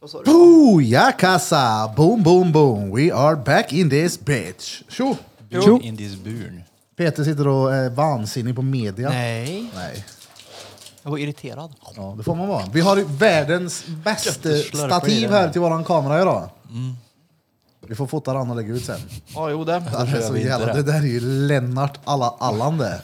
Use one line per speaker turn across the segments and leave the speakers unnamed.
Vad sa du?
Booyakassa! Boom, boom, boom! We are back in this bitch! Tjo!
Björn in this burn.
Peter sitter och är vansinnig på media.
Nej,
Nej.
jag var irriterad.
Ja, det får man vara. Vi har världens bästa
Jätteslurp på i
stativ
den. Mm.
här till våran kamera idag. Vi får fota den och lägga ut sen.
Ja, jo det.
Det, är så jävla, det där är ju Lennart alla Allan det.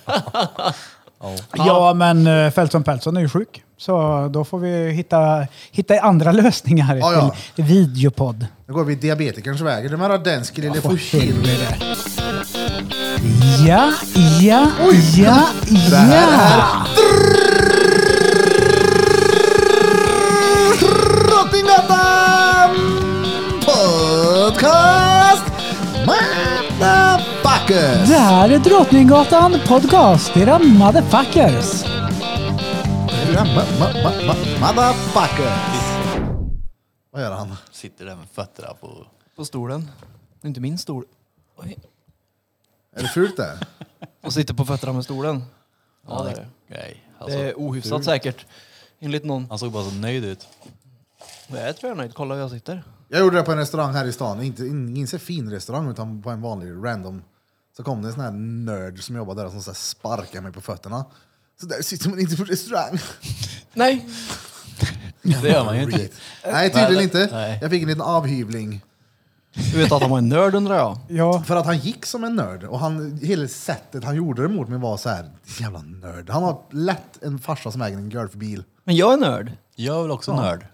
Ja, men eh, Felton Peltson är ju sjuk. Så då får vi hitta, hitta andra lösningar
Ja, ja.
till videopodd.
Nu går vi diabetikerns väg. Det med den lille fushin.
Ja, ja, ja, ja!
Drottninggatan podcast motherfuckers!
Det här är Drottninggatan Podcast, era motherfuckers!
Ma- ma- ma- ma- Motherfuckers! Vad gör han?
Sitter där med fötterna på...
På stolen. Det är inte min stol. Oj.
Är det fult det?
Och sitter på fötterna med stolen. Ja, det är det.
Nej, alltså,
Det är ohyfsat säkert. Enligt någon.
Han såg bara så nöjd ut.
Jag är tvärnöjd. Kolla hur jag sitter.
Jag gjorde det på en restaurang här i stan. Inte, ingen så fin restaurang utan på en vanlig random. Så kom det en sån här nörd som jobbade där som så här sparkade mig på fötterna. Så där sitter man inte på restaurang.
Nej!
Det gör man ju inte.
Nej tydligen inte.
Nej.
Jag fick en liten avhyvling.
Du vet att han var en nörd undrar jag.
Ja,
För att han gick som en nörd. Och han, hela sättet han gjorde det mot mig var så här, jävla nörd. Han har lätt en farsa som äger en golfbil.
Men jag är nörd.
Jag är väl också nörd.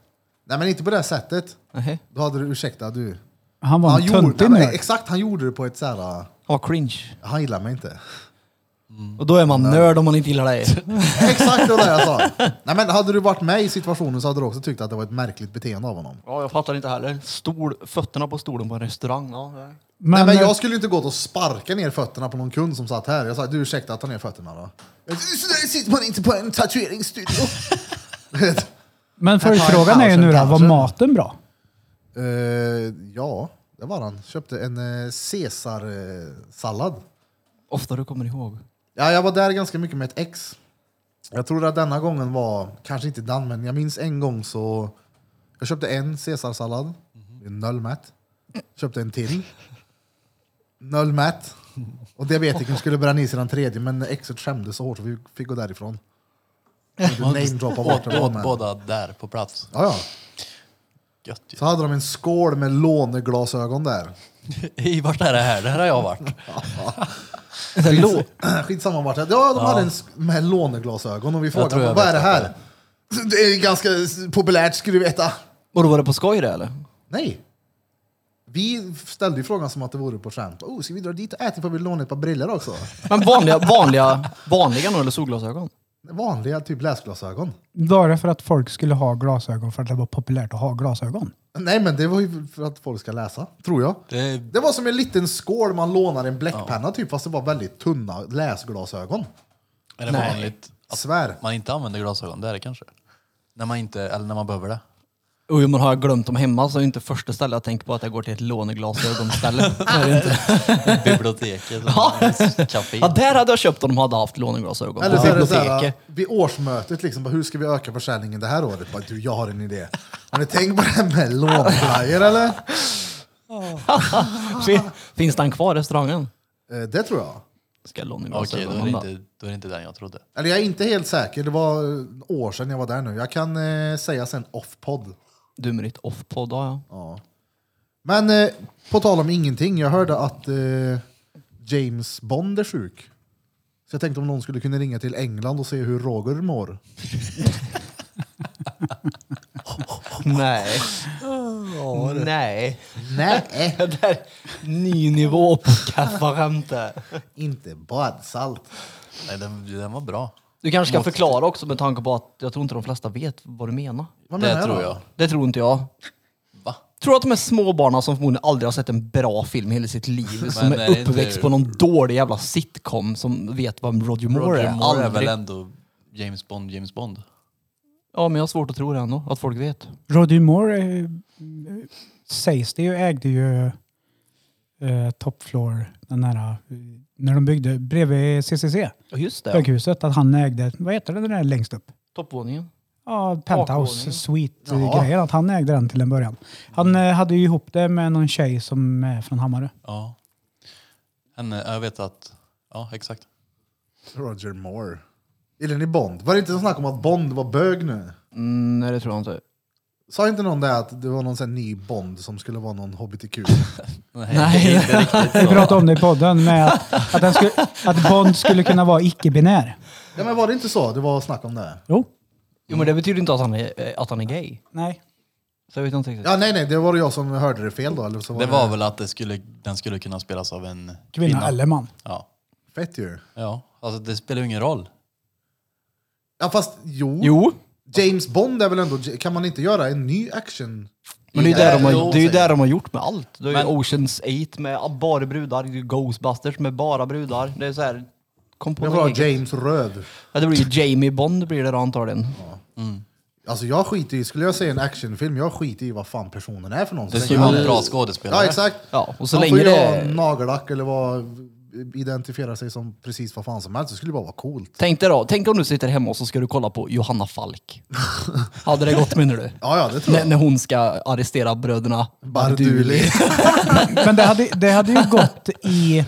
Nej men inte på det här sättet.
Nej.
Då hade du, ursäkta du.
han var en töntig
gjorde, nej,
nörd.
men Exakt, han gjorde det på ett så här,
Han var cringe.
han gillar mig inte.
Mm.
Och då är man nörd om man inte gillar det.
exakt det var det jag sa. Nej men hade du varit med i situationen så hade du också tyckt att det var ett märkligt beteende av honom.
Ja, jag fattar inte heller. Stol, fötterna på stolen på en restaurang. Ja, det är-
Men,
Men,
Nej, men
eh,
jag skulle inte gått och sparka ner fötterna på någon kund som satt här. Jag sa, du ursäkta, ta ner fötterna då. Så där sitter man inte på en tatueringsstudio. Vet.
men
tar jag
följdfrågan är ju
pausen,
nu då, var
pausen.
maten bra?
Eh, ja, det var han. Köpte en eh, uh, Caesar-sallad.
Ofta du kommer ihåg.
Ja, jag var där ganska mycket med ett ex. Jag tror att denna gången var, kanske inte den, men jag minns en gång så... Jag köpte en caesarsallad, mm noll mätt. Köpte en till, noll mätt. Och diabetikern skulle bränna i sig den tredje, men exet skämdes så hårt så vi fick gå därifrån. Namedroppa vart
Åt,
det var
åt
men...
båda där på plats.
Ja, ja.
Gött ju.
Så hade de en skål med låneglasögon där.
I vart är det här? Det här har jag varit.
Lå-
Skitsamma vart det Ja, de hade en sk- med låneglasögon och vi
tror
frågade
jag
vad är
vet
det
vad
här? Det är ganska populärt skulle du veta.
och då var det på skoj det eller?
Nej. Vi ställde ju frågan som att det vore på skämt. Oh, ska vi dra dit och äta ifall vi lånar ett par briller också?
Men vanliga, vanliga, vanliga nu eller solglasögon?
Vanliga typ läsglasögon.
Bara för att folk skulle ha glasögon för att det var populärt att ha glasögon.
Nej, men det var ju för att folk ska läsa, tror jag.
Det-
Det var som en liten skål man lånar en bläckpenna typ, fast det var väldigt tunna läsglasögon.
Är det vanligt att
Svär.
man inte använder glasögon? Det är det kanske. När man inte, eller när man behöver det.
Och om man har glömt dem hemma så är det inte första stället jag tänker på att jag går till ett låneglasögonställe. typ.
Biblioteket. Café.
ja, där hade jag köpt om de hade haft låneglasögon.
Eller
på
så är det så här,
biblioteket.
vid årsmötet, liksom, bara, hur ska vi öka försäljningen det här året? Bara, du, jag har en idé. Har ni tänkt på det här med lånflyer eller?
Fin- Finns den kvar restaurangen?
Eh, Det tror jag.
Ska jag
Okej, då,
låneglasögon?
är det inte- då är det inte den jag trodde.
Eller jag är inte helt säker, det var eh, år sedan jag var där nu. Jag kan eh, säga sen off-podd.
Du med ditt off-podd, ja. ja.
Men eh, på tal om ingenting, jag hörde att eh, James Bond är sjuk. Så jag tänkte om någon skulle kunna ringa till England och se hur Roger mår.
Nej. Nej.
Nej,
Det där är ny nivå på kafferämte.
inte badsalt.
Nej, den, den var bra.
Du kanske ska förklara också med tanke på att jag tror inte de flesta vet vad du menar.
Vad
det
menar jag
tror
då?
jag.
Det tror inte jag.
Va?
Tror att de är småbarna som förmodligen aldrig har sett en bra film i hela sitt liv, som
Men är
är
det inte-
uppväxt på någon dålig jävla sitcom som vet vad Roger Moore
Roger
är.
Moore är
Aldrig.
väl ändå James Bond, James Bond?
Ja, men jag har svårt att tro det ändå, att folk vet.
Roddy Moore eh, eh, sägs det ju ägde ju eh, Top Floor, den här, eh, när de byggde bredvid CCC,
Ja, just det.
höghuset, att han ägde, vad heter det där längst upp?
Toppvåningen.
ja, penthouse
Bakvåningen.
Jaha.
suite-grejer. Att han ägde den till en början. Han eh, hade ju ihop det med någon tjej som är från Hammarö.
Ja. Henne, jag vet att... Ja, exakt.
Roger Moore. Gillar ni Bond? Var det inte snack om att Bond var bög nu?
Mm, nej, det tror jag inte.
Sa inte någon det att det var någon sån här ny Bond som skulle vara någon hbtq?
Nej,
Nej.
det är inte riktigt
Vi
så.
pratade om det i podden med att, att, den skulle, att Bond skulle kunna vara icke-binär.
ja men var det inte så? Det var snack om det.
Jo.
Jo,
Mm.
men det betyder inte att han är, eh, att han är gay.
Nej.
Så jag vet inte riktigt.
Ja nej nej, det var jag som hörde det fel då. Eller så var
Det var väl att det skulle, den skulle kunna spelas av en
Kvinna, eller man.
Ja.
Fett ju.
ja. Alltså det spelar ju ingen roll.
Ja fast jo.
Jo,
James Bond är väl ändå... Kan man inte göra en ny action?
men det är ju där de
Jo,
har, det är ju
säger
där de har gjort med allt. Det är ju
Men-
Oceans 8 med bara brudar, det är ju Ghostbusters med bara brudar. Det är så här... Kom på
Jag
något
vill ha
eget.
James Röv.
Ja, det blir ju Jamie Bond blir det då antagligen.
Alltså jag skiter i, skulle jag säga en actionfilm, jag skiter i vad fan personen är för någon.
Det
Så
ska ju
länge
vara en
han-
bra skådespelare.
Ja exakt.
Ja, och så
han
länge
får ju
det
ha
är-
nagellack eller vad, identifiera sig som precis vad fan som helst, det skulle bara vara coolt.
Tänk dig då, tänk om du sitter hemma och så ska du kolla på Johanna Falk. Hade det gått menar du?
Ja, ja det tror
När,
jag.
när hon ska arrestera bröderna
Barduli.
Men det hade, det hade ju gått i,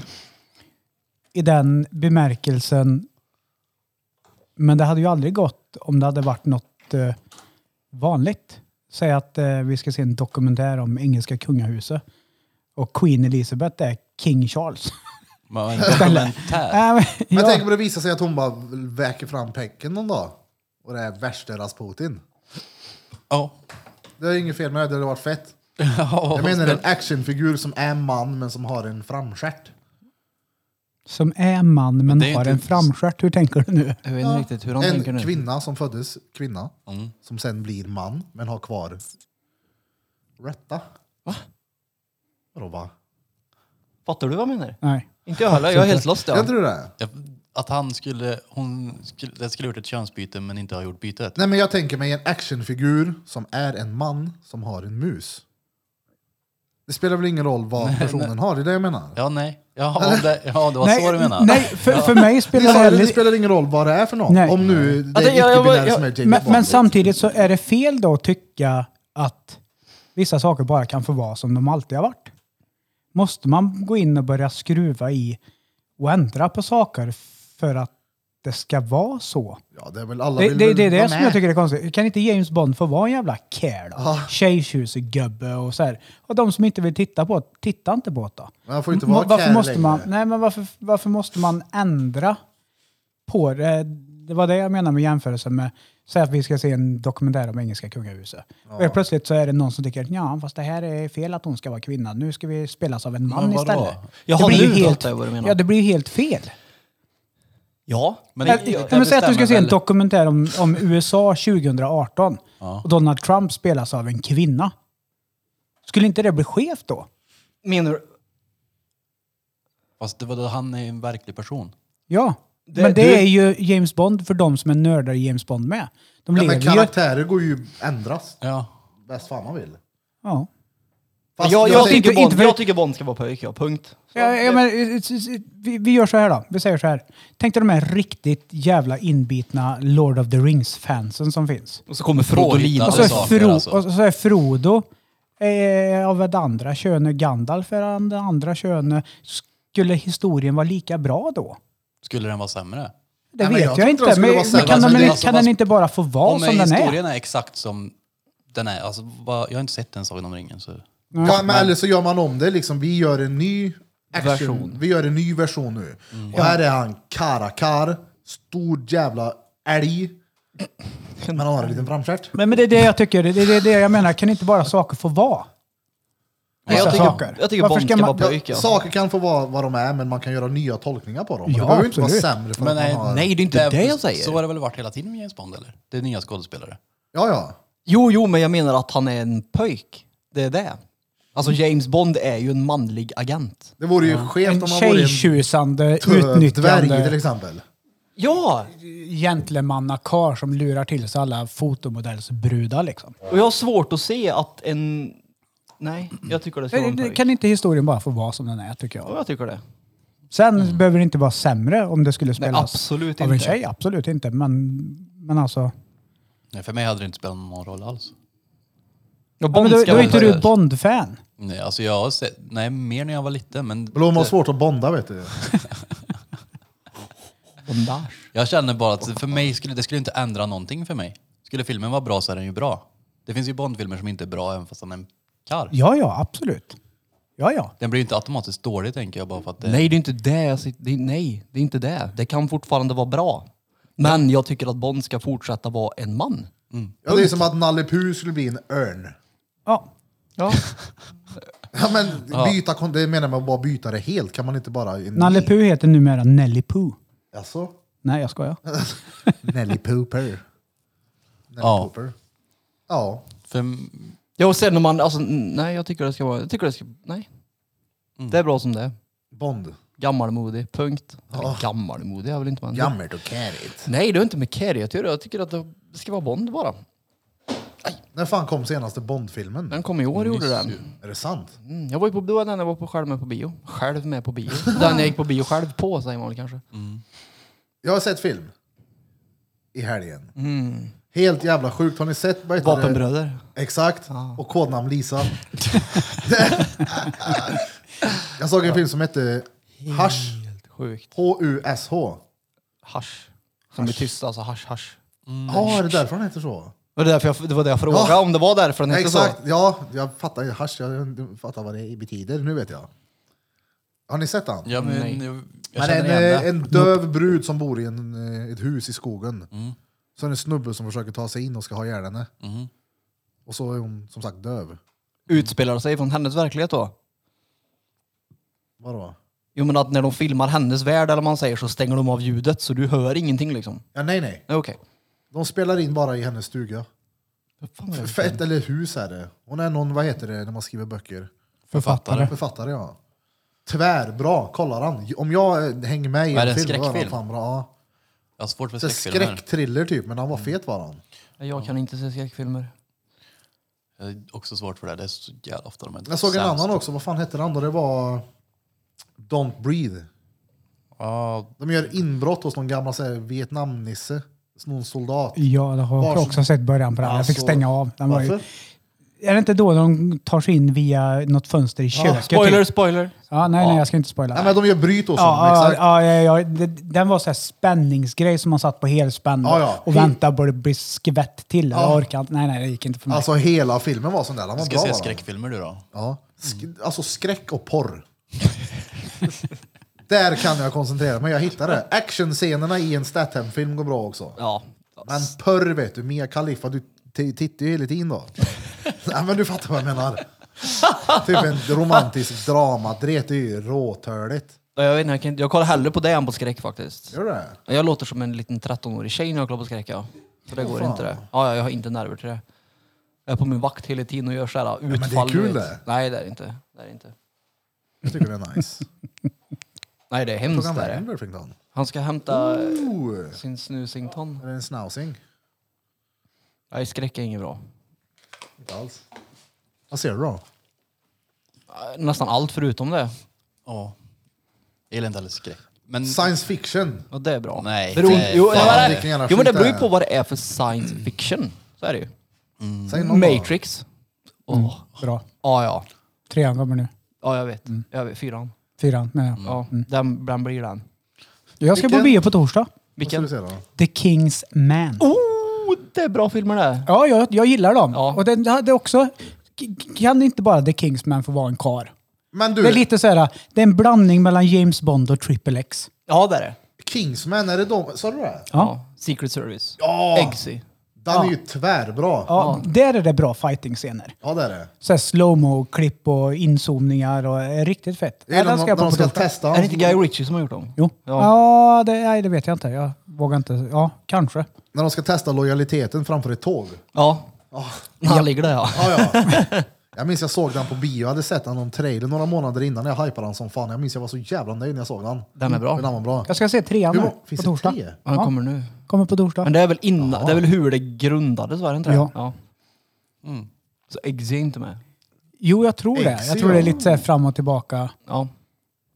i den bemärkelsen. Men det hade ju aldrig gått om det hade varit något eh, vanligt. Säg att eh, vi ska se en dokumentär om engelska kungahuset. Och Queen Elizabeth är King Charles.
Men en dokumentär.
Äh, men,
Men
ja.
tänk om det visar sig att hon bara väker fram pecken någon dag. Och det är värsta Rasputin.
Ja.
Det är inget fel med det, det hade varit fett. Jag menar en actionfigur som är man men som har en framstjärt.
Som är man men
det är ju
har
inte-
en framstjärt. Hur tänker du nu?
Jag vet inte riktigt hur han
En
tänker nu.
kvinna som föddes kvinna,
Mm.
som sen blir man men har kvar rätta.
Va?
Vadå va?
Fattar du vad jag menar?
Nej.
Inte jag heller, jag är helt lost.
Jag
Ja.
tror det.
Ja, Att han skulle, hon skulle, det skulle ha gjort ett könsbyte men inte ha gjort bytet.
Nej men jag tänker mig en actionfigur som är en man som har en mus. Det spelar väl ingen roll vad personen har, det är det jag menar.
Ja, nej. Ja, om det, ja det var så du menade.
nej för, för mig
Det,
spelar det
det
heller...
spelar ingen roll vad det är för någon.
Nej. Alltså,
Om nu det
Ja, det-
är
jag- jag-
icke-binära
jag-
som är James
Men,
Bond.
men samtidigt så är det fel då att tycka att vissa saker bara kan få vara som de alltid har varit. Måste man gå in och börja skruva i och ändra på saker för att det ska vara så?
Ja, det är väl alla
Det,
vill
det,
väl
det är
vara
det som
med.
jag tycker är konstigt. Kan inte James Bond få vara en jävla care då?
Ja.
Tjejtjusigubbe och så här. Och de som inte vill titta på det, titta inte på det då.
Men han får inte
M-
vara
varför
care
måste man,
längre.
Nej, men varför, varför måste man ändra på det? Det var det jag menade med jämförelsen med, säg att vi ska se en dokumentär om engelska kungahuset. Och helt plötsligt så är det någon som tycker, ja fast det här är fel att hon ska vara kvinna, nu ska vi spelas av en man
Men vadå?
istället.
Jaha,
det blir
nu
ju helt,
fattar jag vad du menar.
Ja, det blir ju helt fel.
Ja,
Men,
Nej,
jag-
men
jag
säg att du ska
bestämmer
se en
väl-
dokumentär om, om USA 2018 och Donald Trump spelas av en kvinna. Skulle inte det bli skevt då?
menar du?
Fast det var då han är en verklig person.
Ja,
Det-
men det
du-
är ju James Bond för de som är nördar i James Bond med. De
Ja,
lever
men
ju...
karaktärer går ju ändras
Ja.
bäst fan man vill.
Ja.
Fast
jag, jag,
tänker-
tycker
inte-
Bond,
inte-
jag tycker Bond ska vara pojk, ja. Punkt. Så,
Ja, ja,
det-
men, eh, eh, eh, vi, vi gör så här då. Vi säger så här. Tänk dig de här riktigt jävla inbitna Lord of the Rings-fansen som finns.
Och så kommer Frodo
Påhittade
Lina.
Och
Ja,
så,
det
är
Alltså.
saker,
Fro-
alltså.
och så är Frodo eh, av det andra könet, Gandalf är av det andra könet. Skulle historien vara lika bra då?
Skulle den vara sämre?
Det
Nej, men
vet
jag
jag,
tror inte den
inte.
skulle
Men,
vara
men
sämre.
kan,
Alltså,
de,
det-
inte-
alltså,
kan
vad-
den inte bara få vara
Om
som den är?
historien är exakt som den är. Alltså, vad, jag har inte sett en Sagan om ringen. Så.
Ja, men eller så gör man om det liksom. Vi gör en ny action.
Version.
Vi gör en ny version nu.
Mm.
Och här är han karakar, stor jävla älg. Men han har en liten framstjärt.
Men, men det är det jag tycker. Det är det, det jag menar. Kan inte bara saker få vara?
Nej,
Vissa
jag, tycker,
saker.
jag tycker
Varför
Bond
ska
ska
man-
vara
Ja,
pojk, ja.
Saker kan få vara vad de är, men man kan göra nya tolkningar på dem.
Ja,
det behöver ju inte vara
absolut.
sämre för
Men
att
nej,
man har...
Nej, det är inte det, jag säger.
Så har det väl varit hela tiden med James Bond, eller? Det är nya skådespelare.
Ja, ja.
Jo, jo, men jag menar att han är en pojk. Det är det. Alltså James Bond är ju en manlig agent.
Det vore ju skevt
En
om man vore en
tjejtjusande,
töv- dvärg liksom- till
utnyttjande
exempel.
Ja!
gentlemannakar som lurar till sig alla fotomodellsbrudar liksom.
Och jag har svårt att se att en... Nej, jag tycker det ska vara en pojk.
Eh, Kan inte historien bara få vara som den är tycker
Ja,
jag.
jag tycker det.
Sen behöver det inte vara sämre om det skulle spelas
Mm. absolut
av en
inte.
tjej. Absolut inte. Men, men alltså,
Nej, för mig hade det inte spelat någon roll alls.
Och
Ja, men
Bond
då,
ska
då är
vara
inte
där.
du Bond-fan.
Nej, alltså jag har sett, nej mer när jag var liten men...
Men de har svårt att bonda vet du.
Bondage.
Jag känner bara att för mig skulle, det skulle inte ändra någonting för mig. Skulle filmen vara bra så är den ju bra. Det finns ju Bondfilmer som inte är bra även fast den är en karr.
Ja, ja, absolut. Ja, ja.
Den blir ju inte automatiskt dålig tänker jag bara för att det...
Nej, det är inte det. jag sit- det är, nej, det är inte det. Det kan fortfarande vara bra. Men jag tycker att Bond ska fortsätta vara en man.
Ja, det är som att Nalle Puh skulle bli en örn.
ja.
Ja.
Ja, men byta, kon- det menar man bara byta det helt. Kan man inte bara...
Nalle Puh heter numera Nelly Puh.
Alltså,
Nej, jag skojar.
Nelly Pooper. Nelly
Ja.
Pooper. Ja.
För,
ja, och sen när man, alltså n- nej, jag tycker det ska vara, jag tycker det ska, nej.
Mm.
Det är bra som det är.
Bond.
Gammalmodig, punkt. Eller gammalmodig är väl inte man.
Gammelt och kärigt.
Nej, det är inte med Kerry att göra. Jag tycker att det ska vara Bond bara.
När fan kom senaste Bond-filmen?
Den kom i år, gjorde den.
Är det sant?
Mm, jag var ju på, det var den jag var på själv med på bio. Själv med på bio. Den jag gick på bio själv på, säger man väl kanske.
Jag har sett film. I helgen. Helt jävla sjukt. Har ni sett... vad heter det?
Vapenbröder.
Exakt. Och kodnamn Lisa. jag såg en film som hette Hash.
Helt sjukt.
H-U-S-H.
Hasch. Som blir tysta, alltså hasch, hasch.
Ja, är det därför den heter så?
Det var därför jag, det var det jag frågade,
Ja.
om det var därför den
Ja,
hette
exakt.
så.
Ja, jag fattar. Hasch, jag fattar vad det betyder. Nu vet jag. Har ni sett den?
ja, men,
Nej.
jag, jag
Men
känner
en,
igen
eh,
det.
en döv brud som bor i en, eh, ett hus i skogen.
Mm.
Så är det en snubbe som försöker ta sig in och ska ha ihjäl henne. Och så är hon som sagt döv.
Utspelar sig från hennes verklighet då?
Vadå?
Jo men att när de filmar hennes värld eller vad man säger så stänger de av ljudet så du hör ingenting liksom.
Ja, nej, nej.
Nej, Okej.
De spelar in bara i hennes stuga.
Vad fan var det?
Fett eller hus är det. Hon är någon, vad heter det när man skriver böcker?
Författare.
Författare ja. Tvärbra, kollar han. Om jag eh, hänger med i en
Är det en
film, då är han
skräckfilm?
fan bra. Ja.
Jag har svårt för
Så
skräckfilmer.
Skräckthriller typ, men han var fet var han.
Nej, Jag kan inte se skräckfilmer.
Jag har också svårt för det. Det är så jävla ofta de är
Jag såg en
sämst.
annan också, vad fan hette den då? Det var Don't Breathe.
Ja,
De gör inbrott hos någon gammal så här, Vietnamnisse. Någon soldat.
Ja, det har jag
Varsågod.
också sett början på den. Jag fick
Alltså,
stänga av. Den var ju,
Varför?
är det inte då de tar sig in via något fönster i köket? typ?
Spoiler, spoiler!
Ja, nej, nej, jag ska inte spoila.
Nej men de gör bryt hos honom,
Ja, ja,
exakt.
ja, ja, ja, det- den var så här spänningsgrej som man satt på helspänn
Ja, ja.
och väntade på det blir skvätt till.
Ja.
Jag orkar inte. Nej, nej, det gick inte för mig.
Alltså hela filmen var sån där, den
jag Mm.
var
ska
bra.
se
va?
skräckfilmer du då.
Ja. Sk- Alltså skräck och porr. där kan jag koncentrera mig, jag hittar det. Actionscenerna i en Statham-film går bra också.
Ja.
Men porr vet du, Mia Khalifa, du t- tittar ju hela tiden då. Nej men du fattar vad jag menar. typ en romantisk drama, det är ju råtöligt.
Jag, vet inte, jag, kan, inte- jag kollar hellre på det än på skräck faktiskt.
Gör du det?
Jag låter som en liten 13-årig tjej när jag kollar på skräck ja. Så det
Åh,
går
fan.
inte det. Ja, ja, jag har inte nerver till det. Jag är på min vakt hela tiden och gör så här utfall.
men det är kul
du vet.
det.
Nej, det är det inte. Det är det inte.
Jag tycker det är nice.
Nej, det är
Tog
hemskt.
han
Det är
vägen
det.
Burfington?
Han ska hämta eh,
Oh,
sin snusington.
är det en snausing?
Nej, skräck är inget bra.
Inte alls. Vad ser du då?
Eh, Nästan allt förutom det.
Ja. Jag gillar inte heller skräck. Men
Science fiction.
Och det är bra.
Nej,
Beror-
det-
jo, nej,
fan,
men det-
vilken jävla
jo, men det
skit
beror ju
det är.
på vad det är för science fiction. Så är det ju.
Säg någon då.
Matrix. Åh,
Mm.
Bra.
Ja, ja.
Trean kommer nu.
Ja, jag vet.
Mm.
Jag vet. Fyran.
Fyran menar jag.
Ja, den, den blir den.
Jag ska på
Vilken?
bio på torsdag.
Vad ska
Vilken?
du se då?
The King's Man.
Oh, det är bra filmer det.
Ja, jag, jag gillar dem.
Ja.
Och det, det hade också... k- Kan inte bara The King's Man få vara en kar?
Men
Det är
du,
lite så här, det är en blandning mellan James Bond och Triple X.
Ja, det är det.
Kingsman, är det de? Sa du det?
Ja. Secret Service.
Ja!
Eggsy.
Den är ju tvärbra. Ja.
Ja, Där är det bra fighting-scener.
det är det.
Så här slow-mo-klipp och inzoomningar och är riktigt fett.
Det är
den
när de, när de
på
ska
torsdag.
testa
Är det inte
hans,
Guy Ritchie som har gjort dem?
Jo.
Ja.
Ja, det, nej, det vet jag inte. Jag vågar inte. Ja, kanske.
när de ska testa lojaliteten framför ett tåg.
Ja. Han ligger där ja.
Ja, ja. Jag minns jag såg den på bio, jag hade sett den om trailer några månader innan jag hypade den som fan. Jag minns jag var så jävla nöjd när jag såg den.
Den är bra.
Den var bra.
Jag ska se trean
Hur
nu,
må-
på
finns det
torsdag.
tre?
Han kommer nu.
Kommer på torsdag.
Men det är väl innan, det är väl hur det grundades, var det inte det?
Ja.
Så Eggsy är inte med.
Jo, jag tror det.
Exy,
Jag tror det
ja.
är lite så här fram och tillbaka.
Ja.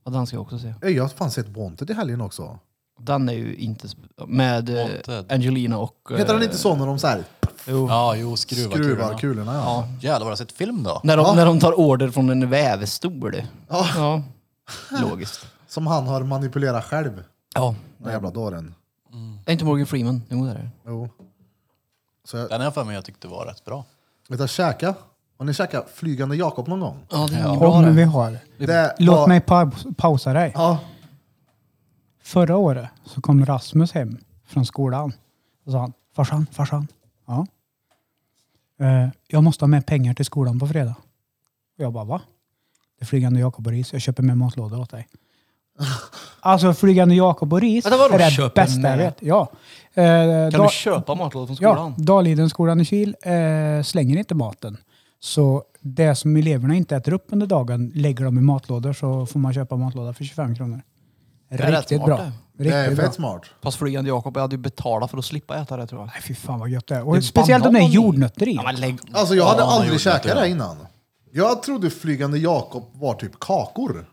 ja. Den ska jag också se.
Ey, Jag har fan sett Wanted i helgen också.
Den är ju inte... sp- Med eh,
Wanted.
Angelina och...
Heter den
eh,
inte så när de så här...
Jo.
Ja, jo, skruvar,
Skruvar kulorna ja.
Jävlar vad jag har sett film då.
När, de, när de tar order från en vävstol.
Ja.
Ja. Logiskt.
Som han har manipulerat själv.
Ja.
Den jävla dåren.
Det är inte Morgan Freeman. Jo, det är det.
Jo. Så jag,
Den har jag för mig jag tyckte var rätt bra.
vet du, käka? Har ni käkat Flygande Jakob någon gång?
Ja, det är inget bra
Om vi
det.
har.
Det
Låt
var-
mig pa- pausa dig.
Ja,
Förra året så kom Rasmus hem från skolan. Och sa han, farsan, farsan. Ja. Eh, jag måste ha med pengar till skolan på fredag. Och jag bara, va? Det är Flygande Jakob och Ris. Jag köper med matlåda åt dig. alltså Flygande Jakob och Ris
Vänta, vadå,
är det
köper
bästa jag
med?
vet. Ja. Eh,
Kan
da-
du köpa matlådor från
Ja,
skolan?
Dalidenskolan i Kil eh, slänger inte maten. Så det som eleverna inte äter upp under dagen lägger de i matlådor så får man köpa matlåda för 25 kronor.
är rätt
Riktigt
smart
bra.
det.
det är
Riktigt bra.
fett smart.
Fast flygande Jakob, jag hade ju betalat för att slippa äta det tror jag.
Nej, fy fan vad gött det är. Och
Det är
speciellt om det är
banan i.
jordnötter i.
Ja, men lägg...
Alltså jag hade
Ja, han har
aldrig
gjort något,
käkat
ja.
det innan. Jag trodde Flygande Jakob var typ kakor.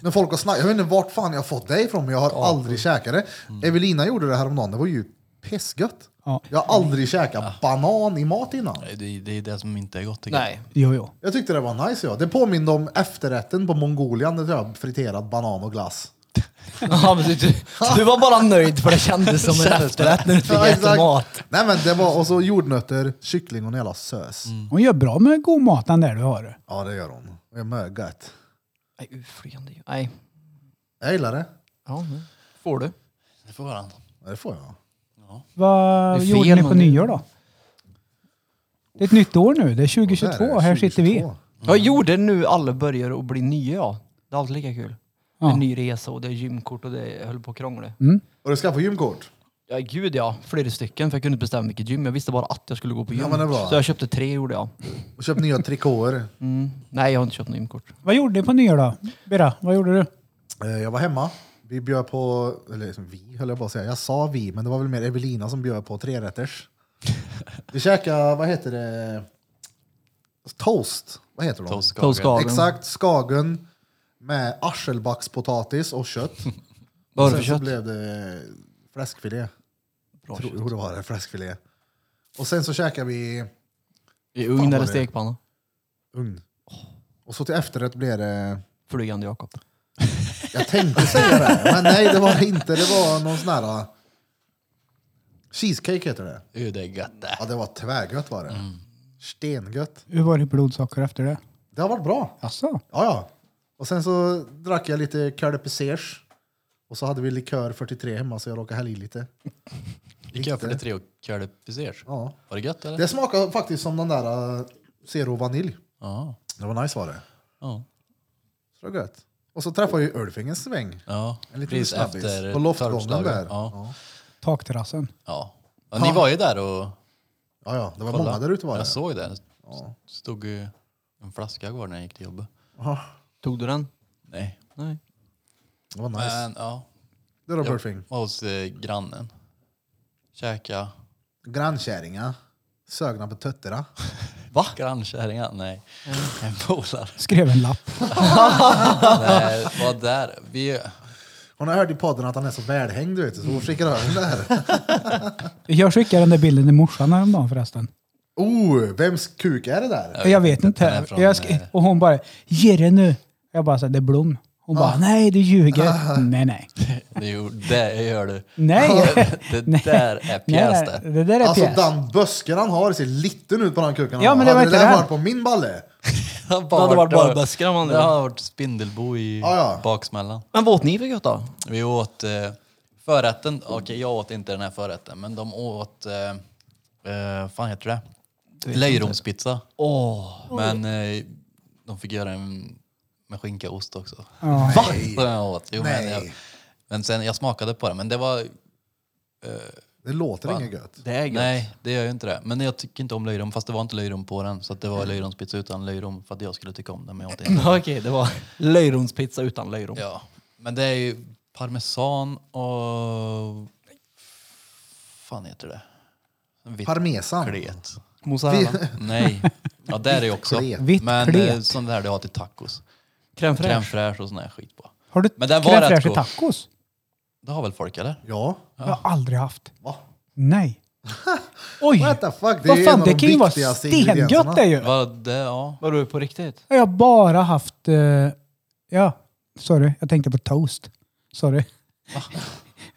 När folk har snackat, jag vet inte vart fan jag har fått det ifrån men jag har aldrig käkat det. Evelina gjorde det häromdagen, det var ju pissgött.
Ja.
Jag har aldrig käkat banan i mat innan.
Nej, Det, det är det som inte är gott tycker
Nej.
Jo, jo.
Jag tyckte det var nice ja. Det påminde om efterrätten på Mongolian, det tror jag, friterad banan och glass.
Ja, men du, du, du var bara nöjd för det kändes som en efterrätt när du fick
Ja,
äta
exakt.
mat.
Nej men det var, och så jordnötter, kyckling och en jävla sös.
Hon gör bra med god mat den där du har.
Ja det gör hon. Det är mögat.
Nej, uh, flygande Nej.
Jag gillar det.
Ja, nu får
Mm.
du.
jag. Det får vara annat.
Ja, Det får jag.
Vad
Det är
gjorde
fel,
ni på
men det-
nyår då? Det är ett nytt år nu. Det är
Där
2022.
är det,
Här sitter vi.
2022.
Jag gjorde nu alla börjar att bli nya. ja. Det är alltid lika kul.
Ja. Mm.
Det är ny resa och det är gymkort och det jag höll på att krångla.
Och du skaffade gymkort?
Ja, gud ja. Flera stycken för jag kunde inte bestämma vilket gym. Jag visste bara att jag skulle gå på gym.
Ja, men det är bra.
Så jag köpte tre gjorde jag.
Och köpt nya trikåer.
Mm. Nej, jag har inte köpt något gymkort.
Vad gjorde ni på nyår då? Bera, vad gjorde du?
Eh, Jag var hemma. Vi bjöd på, eller liksom vi höll jag på att säga, jag sa vi, men det var väl mer Evelina som bjöd på trerätters. Vi käkade, vad heter det, toast. Vad heter de?
Toastkagen.
Toastkagen.
Exakt, skagen med arselbackspotatis och kött.
Vad var
Sen
det för
så
kött?
blev det fläskfilé.
Bra
Tror
kött.
jo, det var det, fläskfilé. Och sen så käkade vi
I
Fan,
ugn
vad
eller
det-
stekpanna?
ugn. Och så till efterrätt blev det
Flygande Jakob.
Jag tänkte säga det, men nej det var inte. Det var någon sån här... ah, Cheesecake heter det.
Ju, Det är gött det.
Ja, det var tvärgött var det.
Mm.
Stengött.
Hur var det blodsocker efter det?
Det har varit bra.
Jaså?
Ja, ja. Och sen så drack jag lite Curle Pesers. Och så hade vi likör 43 hemma så jag råkade hälla i lite.
Gick jag 43 och körde pizzers?
Ja.
Var det gött eller?
Det smakade faktiskt som den där uh, Zero Vanilj.
Ja.
Det var nice var det.
Ja.
Så det var gött. Och så träffade jag ju Ulfing en sväng.
ja.
En liten
Precis
snabbis.
efter
På loftgången
torpslagen.
där.
Ja.
Takterrassen.
Ja. ja. Ni var ju där och
Ja, ja. Det var
kollade.
många där ute var det.
Jag såg det. Stod ju en flaska kvar när jag gick till jobbet.
Ja,
Tog du den?
Nej.
Nej.
det var nice.
Men ja,
Det var
jag
Ulfing.
var hos eh, grannen. Käka.
Grannkärringar. Sögna på tötterna.
Va? Grannkärringar? Nej. En polare.
Skrev en lapp.
Nej, var där. Vi,
Hon har hört i podden att han är så välhängd, du vet, så hon skickar över den där.
Jag skickade den där bilden till morsan häromdagen förresten.
Oh, vems kuk är det där?
Jag, vet
den
inte.
är från,
Jag sk-
eh,
och hon bara, ge det nu. Jag bara, så här, det är Blom. Hon bara, nej du ljuger. nej, nej.
det, gjorde, det gör du.
Nej.
Det där är pjäs
nej,
det.
nej. Det där är
Alltså
pjäs.
den bösken han har ser liten ut på den kuken. han
Ja,
har.
men det var
Hade
inte
där
det här.
varit på min balle.
Det
hade varit badböskan om man
Det
hade-
har varit spindelbo i
Ja, ja.
baksmällan.
Men vad åt ni för gött då?
Vi åt eh, förrätten. Okej, jag åt inte den här förrätten, men de åt... Eh, eh, fan heter det? Löjromspizza.
Åh.
Men eh, de fick göra en med skinka och ost också.
Ja.
Va? Som jag åt. Jo, men,
Nej.
jag, men sen jag smakade på det, men det var...
Det låter inget gött.
det är gött.
Nej, det gör ju inte det. Men jag tycker inte om löjrom, fast det var inte löjrom på den. Så att det var löjromspizza utan löjrom för att jag skulle tycka om den, men jag åt inte.
Okej, det var löjromspizza utan löjrom.
Ja, men det är ju parmesan och... fan heter det? Vitt
Parmesan.
klet.
Mozzarella.
Nej, ja det är det ju också.
Vitt
klet.
Men
Vitt klet.
eh, sån där du har till tacos.
Crème fraîche.
Crème fraîche och sån där skit på.
Har du
Men den var rätt
crème fraîche i
god.
tacos?
Det har väl folk eller?
Ja.
Jag har aldrig haft.
Va?
Nej. Oj!
What the fuck? Det är
Vad
ju
fan,
en av
det
de
kan ju vara
viktigaste ingredienserna.
stengött det ju.
Vad det, ja.
Var du på riktigt?
Jag har bara haft... eh, ja, sorry. Jag tänkte på toast. Sorry.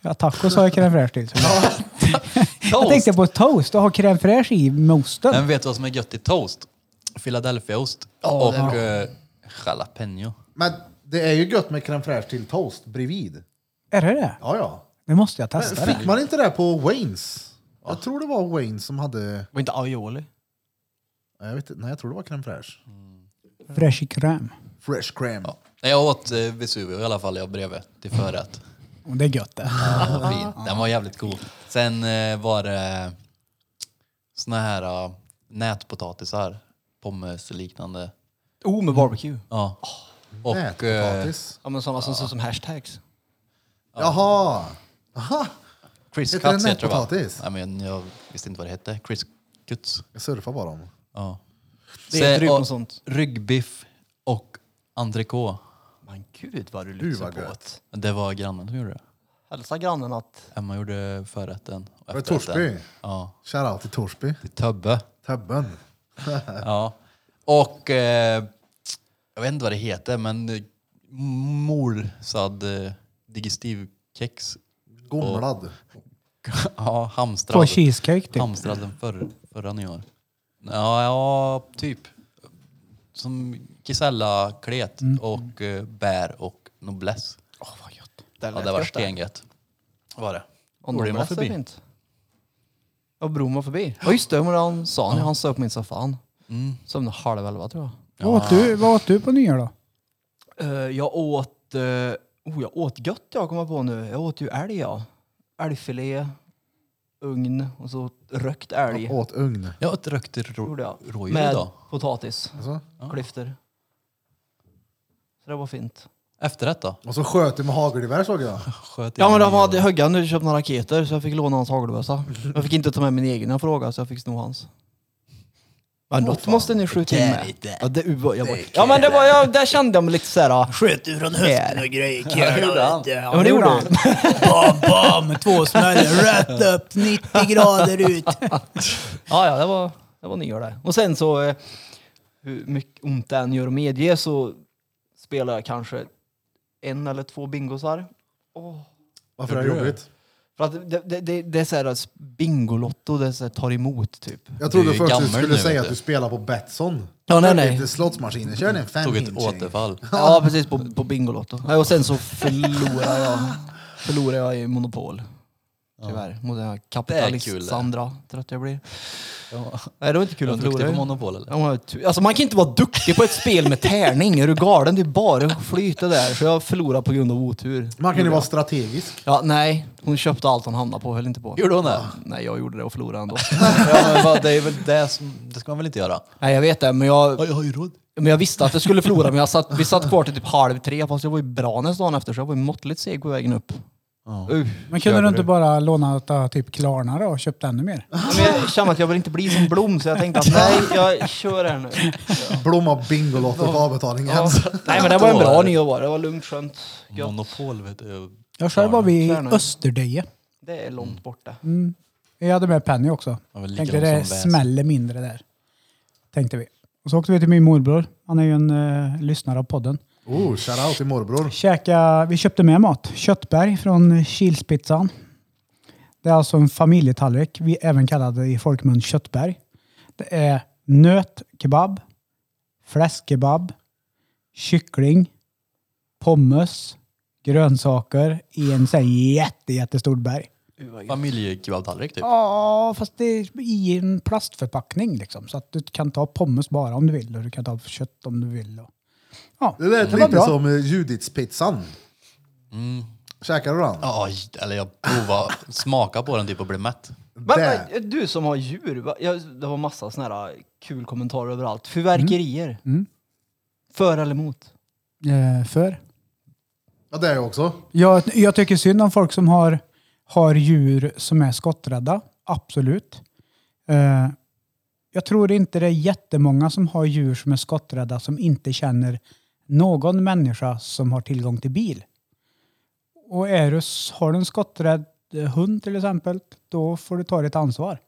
Ja, tacos har jag crème fraîche till. Jag
Toast!
tänkte på toast och ha crème fraîche i mosten.
Men vet du vad som är gött i toast? Philadelphiaost och eh, jalapeno.
Men det är ju gött med crème fraîche till toast bredvid.
Är det det?
Ja, ja.
Nu måste jag
Men
testa det.
Fick man inte det på Waynes? Jag tror det var Waynes som hade...
Var inte aioli?
Nej, Jag vet, inte. nej, jag tror det var crème fraîche.
Fraîche i crème.
Fresh crème. Ja.
Nej, Jag åt eh, Vesuvio i alla fall, jag bredvid till förrätt.
Och Det är gött det.
Den var fin. Den var jävligt god. Sen eh, var det såna här eh, nätpotatisar, pommes liknande.
Oh, med barbecue.
Ja. Och eh,
Nätpotatis.
Ja, men sådana som ser ut som hashtags.
Jaha! Aha.
Chris
Heter det
Cuts heter det va?
nätpotatis?
Nej, men jag visste inte vad det hette. Chris Cuts.
Jag surfar bara om.
Ja.
Det är
Så-
drygt
och-
något sånt.
Ryggbiff och entrecote.
Men gud vad du
vad
lyxar på
gött.
åt.
Det var grannen som gjorde det.
Hälsa grannen att...
Emma gjorde förrätten. och
Var det
efterrätten.
Torsby?
Ja.
Shoutout till Torsby.
Till Többe.
Többen.
Ja. Och eh, jag vet inte vad det heter, men eh, morsad eh, digestivkex.
Gomlad.
ja,
På
hamstrad.
cheesecake typ.
Hamstrad den förr, förra nyår. Ja, ja, typ. Som kisella, klet och eh, bär och noblesse.
Åh, vad gött.
Ja, det var stengött. Var det.
Och
Borde
någon
man
var
förbi?
fint. Ja, bron var förbi. Ja, just det. Men han sa när han stod på min soffan.
Mm.
Sömnade halv elva tror jag.
Vad åt du, vad åt du på nyår då?
Eh, jag åt... eh, oh, jag åt gött jag kommer på nu. Jag åt ju älg ja. Älgfilé, ugn och så rökt älg.
Jag åt ugn.
Jag åt rökt rå-
Gjorde jag.
rådjur
Med
idag.
potatis,
Alltså.
klyftor. Så det var fint.
Efterrätt då?
Och så sköt du med hagelgevär såg jag.
Sköt
Ja
in
men de
i-
hade högga nu köpt några raketer så jag fick låna hans hagelbössa. Jag fick inte ta med min egen fråga så jag fick sno hans. Men något måste ni skjuta in med. Ja, det, var- jag bara, ja men det var, jag, där kände jag mig lite såhär... Sköt ur från höften och
Ja, det
Ja men det gjorde han.
Bam, bam, två smällar, rätt upp, 90 grader ut.
Ja, ja, det var, det var nyår där. Och sen så, eh, hur mycket ont det än gör att medge så spelar jag kanske en eller två bingosar.
Varför är det jobbigt?
För att det, det, det, det är såhär att Bingolotto, det är så här, tar emot typ.
Jag trodde
Du är
först du
gammal
skulle
nu,
säga
vet
att du
du.
spelar på Betsson.
Ja, nej,
Kör
nej.
Lite slottsmaskiner. Kör en fem
Tog ett
hintjing.
återfall.
Ja, precis på, på Bingolotto. Ja, Och sen så förlorar jag, förlorar jag i Monopol. Tyvärr. Mot den här
kul, det.
kapitalist-Sandra, trött jag blir. Nej, det var inte kul
Du var
att
duktig
förlora.
på
ju.
Monopol eller?
Ja, men tu- Alltså man kan inte vara duktig på ett spel med tärning. Är du galen? Det är bara att flyta där. Så jag förlorar på grund av otur.
Man kan ju vara strategisk.
Ja, nej. Hon köpte allt hon hamnade på, höll inte på.
Gjorde hon det?
Nej, jag gjorde det och förlorade ändå.
ja, men vad, det, är väl det, som, det ska man väl inte göra?
nej, jag vet det, men jag,
jag har ju råd.
men jag visste att jag skulle förlora. Men jag satt, vi satt kvar till typ halv tre, fast jag var ju bra nästa dagen efter, så jag var ju måttligt seg på vägen upp. Uh,
Men kunde du inte bara låna ta typ Klarna då och köpt ännu mer?
men jag kände att jag vill inte bli som Blom, så jag tänkte att nej, jag kör här nu.
Blomma Bingolotto på avbetalningen.
Ja. Nej, men det var en bra nyår. Det var lugnt, skönt, gött.
Monopol vet du.
Jag själv var vi i
Klarna.
Österdeje.
Det är långt borta.
Mm. Jag hade med Penny också.
Ja, väl
Tänkte
likadant
det
som väs.
smäller mindre där. Tänkte vi. Och så åkte vi till min morbror. Han är ju en eh, lyssnare av podden.
Oh, shoutout till morbror.
Käka, vi köpte med mat. Köttberg från Kilspizzan. Det är alltså en familjetallrik, vi även kallade i folkmun köttberg. Det är nötkebab, fläskkebab, kyckling, pommes, grönsaker i en sån här jätte, jättestor berg.
Familjekebabtallrik typ.
Ja, fast det är i en plastförpackning liksom. Så att du kan ta pommes bara om du vill och du kan ta kött om du vill. Och... Ja,
Det lät
var
lite
bra.
som eh, Judithspizzan. Mm. Käkade Mm. du den?
Ja, eller jag provade smaka på den typ och blev mätt.
Men,
Där.
men, du som har djur, va? jag, det var massa såna här äh, kul kommentarer överallt. Fyrverkerier.
Mm.
För eller emot?
eh, för.
Ja, det är jag också.
Jag, jag tycker synd om folk som har, har djur som är skotträdda. Absolut. Eh, jag tror inte det är jättemånga som har djur som är skotträdda som inte känner någon människa som har tillgång till bil. Och är du, har du en skotträdd eh, hund till exempel, då får du ta ditt ansvar.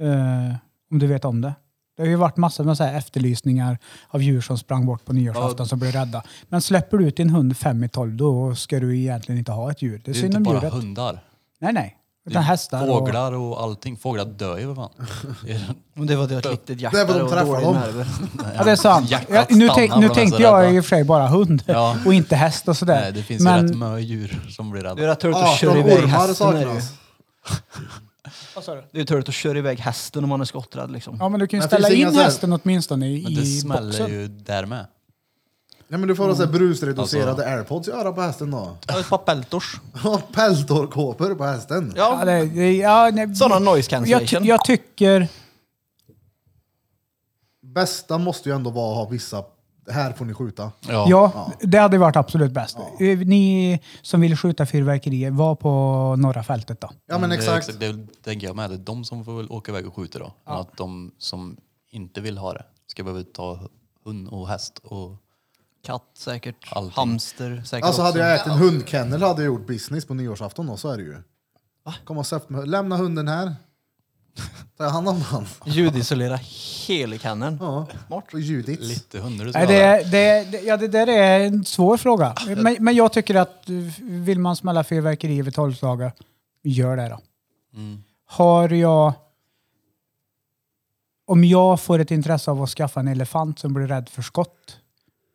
Eh, om du vet om det. Det har ju varit massor med så här efterlysningar av djur som sprang bort på nyårsafton som blev rädda. Men släpper du ut din hund fem i tolv, då ska du egentligen inte ha ett djur. Det är
Det är
synd
inte
om
bara
djuret.
hundar.
Nej, nej.
Det är
Utan hästar och...
Fåglar och allting. Fåglar dör ju för fan. Det är-
Om det var deras riktigt hjärta
Det är väl de
och
träffar
dåliga
dem.
nerver.
Ja, det är sant.
Hjärtat
Ja, nu
stannar
tänk,
när
nu
de är
tänkte
så
jag
rädda.
i och för sig bara hund
Ja.
och inte häst och sådär.
Nej, det finns ju rätt mö djur som blir
Det är
rädda.
rätt turligt att
18
köra iväg
Ah, ormar
hästen. Är det, ju.
saknas.
det är ju turligt att köra iväg hästen om man är skotträdd liksom.
Ja, men du kan ju
Men
ställa
finns det
in
inga så här-
hästen åtminstone i,
Men det
i
smäller
boxen.
ju där med.
Ja, men du får ha så här brusreducerade
Alltså-
airpods i örat på hästen då.
Ja, Ett par peltors.
Och Peltorkåpor på hästen.
Ja,
Ja,
det, det, ja, nej,
sådana noise
jag, ty-
cancellation.
jag tycker...
Bästa måste ju ändå vara att ha vissa, här får ni skjuta.
Ja.
Ja, det hade varit absolut bäst. Eh, Ni som vill skjuta fyrverkerier, var på norra fältet då.
Ja men
Mm, Det, är
exakt.
exakt det är- tänker jag med. Det är de som får väl åka iväg och skjuta då. Men att de som inte vill ha det ska behöva ta hund och häst och...
Katt säkert.
Allting.
Hamster säkert
Alltså hade
också.
jag ätit en hundkennel hade jag gjort business på nyårsafton då, så är det ju. Kom och sätt mig. Lämna hunden här. Tar jag hand om den?
Ljudisolera hela kannen.
Ja.
Smart.
Och Judits.
Lite hundar och
Nej, det, det, det, ja, det där är en svår fråga. Men, men jag tycker att eh, vill man smälla fyrverkerier vid tolvslaget, gör det då. Har jag... Om jag får ett intresse av att skaffa en elefant som blir rädd för skott.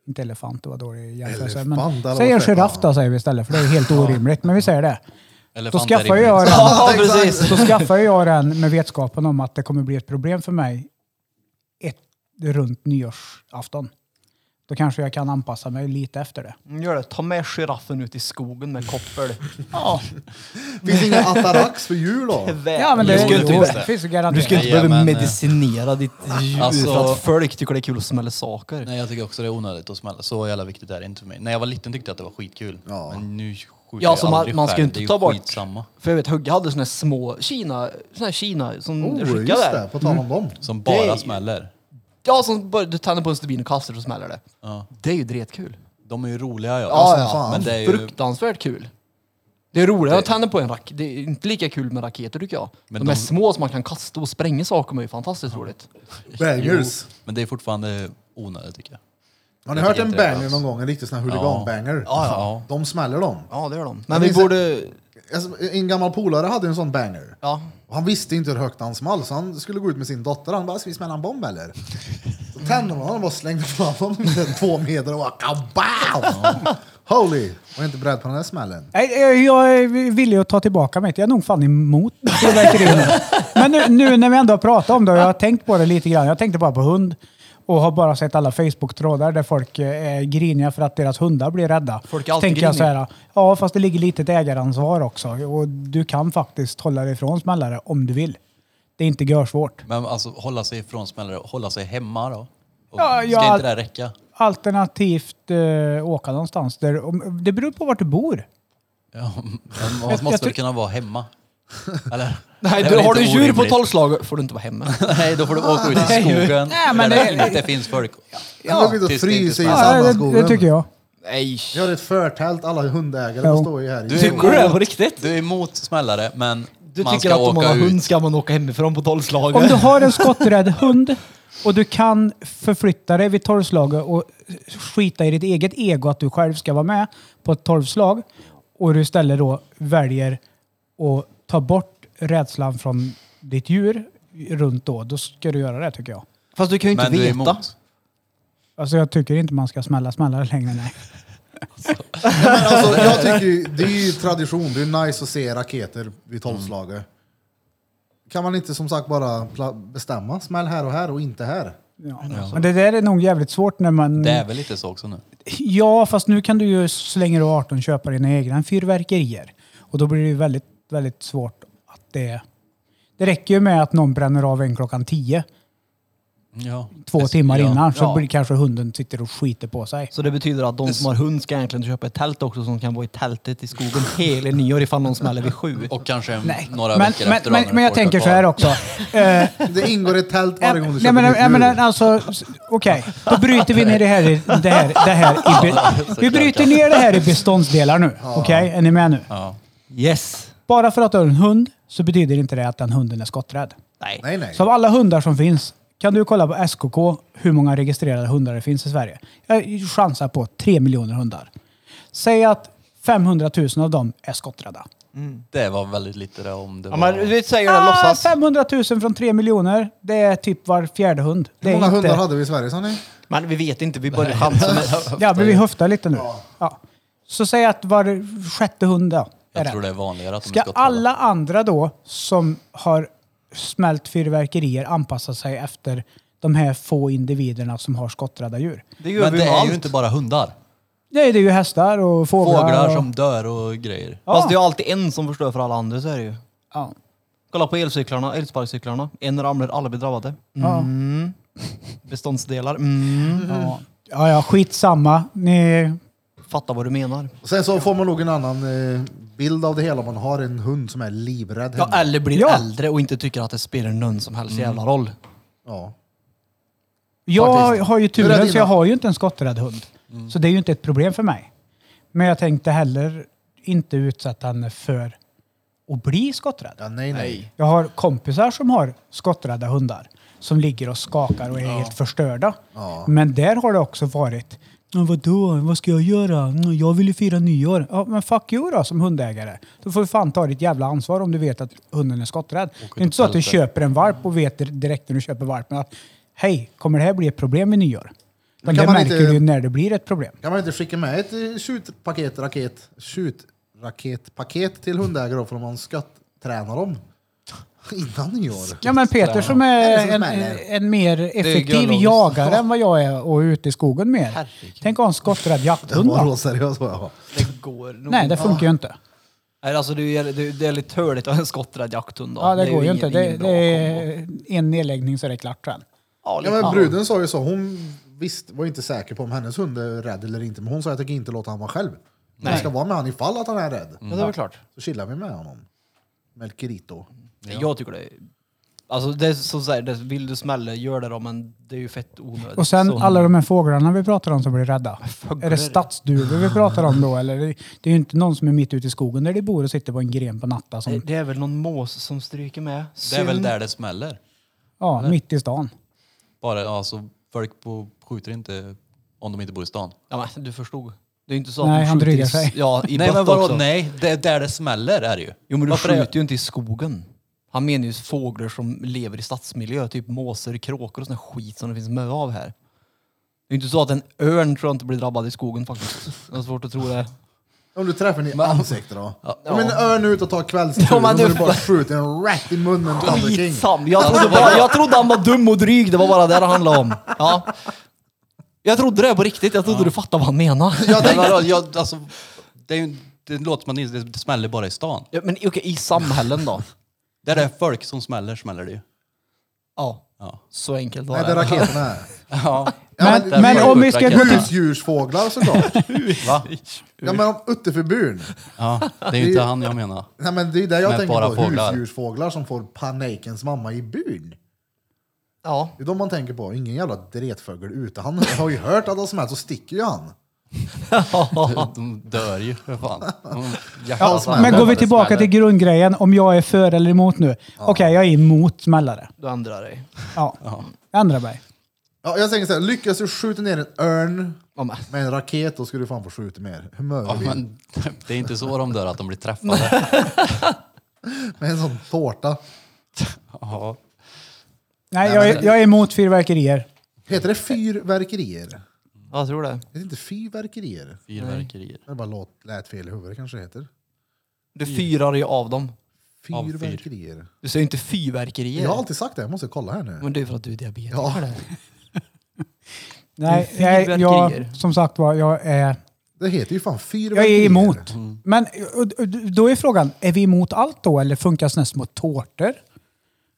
Inte elefant, det var dålig jämförelse.
Elefant, det
Men,
hade
säg en
varit fett,
giraff då säger vi istället, för det är helt orimligt. Men vi säger det. Då
Elefanter
skaffar
är
jag
rimligt.
den.
Ja,
exakt.
precis.
Så skaffar jag den med vetskapen om att det kommer bli ett problem för mig ett, runt nyårsafton. Då kanske jag kan anpassa mig lite efter det.
Mm, Gör det. Ta med giraffen ut i skogen med koppel.
Ja,
Finns inga atarax för djur då?
ja men det,
du ska ju
jo,
inte,
just
det
det.
finns ju garanterat.
du ska ju inte
Nej,
behöva
men, eh,
medicinera ditt djur för
Alltså-
att folk tycker det är kul att smälla saker.
Nej, jag tycker också det är onödigt att smälla. Så jävla viktigt är det inte för mig. När jag var liten tyckte jag att det var skitkul.
Ja.
Men nu skjuter
Ja, så
jag
man,
aldrig
man ska ju
själv.
inte
Det är
ta bort...
skitsamma.
För jag vet, Hugge hade såna här små Kina, såna här Kina som
Oh,
du
just
skickade där.
det, på tal om dem.
Som
Det är
bara
ju-
smäller.
Ja, som bara, du tänder på en stubin och kastar och smäller det.
Ja.
Det är ju dretkul.
De är ju roliga ja.
Ja, som fan.
Men det är ju...
Fruktansvärt kul. Det är roligare att tända på en raket. Det är inte lika kul med raketer tycker jag.
Men
de, är
de-
små som man kan kasta och spränga saker med. Det är fantastiskt roligt.
Bangers.
Jo, Men det är fortfarande onödigt tycker jag.
Har ni
Jag
hört
tycker
en
inte det
banger
alls.
någon gång? En riktig sån här huliganbanger?
Ja, ja,
De smäller dem.
Ja, det gör de. Men,
Men
vi
visst-
borde...
Alltså, en gammal polare hade en sån banger.
Ja.
Och Han visste inte hur högt han small, så han skulle gå ut med sin dotter. Han bara, ska vi smälla en bomb eller? Så tände hon honom och bara slängde fram honom två meter och bara kabam! Holy! Var inte beredd på den här smällen.
Nej, eh, jag är villig att ta tillbaka mig. Jag är nog fan emot fyrverkerier nu. Men nu, nu när vi ändå har pratat om det och jag har tänkt på det lite grann. Jag tänkte bara på hund och har bara sett alla Facebook-trådar där folk eh, är griniga för att deras hundar blir rädda.
Folk är
Så
alltid
tänker jag så
griniga.
här, ja fast det ligger lite ett ägaransvar också och du kan faktiskt hålla dig ifrån smällare om du vill. Det är inte görsvårt.
Men alltså hålla sig ifrån smällare, hålla sig hemma då. Och
Ja,
ska
jag-
inte det här räcka?
Alternativt eh, åka någonstans där, om, det beror på vart du bor.
Ja, men
Jag-
man måste
jag
väl
ty-
kunna vara hemma? Eller?
Nej,
Det är
du,
väl
har du
inte
djur på
orimligt.
tolvslag får du inte vara hemma.
Nej, då får du åka ut i skogen.
Nej, men
där det
det-
inte finns folk.
Han låg inte och
tills det inte
fryser i
smäller.
Ja, det,
Sandhamnsskogen.
det tycker jag.
Nej.
Vi har ett förtält, alla hundägare
Ja.
får stå i här. i-
Du är
Tycker du det på
emot,
riktigt?
du är emot smällare, men
Du
man
tycker
ska
att om man
åka
har
ut.
hund ska man åka hemifrån på tolvslag?
Om du har en skotträdd hund och du kan förflytta dig vid tolvslaget och skita i ditt eget ego att du själv ska vara med på ett tolvslag och du istället då väljer att ta bort rädslan från ditt djur runt då, då ska du göra det tycker jag.
Fast du kan ju inte
Men du är
veta.
emot.
Alltså jag tycker inte man ska smälla smällare längre, nej.
Men alltså, jag tycker ju, det är ju tradition, det är nice att se raketer vid tolvslaget. Kan man inte som sagt bara pla- bestämma, smäll här och här och inte här?
Ja. Men det där är nog jävligt svårt när man...
alltså. Det är väl lite så också nu.
Ja, fast nu kan du ju så länge du är 18 köpa dina egna fyrverkerier. Och då blir det ju väldigt, väldigt svårt att det... Det räcker ju med att någon bränner av en klockan 10,
Ja.
två
Det-
timmar
ja.
innan, så
ja.
blir kanske hunden sitter och skiter på sig.
Så det betyder att de som har hund ska egentligen köpa ett tält också som kan vara i tältet i skogen hela nyår ifall någon smäller vid sju.
Och kanske en- några
men,
veckor
men,
efter då,
men,
när
men jag
folk har
tänker så
kvar.
här också. Eh,
Det ingår ett tält varje gång du
Nej
köper
men,
nytt
nej, men
djur.
alltså, s- okej. Då bryter vi ner det här, i- det här, det här i... Be, vi bryter ner det här i beståndsdelar nu. Okej, är ni med nu?
Ja.
Yes!
Bara för att du har en hund så betyder inte det att den hunden är skotträdd.
Nej.
Nej, nej.
Så av alla hundar som finns kan du kolla på SKK hur många registrerade hundar det finns i Sverige. Jag chansar på 3 miljoner hundar. Säg att 500 000 av dem är skotträdda.
Det var väldigt lite det om det
Ja,
var...
men vi säger det
Ah,
låtsas.
500 000 från 3 miljoner, det är typ var fjärde hund. Det
Hur
är
många
inte-
hundar hade vi i Sverige sa ni?
Men vi vet inte, vi börjar chansa. med-
Ja, men vi höftar lite nu. Ja. Så säg att var sjätte hund då. är
Jag tror det är vanligare att de
Ska
är skotträdda.
alla andra då som har smält fyrverkerier anpassa sig efter de här få individerna som har skotträdda djur?
Det gör
Men
vi
det
med
är ju
allt.
inte bara hundar.
Nej, det är ju hästar och fåglar.
Fåglar
och,
som dör och grejer.
Ja.
Fast det är ju alltid en som förstör för alla andra, så är det ju.
Ja.
Kolla på elcyklarna, elsparkcyklarna. En ramlar, alla blir drabbade.
Ja.
Mm. Beståndsdelar. Mm.
Ja. ja, ja, skitsamma. Ni...
Fattar vad du menar.
Sen så får man nog en annan eh, bild av det hela om man har en hund som är livrädd
Ja, Mm.
hemma.
eller blir
Ja.
äldre och inte tycker att det spelar någon som helst jävla roll.
Ja.
Jag
Faktiskt.
har ju
Hur är
turen
dina? Mm.
så jag har ju inte en skotträdd hund. Så det är ju inte ett problem för mig. Men jag tänkte heller inte utsätta henne för att bli skotträdd.
ja nej, nej.
Jag har kompisar som har skotträdda hundar som ligger och skakar och är helt förstörda.
Ja.
Men där har det också varit "Ja, Vadå, vad ska jag göra? Mm, Jag vill ju fira nyår. Ja, men fuck you då som hundägare. Då får du fan ta ditt jävla ansvar om du vet att hunden är skotträdd. Det är inte så att du
tälte.
köper en varp och vet direkt när du köper varpen att hej, kommer det här bli ett problem vid nyår? Men
kan
det
man
märker
inte-
du ju när det blir ett problem.
Kan man inte skicka med ett eh, skjutpaket, raket, skjutraketpaket till hundägare då för om man skotttränar dem? Innan nyår.
Ja, men Peter som
Det
är
är som
en,
är det.
en mer effektiv
biologiskt.
jagare än vad jag är och är ute i skogen mer. Tänk att ha en skotträdd
Det
jakthund
var
då.
råseriös var jag var.
Det går nog
Nej, det funkar ju inte.
Nej, alltså det är, det är, det är lite töligt att ha en skotträdd jakthund. då.
Ja, det, går ju
ingen-
inte. Det,
ingen bra
det
kombo.
är en nedläggning så är det klart sen.
Ja,
Ja,
lite
men
annorlunda.
bruden sa ju så, hon visst var inte säker på om hennes hund är rädd eller inte, men hon sa jag tänker inte låta han vara själv. Nej. Mm. Jag ska vara med han ifall att han är rädd.
Ja, det är väl klart.
Så chillar vi med honom. Melkerito.
Jag tycker det är... Alltså det är som säger, det vill du smälla, gör det då, men det är ju fett onödigt.
Och sen
så,
alla de här fåglarna vi pratar om som blir rädda. Är det stadsduvor vi pratar om då? Eller det det är ju inte någon som är mitt ute i skogen där de bor och sitter på en gren på natten.
det,
Som,
det är väl någon mås som stryker med.
Det är väl där det smäller.
ja, mitt i stan.
Bara, alltså, folk på, skjuter inte om de inte bor i stan.
Ja, men du förstod. Det är ju inte så att
Nej,
du
han
skjuter i
drygar
s-
sig.
Ja, i
nej,
bött
men vadå?
också.
Nej, det är där det smäller är det ju.
Jo, men du
Varför är-
skjuter ju inte i skogen. Han menar ju fåglar som lever i stadsmiljö, typ måsor, kråkor och sån här skit som det finns mycket av här. Det är inte så att en örn tror jag inte blir drabbad i skogen faktiskt. Jag har svårt att tro det.
Om du träffar den i ansiktet då?
Ja.
Om en örn är ute och tar kvällstur,
Ja, men
om
du-
du bara skjuter en rätt i munnen på Tiger King.
Skitsam! Jag trodde, bara, jag trodde han var dum och dryg, det var bara det det handlade om. Ja. Jag trodde det på riktigt, jag trodde du fattade vad han menade.
Ja, det, vadå? jag, alltså, det, är ju, det låter som att det, det smäller bara i stan.
Ja, men okej, i samhällen då?
Där det är folk som smäller, smäller det ju.
Ja,
Ja.
så enkelt var
Nej, det är
det.
raketerna här.
Ja.
Ja,
Men,
men-
men om vi ska gå till...
Husdjursfåglar såklart.
Va?
Ja men om utterförbun.
Ja, det är ju inte han jag menar.
Nej men det är det jag
Men
tänker
bara
på.
fåglar.
Husdjursfåglar som får panikens mamma i byn.
Ja.
Det är de man tänker på. Ingen jävla dretfågel ute. Han har ju hört att de smält så sticker ju han.
De, de dör ju för fan. De-
Ja,
smäller.
Men går vi
Smäller,
tillbaka
smäller.
till grundgrejen, om jag är för eller emot nu. Okej, jag är emot smällare.
Du ändrar dig.
Ja, ändra mig.
Ja, jag tänker såhär, lyckas du skjuta ner en örn
Ja, men-
med en raket då ska du fan få skjuta mer. Humör
Ja,
ja,
men det är inte så de dör, att de blir träffade.
Med en sån tårta.
Ja.
Nej, jag är, jag är emot fyrverkerier.
Heter det fyrverkerier?
Ja, jag tror det.
Det är inte fyrverkerier.
Fyrverkerier.
Det bara låt, lät fel i huvudet kanske det heter.
Du fyrar ju av dem.
Av fyr.
Fyrverkerier.
Du säger ju inte fyrverkerier.
Jag har alltid sagt det, jag måste kolla här nu.
Mm.
Men det är för att du är diabetiker.
Ja,
Nej,
Det är
jag, jag,
fyrverkerier.
som sagt var, jag är,
det heter ju fan
jag
fyrverkerier.
är emot.
Mm.
Men och- och då är frågan, är vi emot allt då eller funkar sådana små tårtor?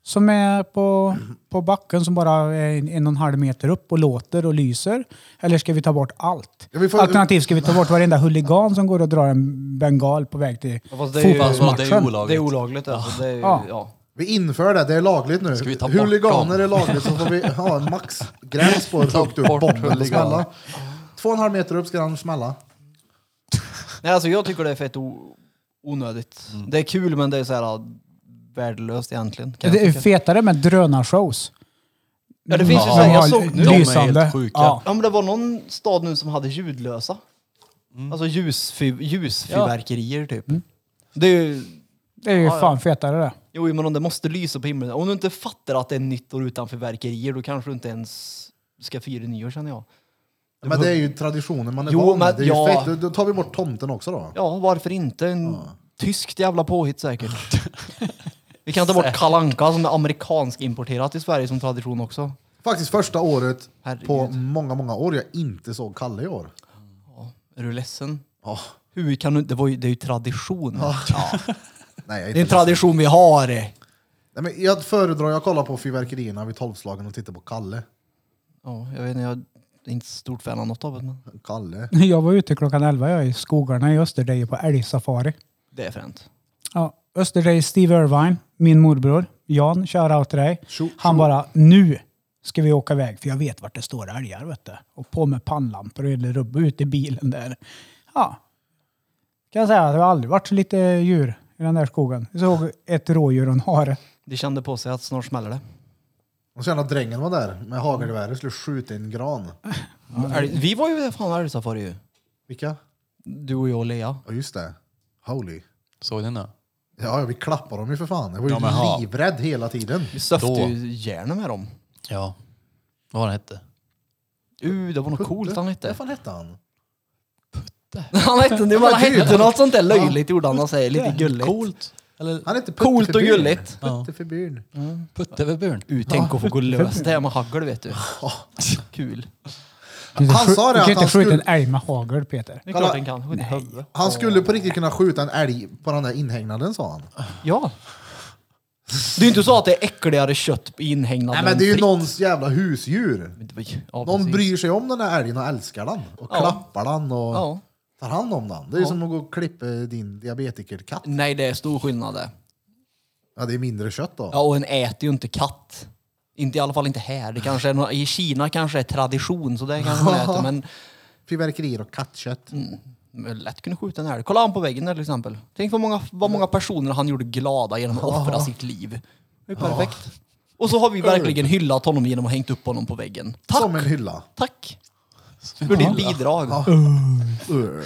Som är på, på backen som bara är en, en och en halv meter upp och låter och lyser. Eller ska vi ta bort allt?
Ja, vi får-
Alternativt ska vi ta bort varenda huligan som går och drar en bengal på väg till
Ja, fast det är ju-
Fast det är ju
Det är
fotbollsmatchen.
olagligt.
olagligt alltså. Det är, ju-
Ja.
ja.
Vi inför det, det är lagligt nu.
Ska vi ta bort
Huliganer
dem?
är lagligt, så får vi ha en maxgräns på hur högt upp
bort
bomben får
huliganer.
smälla. Två och en halv meter upp ska den smälla.
Nej, alltså jag tycker det är fett o... onödigt. Det är kul men det är så här ah, värdelöst egentligen. Kan
Det är
jag tycka.
fetare med drönarshows.
Ja, det finns ju
De
så här, jag
har
såg nu.
De är helt
lysande.
sjuka.
Ja.
Ja men det var någon stad nu som hade ljudlösa. Alltså ljusfy- ljusfyrverkerier typ. Det är ju,
Det är ju
Ja, ja.
fan fetare det.
jo men om det måste lysa på himlen. Om du inte fattar att det är nytt år utan fyrverkerier då kanske du inte ens ska fira nyår känner jag.
Men det är ju traditionen man är
Jo,
van
men
med. Det är
ja.
ju fett. Då- Då tar vi bort tomten också då.
Ja varför inte? En tyskt jävla påhitt säkert. Vi kan ta bort kalanka som är amerikansk importerat i Sverige som tradition också.
Faktiskt första året
Herregud.
på många, många år jag inte såg Kalle i år.
Är du ledsen?
Ja.
Hur kan du, det, var ju, det är ju tradition.
Nej, jag är
Det är en
inte
tradition vi har. eh.
Nej, men jag föredrar, jag kollar på fyrverkerierna vid tolvslagen och tittar på Kalle.
Ja, jag vet inte, jag är inte stort fan av något av det. Men
Kalle.
Jag var ute klockan 11 jag, i skogarna i Österdeje på älgsafari.
det är fränt.
Ja, Österdeje, Steve Irvine, min morbror, Jan, shoutout till dig.
Tjo,
Han bara, nu ska vi åka iväg för jag vet vart det står älgar vet du. Och på med pannlampor och eller rubb ut i bilen där. Ja. Kan jag säga att det har aldrig varit så lite djur i den där skogen. Vi såg ett rådjur och en hare.
De kände på sig att snart smäller det.
Och sen att drängen var där med hagelgeväret och skulle skjuta en gran.
Älg- Vi var ju fan älgsafari ju.
Vilka?
Du och jag och Lea.
Ja just det. Holy.
Såg ni nu?
Ja, ja, vi klappar dem ju för fan. Jag var ju
Ja, men ha.
livrädd hela tiden.
Vi söfte
Då.
ju järnet med dem.
Ja. Vad var den hette?
Uh, det var något coolt han
Vad
hette.
fan hette han?
Han hette, det var hette något sånt där löjligt gjorde han. Han säger lite gulligt.
Coolt. Eller
Han hette Putte
Coolt och
Förbyn.
gulligt.
Putte Förbyn.
Putte över buren.
Uh, tänk att få gå lös det här med hagel vet du. Kul.
Du kan
Han
inte skj-
sa det
du
att
kan inte
han
skjuta en
skulle-
älg med hagel Peter.
Det är
Kolla.
klart den kan. Hon är hövde.
Han skulle på riktigt kunna skjuta en älg på den där inhägnaden sa han.
Ja. Det är ju inte så att det är äckligare kött i inhägnaden
Nej men det är ju
än
någons jävla husdjur.
fritt. Det var- Ja,
Någon
precis.
bryr sig om den där älgen och älskar den. Och
Ja.
klappar den och
Ja.
tar hand om den. Det är ju som att gå och klippa din diabetikerkatt.
Nej, det är stor skillnad det.
Ja, det är mindre kött då.
Ja, och en äter ju inte katt. Inte i alla fall inte här. Det kanske är nå- I Kina kanske är tradition, så det kanske man äter. Men
Fyrverkerier och kattkött.
Mm. men lätt kunna skjuta en älg. Kolla han på väggen där till exempel. Tänk vad många, vad många personer han gjorde glada genom att offra sitt liv. Det är perfekt. Och så har vi verkligen hyllat honom genom att hängt upp honom på väggen. Tack!
Som en hylla.
Tack! För ditt bidrag.
Ur.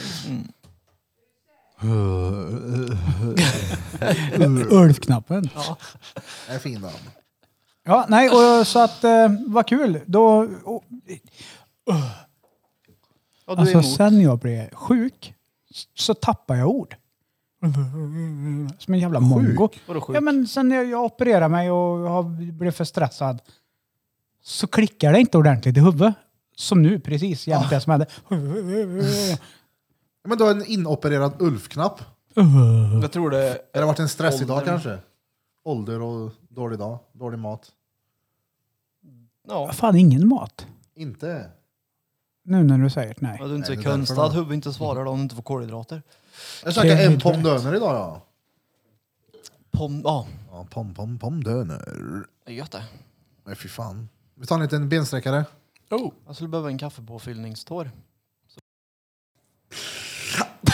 Ulvknappen.
Det är fin den.
Ja, nej, och, så att eh, vad kul. Då, och,
Ja, du är
alltså
emot.
sen jag blev sjuk så tappade jag ord. Som en jävla mongo.
Vadå sjuk?
Ja, men sen jag, jag opererade mig och jag blev för stressad så klickar det inte ordentligt i huvudet. Som nu, precis jämt det som hände.
Men du har en inopererad Ulf-knapp.
Jag tror det...
Det har varit en stressig dag
Ålder.
kanske. Ålder och dålig dag. Dålig mat.
Ja.
Fan, ingen mat.
Inte.
Nu när du säger nej.
Att du
Nej,
inte är
det är därför
konstad,
då.
huvud inte svarar då om du inte får kolhydrater.
Jag käkade en
Kevin
pom döner idag ja.
Pom, ja,
ja pom pom pom döner.
det är gött det.
Nej fy fan. Vi tar en liten bensträckare.
Jag skulle behöva en kaffepåfyllningstår.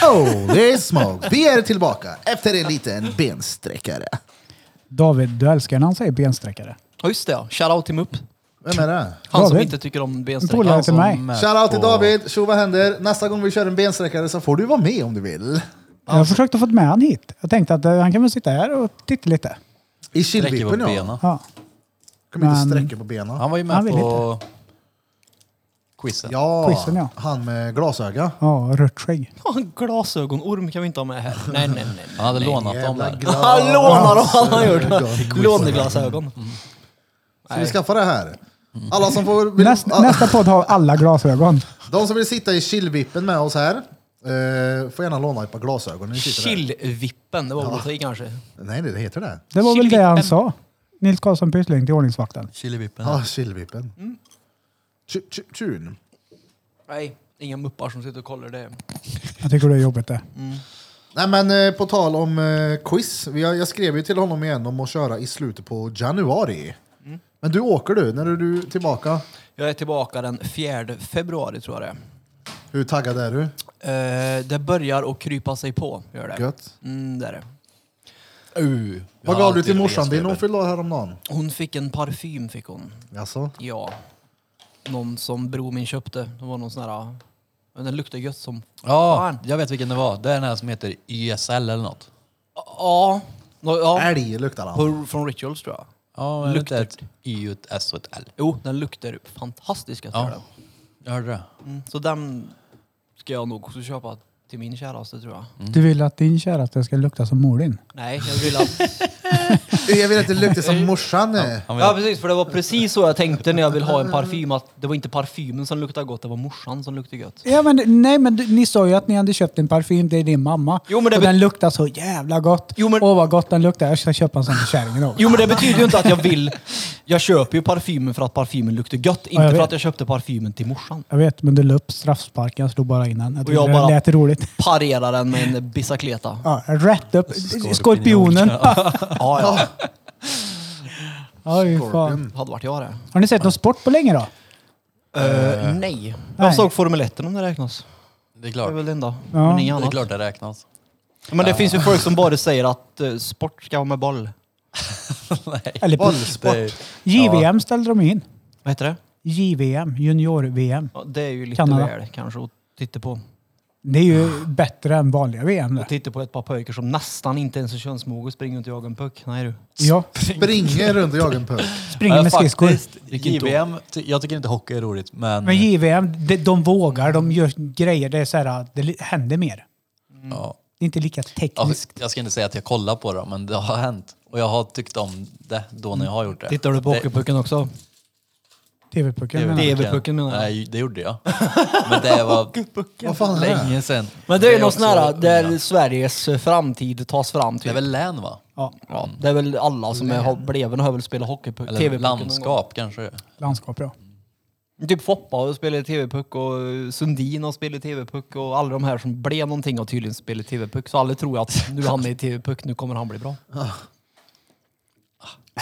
Oh, det är smoke. Vi är tillbaka efter en liten bensträckare.
David, du älskar när han säger bensträckare.
Ja just det ja, shoutout till MUP.
Vem är det?
Han som
David.
inte tycker om
En
bensträckare.
polare.
Han
Han
till
som
mig.
är
Shoutout till
på-
David. Tjo vad händer? Nästa gång vi kör en bensträckare så får du vara med om du vill.
Jag har försökt att få med han hit. Jag tänkte att eh, han kan väl sitta här och titta lite.
I
Sträcker på
killvippen ja.
benen.
Ja.
Kommer inte
Men-
sträcka på benen.
Han var ju
Han
med
vill
på quizen.
Ja,
Quizen, ja.
han med glasöga.
Ja, rött skägg.
Fan, glasögonorm kan vi inte ha med här. Nej nej nej.
Han hade lånat dem
Jävla
där.
Han
glas.
lånar dem, han har gjort.
Glasögon.
Låneglasögon.
Ska vi skaffa det här? Alla som får... Vill,
Näst,
a-
Nästa podd har alla glasögon.
De som vill sitta i chillvippen med oss här eh, får gärna låna ett par glasögon. när ni sitter där.
Chillvippen, det var väl att ta i kanske.
Nej, det heter det.
Det var väl det han
Killvippen.
sa. Nils Karlsson Pyssling till ordningsvakten.
Chilivippen.
Ja, ah, chillvippen. Tju- tju- Tjun.
Nej, inga muppar som sitter och kollar det.
Jag tycker det är jobbigt det.
Nej men eh, på tal om eh, quiz, Vi har- jag skrev ju till honom igen om att köra i slutet på januari.
Mm.
Men du åker du, när är du tillbaka?
Jag är tillbaka den 4 februari tror jag det är.
Hur taggad är du?
Eh, det börjar att krypa sig på, gör det.
Gött.
Mm, det är det.
Uh,
Vad gav du till morsan din hon fyllde år häromdagen?
Hon fick en parfym, fick hon.
Jaså?
Ja. Någon som bror min köpte. Det var någon sån här... men Den luktar gött som...
Ja,
Fan.
jag vet vilken det var. Det är den här som heter YSL eller något.
Ja. Nå- ja.
Älg luktar han.
På- Från Rituals tror jag.
Ja, men det är
Lukter.
ett Y, ett S och ett L.
Jo, den luktar fantastiskt gött.
Ja.
gör den.
Jag hörde det.
Mm. Så den ska jag nog också köpa till min käraste tror jag.
Du vill att din käraste ska lukta som mor din?
Nej, jag vill att...
Jag vill att det luktar som morsan. eh.
Han vill
Ja precis, för det var precis så jag tänkte när jag vill ha en parfym. Att det var inte parfymen som luktade gott, det var morsan som luktade gött.
Ja, men, nej men du- ni sa ju att ni hade köpt en parfym till din mamma.
Jo, men det
och
bet-
den luktar så jävla gott.
Jo, men-
Åh vad gott den luktar. Jag ska köpa en sån till kärringen också.
Jo men det betyder ju inte att jag vill... Jag köper ju parfymen för att parfymen luktar gött.
jag
Inte för
vet.
att jag köpte parfymen till morsan.
Jag vet, men du la upp straffsparken. Jag slog bara in den. Jag tyckte
jag
det
bara-
lät roligt.
Parera den med en bicicleta.
Ja, rätt upp. Skorpionen.
Ja,
Oj, fan.
Mm.
ja. Hade varit jag det.
Har ni sett någon sport på länge då?
Eh, nej.
Nej.
Jag såg Formel 1 om det räknas.
Det är
Det är
klart.
väl det enda.
Ja.
Men inget
Det är
annat.
klart det räknas.
Men det finns ju folk som bara säger att eh, sport ska vara med boll.
Eller
Bollsport.
Det är-
JVM ställde de in.
Vad heter det?
JVM, junior-VM.
Ja, det är ju lite
Kanada.
väl kanske att titta på.
Det är ju bättre än vanliga VM. det.
Titta på ett par pojkar som nästan inte ens är könsmogen och springer och jagar en puck. Nej du.
Ja,
Springer runt och jagar en puck.
springer
Ja,
med skridskor.
faktiskt, JVM, ty- jag tycker inte hockey är roligt, men...
Men JVM, de, de vågar, de gör grejer. Det, är så här, ah, det li- händer mer.
eh, ja.
Det är inte lika
Ja,
tekniskt.
jag ska inte säga att jag kollar på dem, men det har hänt. Och jag har tyckt om det då när jag har gjort det.
Tittar du på
Det-
hockeypucken också?
TV-pucken menar jag.
TV-pucken menar jag.
Nej, det gjorde jag. Men det var
Vad fan är det?
länge sedan.
Men det är ju någon
också
sån här eh, där
unga.
Sveriges eh, framtid tas fram
Det är
typ.
väl län va?
Ja,
Ja, det är väl alla som är har bleven har väl spelat hockeypuck.
Eller
TV-pucken någon gång.
landskap kanske?
landskap ja.
Typ Foppa har spelat TV-puck och eh, Sundin har spelat TV-puck och alla de här som blev någonting har tydligen spelat TV-puck. Så alla tror att nu är han i TV-puck, nu kommer han bli bra.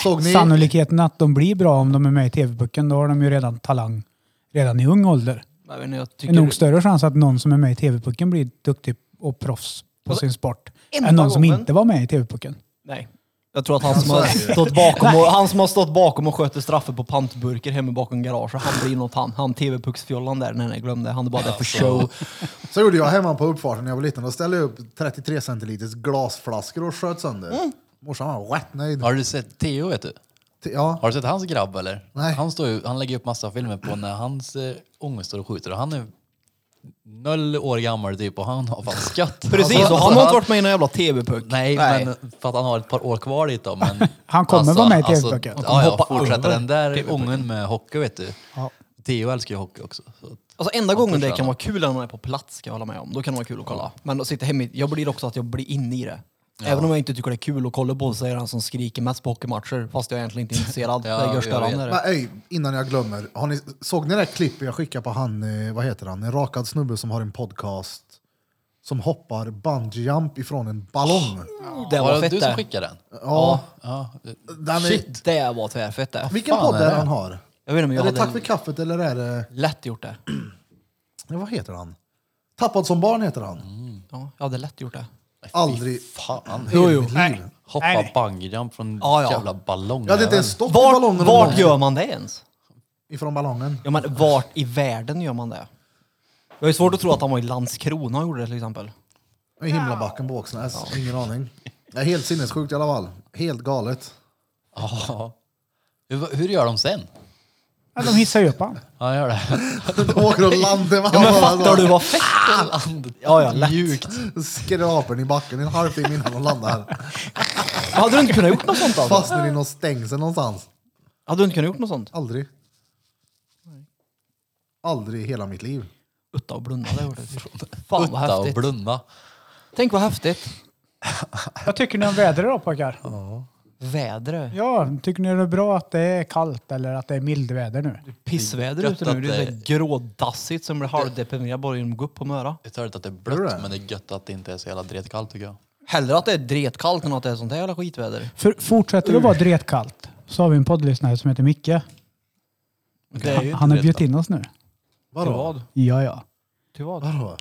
Såg ni?
Sannolikheten att de blir bra om de är med i TV-pucken, då har de ju redan talang redan i ung ålder.
Jag vet inte, jag
Det
tycker-
är nog större chans att någon som är med i TV-pucken blir duktig och proffs på sin sport än
enda
någon som
gången-
inte var med i TV-pucken.
Nej. Jag tror att han som, har
Alltså,
stått bakom och, han som har stått bakom och sköter straffer på pantburkar hemma bakom garaget, han blir något han. Han TV-pucksfjollan där, nej nej glöm det. Han är bara där för
Alltså.
show.
Så gjorde jag hemma på uppfarten när jag var liten. Då ställde jag upp 33 centiliters glasflaskor och sköt sönder.
Mm.
Morsan var rätt nöjd.
Har du sett Theo vet du?
T- Ja,
Har du sett hans grabb eller?
Nej.
Han, står ju, han lägger upp massa filmer på när hans eh, unge står och skjuter och han är noll år gammal typ och han har fan skatt.
Precis,
Alltså,
och han har inte
han-
varit med i någon jävla TV-puck.
Nej,
Nej.
men för att han har ett par år kvar dit då. Men alltså,
Han kommer vara med i TV-pucket. Han
ja, ja,
hoppa
fortsätter
över
den där ungen med hockey vet du. Theo älskar ju hockey också. Så. att-
Alltså enda gången det
förstår
kan
jag.
vara kul är när man är på plats, ska jag hålla med om. Då kan det vara kul att kolla. Men att sitta hemma, i- jag blir också att jag blir inne i det. Även om jag inte tycker det är kul att kolla på så är det han som skriker mest på hockeymatcher. Fast jag är egentligen inte intresserad.
Ja,
det gör
jag
störande.
Men,
det.
ey, innan jag glömmer, har ni, såg ni det där klippet jag skickade på han, eh, vad heter han, en rakad snubbe som har en podcast som hoppar bungee jump ifrån en ballong?
Det
Var
var
det
fett
du som
det.
skickade den?
Ja,
Ja.
den är,
Shit, det var tvärfett det.
Vilken
fan
podd
är
är
det?
det han har?
Jag vet inte om
Är
jag
det Tack för
hade
kaffet eller är det,
lätt gjort det.
ja, vad heter han? Tappad som barn heter han.
Mm, Ja, jag hade lätt gjort det.
Aldrig.
Fan.
Jo, jo. Nej.
Hoppa
Nej.
bungyjump från
Ja, ja.
jävla ballong.
Jag hade inte ens stått i
Vart,
ballongen.
vart gör man det ens?
Ifrån ballongen.
Ja, men vart i världen gör man det? Jag har ju svårt att tro att han var i Landskrona och gjorde det till exempel.
I himlabacken på Åksnäs. Ingen aning. Det är helt sinnessjukt i alla fall. Helt galet.
Ja. Hur, hur gör de sen?
Ja, de hissar ju upp han.
Ja, gör det.
De åker och landar med
Ja, men
alla-
fattar du vad fett? Ja, ja, lätt.
Mjukt.
Skraper den i backen en halvtimme innan de landar.
Hade du inte kunnat gjort något sånt alltså?
Fastnar i någon stängsel någonstans.
Hade du inte kunnat gjort något sånt?
Aldrig. Aldrig i hela mitt liv.
Utta och blunda, det gjorde du. Fan vad
Utta och
häftigt.
blunda.
Tänk vad häftigt.
Vad tycker ni om vädret då pojkar?
Vädret.
Ja, tycker ni det är bra att det är kallt eller att det är mildväder nu?
Pissväder
Det är gött
ute nu. Det är
att
så grådassigt som blir halvdeprimerad bara genom att gå upp på Möra.
Det är törligt att det är
Gör det?
blött, men det är gött att det inte är så jävla dretkallt tycker jag.
Hellre att det är dretkallt än att det är sånt här jävla skitväder.
För fortsätter det att vara dretkallt så har vi en poddlyssnare som heter Micke.
Det är ju
Han har
dretkallt.
bjudit in oss nu.
Till vad?
Ja, ja.
Till vad?
Vadå?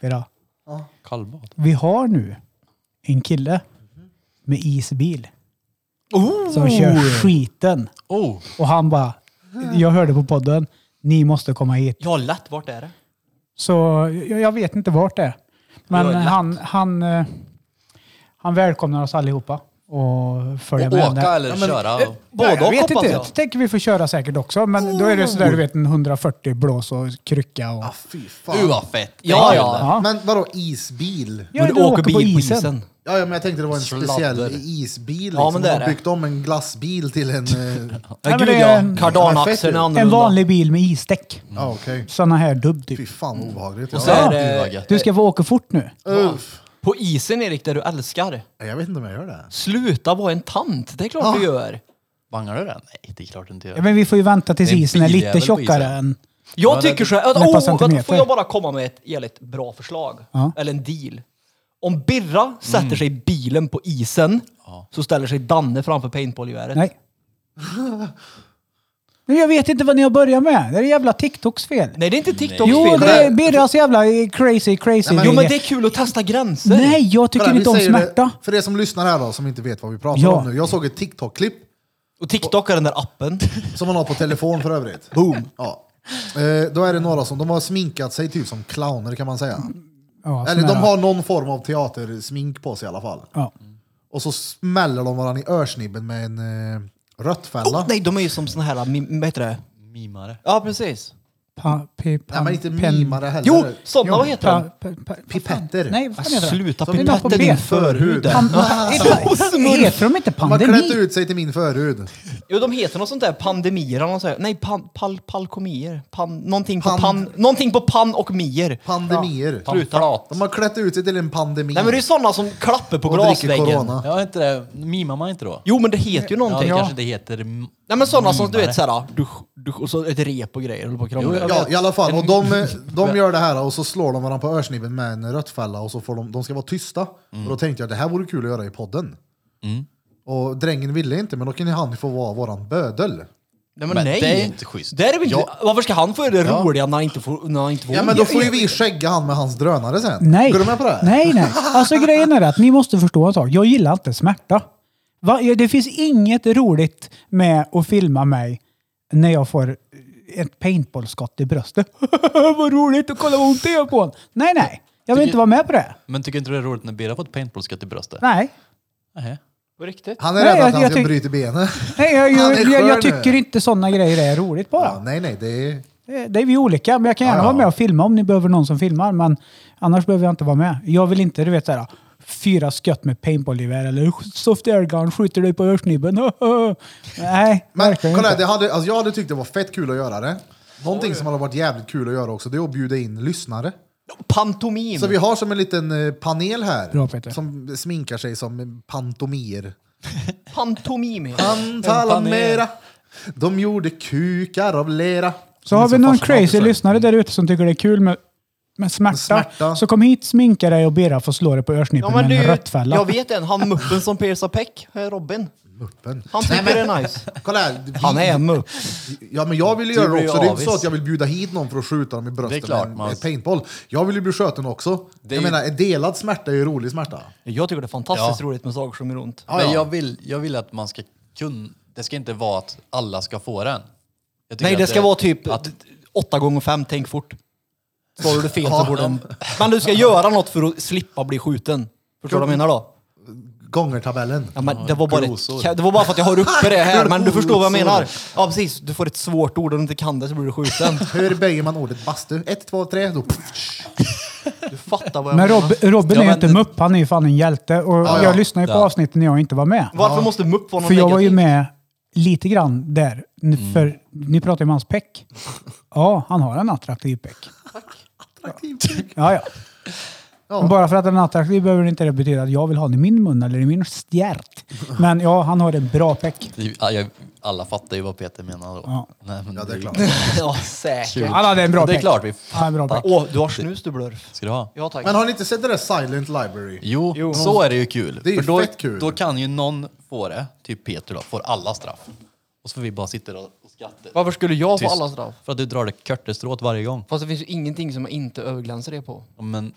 Bra.
Kallbad.
Vi har nu en kille med isbil.
Oh!
Som kör skiten.
Oh!
Och han bara, jag hörde på podden, ni måste komma hit.
Ja, lätt. Vart är det?
Så jag, jag vet inte vart det är. Men
Det var lätt.
han, han, eh, han välkomnar oss allihopa. Och följer
Och
med
åka
där.
eller köra. och-
Både
jag
och
vet
hoppas
inte,
jag.
jag tänker vi får köra säkert också. Men då är det sådär du vet en 140 blås och krycka och...
Ah, fy fan.
Du vad fett!
Ja, ja.
Ja.
Men vadå isbil?
Ja,
Men
du åker på
bil
isen.
Ja, ja, men jag tänkte det var en
Sladder.
speciell isbil. Liksom.
Ja, men det är
De
det.
har byggt om en glassbil till en... eh,
Ja,
men
gud
det är
ja.
en-
Kardanaxeln är
En
En
annorlunda.
vanlig bil med isdäck.
Ja, okej.
Sådana här dubb typ.
Fy fan vad obehagligt.
Och så
Ja.
är
Gud, vad
det
gött.
Du ska få åka fort nu.
Uff.
på isen Erik, där du älskar.
Jag vet inte om jag gör det.
Sluta vara en tant. Det är klart du gör.
Bangar du den? Nej, det är klart du inte
Ja,
gör.
men vi får ju vänta tills
Det är en
isen är
biljävel
lite
på
tjockare
isen.
än...
Jag
Ja, det-
tycker så här, att,
Men på
oh,
centimeter.
att, får jag bara komma med ett jävligt bra förslag?
Ja.
Eller en deal. Om Birra sätter sig i bilen på isen så ställer sig Danne framför paintballgeväret.
Nej. Men jag vet inte vad ni har börjat med. Det är jävla TikToks fel.
Nej, det är inte Tiktoks
jo,
fel.
det är Birras jävla crazy, crazy...
Jo, men det är kul att testa gränser.
Nej, jag tycker
Kolla, vi
inte om
säger det-
smärta.
För er som lyssnar här då, som inte vet vad vi pratar
Ja.
om nu. Jag såg ett TikTok-klipp
Och TikTok är den där appen.
Som man har på telefon för övrigt. Boom! Ja. Eh, då är det några som de har sminkat sig typ som clowner kan man säga.
Mm.
Ja,
Eller de
såna här-
har någon form av teatersmink på sig i alla fall.
Ja.
Och så smäller de varandra i örsnibben med en eh, röttfälla.
Oh, nej, de är ju som såna här, mi- vad heter det?
Mimare.
Ja,
Alltså,
precis.
Pa, pi, pan,
nej men inte
pen-
mimare heller.
Jo, sådana, vad heter
pa,
de?
pa, pa, pa-
Pipetter.
Nej, vad fan heter det?
Sluta
Det är något på
pipetta
B.
din förhud.
Pan- Heter heter de inte
De har klätt
pandemi?
ut sig till min förhud.
Jo, de heter något sånt där, pandemier eller något sånt där. Nej, pan, pal, palkomier. Pan, någonting, på pan, någonting på pan och mier.
Pandemier.
Sluta.
De har klätt ut sig till en pandemi.
Nej, men det är sådana som klappar på
och dricker
glasväggen.
corona.
Ja, inte det. Mimar man inte då?
Jo, men det heter ju
Ja, det
någonting.
kanske det heter. m-
Nej, men sådana som du
mimare.
vet såhär, du, du, och så ett rep och grejer. Håller på och krånglar.
Jo, jag
Ja, i alla fall. Och de, de gör det här och så slår de varandra på örsnibben med en röttfälla och så får de, de ska vara tysta. Och då tänkte jag det här vore kul att göra i podden.
Mm.
Och drängen ville inte, men då kan ju han få vara våran bödel.
Nej, men,
Men
nej.
det är inte schysst.
Det är väl inte,
Ja.
Varför ska han få göra det roliga när han inte får, när han inte får
Ja, men då får ju vi skägga han med hans drönare sen.
Nej.
Går du med på det? här?
Nej, nej. Alltså grejen är att ni måste förstå en sak. Jag gillar inte smärta. Va? Ja, Det finns inget roligt med att filma mig när jag får ett paintballskott i bröstet. vad roligt, och kolla vad ont det gör på en. Nej, nej. Jag vill inte vara med på det.
Men tycker inte du det är roligt när Birra får ett paintballskott i bröstet?
Nej.
Nej.
På riktigt?
Han är
Nej,
rädd
jag-
att han
jag
ska
tyck-
bryta benet.
nej jag,
Han är eh.
jag, jag,
skör
jag
nu.
tycker inte sådana grejer är roligt bara.
Ja, nej, nej, det är...
Det Eh, det är vi olika, men jag kan gärna
Ja, ja.
vara med och filma om ni behöver någon som filmar. Men annars behöver jag inte vara med. Jag vill inte, du vet såhär, fyra skott med paintballgevär eller soft airgun skjuter dig på örsnibben. Nej,
Men
verkligen
kolla, här,
inte.
det hade, alltså, jag hade tyckt det var fett kul att göra det. Någonting som hade varit jävligt kul att göra också, det är att bjuda in lyssnare.
Pantomim.
Så vi har som en liten eh, panel här
Bra, Peter.
som sminkar sig som pantomier.
Pantomim heter det.
Pantalamera, de gjorde kukar av lera.
Så har vi någon crazy lyssnare där ute som tycker det är kul med, med smärta,
Smärta.
så kom hit, sminka dig och be dig få slå dig på örsnibben med en
det är ju-
röttfälla.
Jag vet en, han muppen som piercar peck, här är Robin.
Muppen.
Han tycker det är nice.
Kolla här. vi-
Han är en mupp.
Ja, men jag vill ju göra
blir
det
ju
också. Det är inte
avis.
så att jag vill bjuda hit någon för att skjuta dem i
Det är
bröstet
klart,
med en
man-
ett paintball. Jag vill ju bli skjuten också.
Det är
jag
ju-
menar, en delad smärta är ju rolig smärta.
Jag tycker det är fantastiskt
Ja.
roligt med saker som gör ont.
Ja,
Men
ja.
jag vill, jag vill att man ska kunna... Det ska inte vara att alla ska få den. Jag tycker
Nej,
att
det ska vara typ
Att,
8 gånger 5 tänk fort. Svarar du fel så borde den... Men du ska göra något för att slippa bli skjuten. Förstår du vad jag menar då?
Gångertabellen.
Ja, men det, var bara
glosor.
ett, det var bara för att jag har uppe det här, men du förstår vad jag menar. Ja, precis. Du får ett svårt ord och du inte kan det så blir du skjuten.
Hur böjer man ordet bastu? Ett, två, tre. Då...
Du fattar vad jag menar.
men Rob, Robin
Ja,
är ju
men-
inte mupp, han är ju fan en hjälte. Och
Ja, ja.
jag lyssnar ju på
Ja.
avsnitten när jag inte var med.
Varför måste mupp vara något
För jag var ju
negativt?
med lite grann där. N-
Mm.
För ni pratade ju om hans peck. Ja, han har en attraktiv peck. Ja, ja. Men bara för att den är attraktiv behöver det inte det betyda att jag vill ha den i min mun eller i min stjärt. Men ja, han har en bra peck.
ja, jag, alla fattar ju vad Peter menar då.
Ja.
Nej, men
Ja, det är klart.
Ja, säkert.
kul.
Han hade en bra
det är
peck.
klart vi
Han har en bra peck.
Åh, du har snus du blurf.
ska du ha.
Ja tack.
Men har ni inte sett det där Silent Library?
Jo, så är det ju kul.
Det är ju
För då,
fett kul.
Då kan ju någon få det, typ Peter då, får alla straff. Och så får vi bara sitta där och Skatte.
Varför skulle jag få
Tyst.
alla straff?
För att du drar det körtestrået varje gång.
Fast det finns ju ingenting som jag inte överglänser det på.
Ja, Men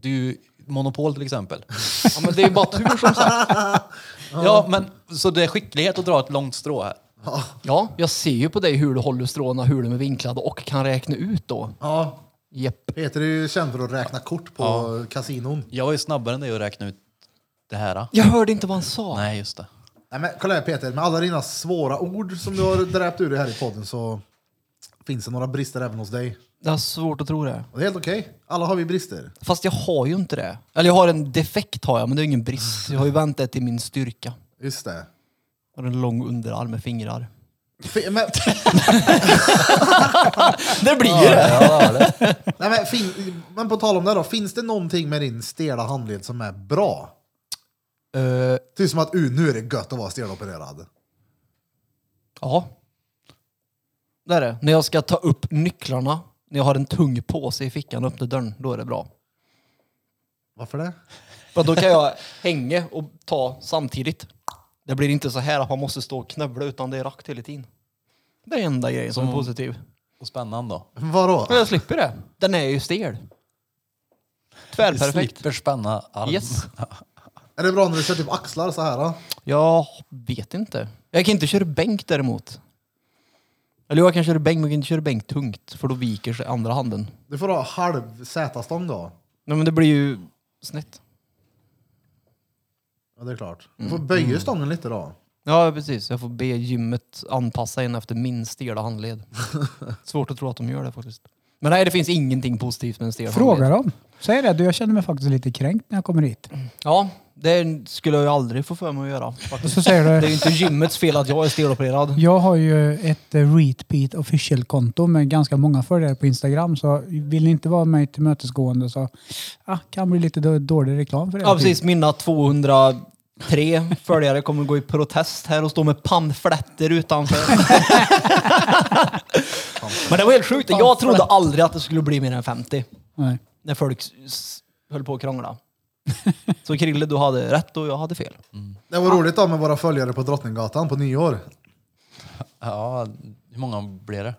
du, Monopol till exempel.
Ja, men det är ju bara tur som sagt.
Ja, men så det är skicklighet att dra ett långt strå här.
Ja, jag ser ju på dig hur du håller stråna, hur de är vinklade och kan räkna ut då.
Ja,
Jepp.
Peter är ju känd för att räkna kort på kasinon.
Jag var ju snabbare än dig att räkna ut det här. då.
Jag hörde inte vad han sa.
Nej, just det.
Nej, men kolla här Peter, med alla dina svåra ord som du har dräpt ur dig här i podden så finns det några brister även hos dig.
Det är svårt att tro det.
Och det är helt okej. Alla har vi brister.
Fast jag har ju inte det. Eller jag har en defekt har jag, men det är ingen brist. Jag har ju vänt det till min styrka.
Just det.
Jag har en lång underarm med fingrar.
Fi- men,
Det blir ju det!
nej, men, fin- men på tal om det då, finns det någonting med din stela handled som är bra?
Eh,
Typ som att uh, nu är det gött att vara stelopererad.
ja. Det är det. När jag ska ta upp nycklarna, när jag har en tung påse i fickan och öppnar dörren, då är det bra.
Varför det?
För då kan jag hänga och ta samtidigt. Det blir inte så här att man måste stå och knövla utan det är rakt hela tiden. Det är enda grejen som är positiv.
Och spännande då.
Vadå?
Mm. Men jag slipper det. Den är ju stel.
Du
Tvärperfekt.
slipper spänna arm.
Yes.
Är det bra när du kör typ axlar så här? Då?
Jag vet inte. Jag kan inte köra bänk däremot. Eller jag kan köra bänk men jag kan inte köra bänk tungt för då viker sig andra handen.
Du får ha halv Z-stång då.
Nej men det blir ju snett.
Ja, det är klart. Du får böja stången lite då.
Ja precis, jag får be gymmet anpassa en efter min stela handled. Svårt att tro att de gör det faktiskt. Men nej det finns ingenting positivt med en stel
Fråga
handled.
dem. Säg det, du jag känner mig faktiskt lite kränkt när jag kommer hit.
Ja, det skulle jag ju aldrig få för mig att göra.
Och så säger
Det är
du,
ju inte gymmets fel att jag är stelopererad.
jag har ju ett eh, Repeat official-konto med ganska många följare på Instagram så vill ni inte vara mig tillmötesgående så ah, kan bli lite då- dålig reklam för er.
Ja precis, mina 203 följare kommer gå i protest här och stå med pamfletter utanför. Men det var helt sjukt, jag trodde aldrig att det skulle bli mer än 50
Nej.
när folk s- s- höll på att krångla. Så Krille, du hade rätt och jag hade fel.
Det var roligt då med våra följare på Drottninggatan på nyår.
Ja, hur många blev det?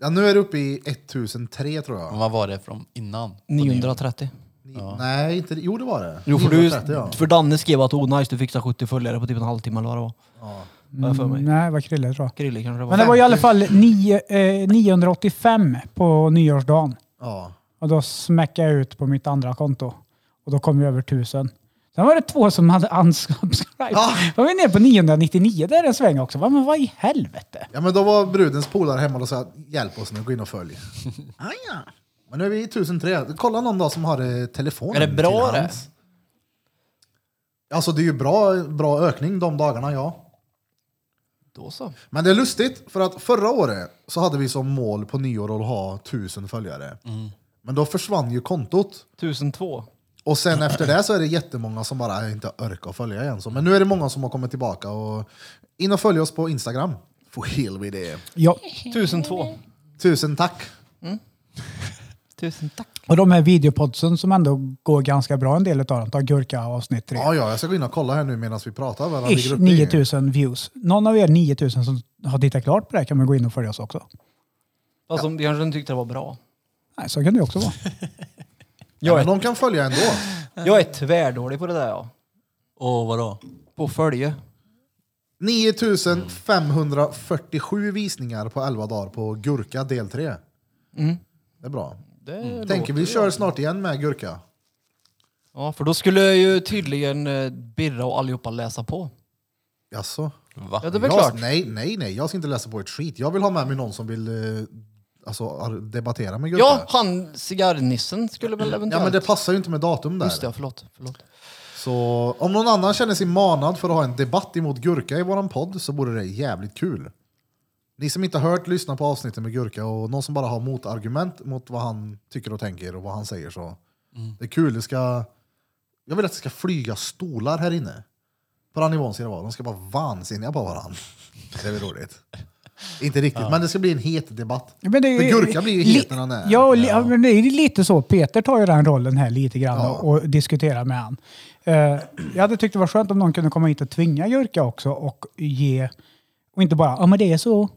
Ja, nu är det uppe i 1003 tror jag.
Vad var det från innan?
Mm. 930.
Ni- Nej, inte Jo, det var det.
Jo, för, du,
930, ja.
för Danne skrev att oh, nice, du fixar 70 följare på typ en halvtimme eller vad det var. Har jag för mig.
Nej, vad Krille tror jag.
Krille kanske Mm. det var.
Men det var i alla fall nio, eh, 985 på nyårsdagen.
ja.
Och då smäckade jag ut på mitt andra konto. Och då kom vi över tusen. Sen var det två som hade unsubscribed.
Ah.
Då var vi nere på 999 där en sväng också. Va, Men vad i helvete?
Ja, men då var brudens polare hemma och sa hjälp oss nu, gå in och följ. ah, ja. Men nu är vi i 1003. Kolla någon dag som har eh, telefon.
Är det bra
till hands. Alltså det är ju bra, bra ökning de dagarna, ja.
Då så.
Men det är lustigt, för att förra året så hade vi som mål på nyår att ha 1000 följare.
Mm.
Men då försvann ju kontot.
1002.
Och sen efter det så är det jättemånga som bara inte orkar följa igen. Så, men nu är det många som har kommit tillbaka. Och in och följ oss på Instagram. For hell with det.
Ja.
1002.
Tusen tack.
Tusen tack.
Och de här videopodsen som ändå går ganska bra en del utav dem. Ta Gurka avsnitt 3.
Ja, ja, jag ska gå in och kolla här nu medan vi pratar. Varandra ligger
Ish,
uppe i-
9000 views. Någon av er 9000 som har tittat klart på det här kan man gå in och följa oss också.
Fast de kanske inte tyckte det var bra.
Nej, så kan det också vara.
Ja, men de kan följa ändå.
Jag är tvärdålig på det där ja.
Åh, vadå?
På följe.
9547 visningar på 11 dagar på Gurka del 3. Det är bra.
Mm. Det låter
Tänker vi
ju-
kör snart igen med Gurka.
Ja, för då skulle jag ju tydligen eh, Birra och allihopa läsa på.
Jaså?
Va?
Ja, det är väl
jag,
klart.
Nej, nej, nej. Jag ska inte läsa på ett skit. Jag vill ha med mig någon som vill eh, alltså, ar- debattera med Gurka.
Ja, han cigarrnissen skulle väl eventuellt...
Ja, men det passar ju inte med datum där.
Just det, ja, förlåt. förlåt.
Så om någon annan känner sig manad för att ha en debatt emot Gurka i våran podd så vore det jävligt kul. Ni som inte har hört, lyssna på avsnitten med Gurka och någon som bara har motargument mot vad han tycker och tänker och vad han säger. Så.
Mm.
Det är kul. Det ska, jag vill att det ska flyga stolar här inne. På den nivån ska det vara. De ska vara vansinniga på varandra. Det är väl roligt. Inte riktigt, men det ska bli en het debatt.
Men det är-
För Gurka blir ju
li-
het när han är.
Ja, och li, ja. men det är ju lite så. Peter tar ju den rollen här lite grann och, och diskuterar med han. Eh, jag hade tyckt det var skönt om någon kunde komma hit och tvinga Jurka också och ge, och inte bara, ja men det är så.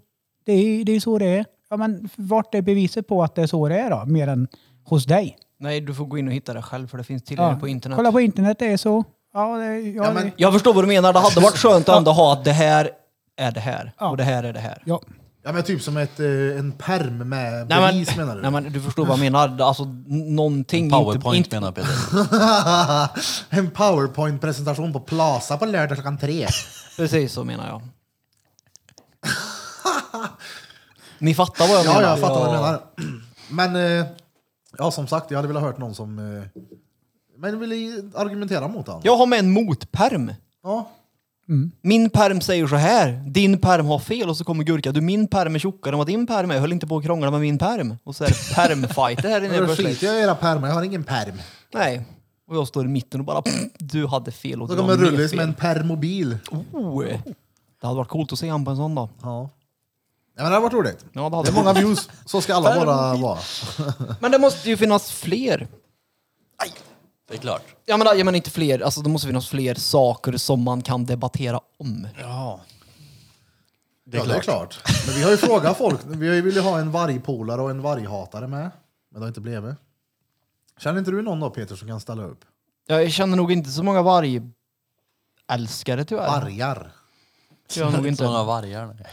Det är det är så det är. Ja, men vart är beviset på att det är så det är då? Mer än hos dig?
Nej, du får gå in och hitta det själv för det finns tillgängligt
Ja.
på internet.
Kolla på internet, det är så. Ja, det, ja,
Ja, men-
det,
Jag förstår vad du menar. Det hade varit skönt att ändå ha att det här är det här och det här är det här.
ja.
Ja, men typ som ett, eh, en perm med
Nej, men,
bevis menar du?
nej men du förstår vad jag menar. Alltså n- någonting.
Powerpoint
inte,
menar Peter.
en powerpoint-presentation på Plaza på lördag klockan tre.
inte, Precis så menar jag. Ni fattar vad jag
Ja,
menar.
jag fattar vad du menar. Men eh, ja, som sagt, jag hade velat hört någon som eh, men ville ju argumentera mot honom.
Jag har med en motperm.
Ja.
Min perm säger så här. Din perm har fel och så kommer Gurka. Du, min perm är tjockare än vad din perm är. Höll inte på att krångla med min perm. Och så är det permfighter här inne.
Men Då
plötsligt.
skiter jag i era pärmar, jag har ingen perm.
Nej. Och jag står i mitten och bara du hade fel och
Då
du
kommer
har mer
Rullis
fel.
med en permobil.
Oh. Det hade varit coolt att se han på en sån dag.
Ja. ja men det hade varit roligt.
Ja, det hade
Det är
varit
många views, så ska alla våra vara.
Men det måste ju finnas fler.
Det är klart.
Jag menar, jag menar inte fler, alltså det måste finnas fler saker som man kan debattera om.
Ja.
Det är, ja, det är klart. Men vi har ju frågat folk. Vi har ju velat ha en vargpolare och en varghatare med. Men det har inte blivit. Känner inte du någon då Peter som kan ställa upp?
Jag känner nog inte så många vargälskare tyvärr.
Vargar.
Det gör jag nog inte.
Sådana vargar. nej.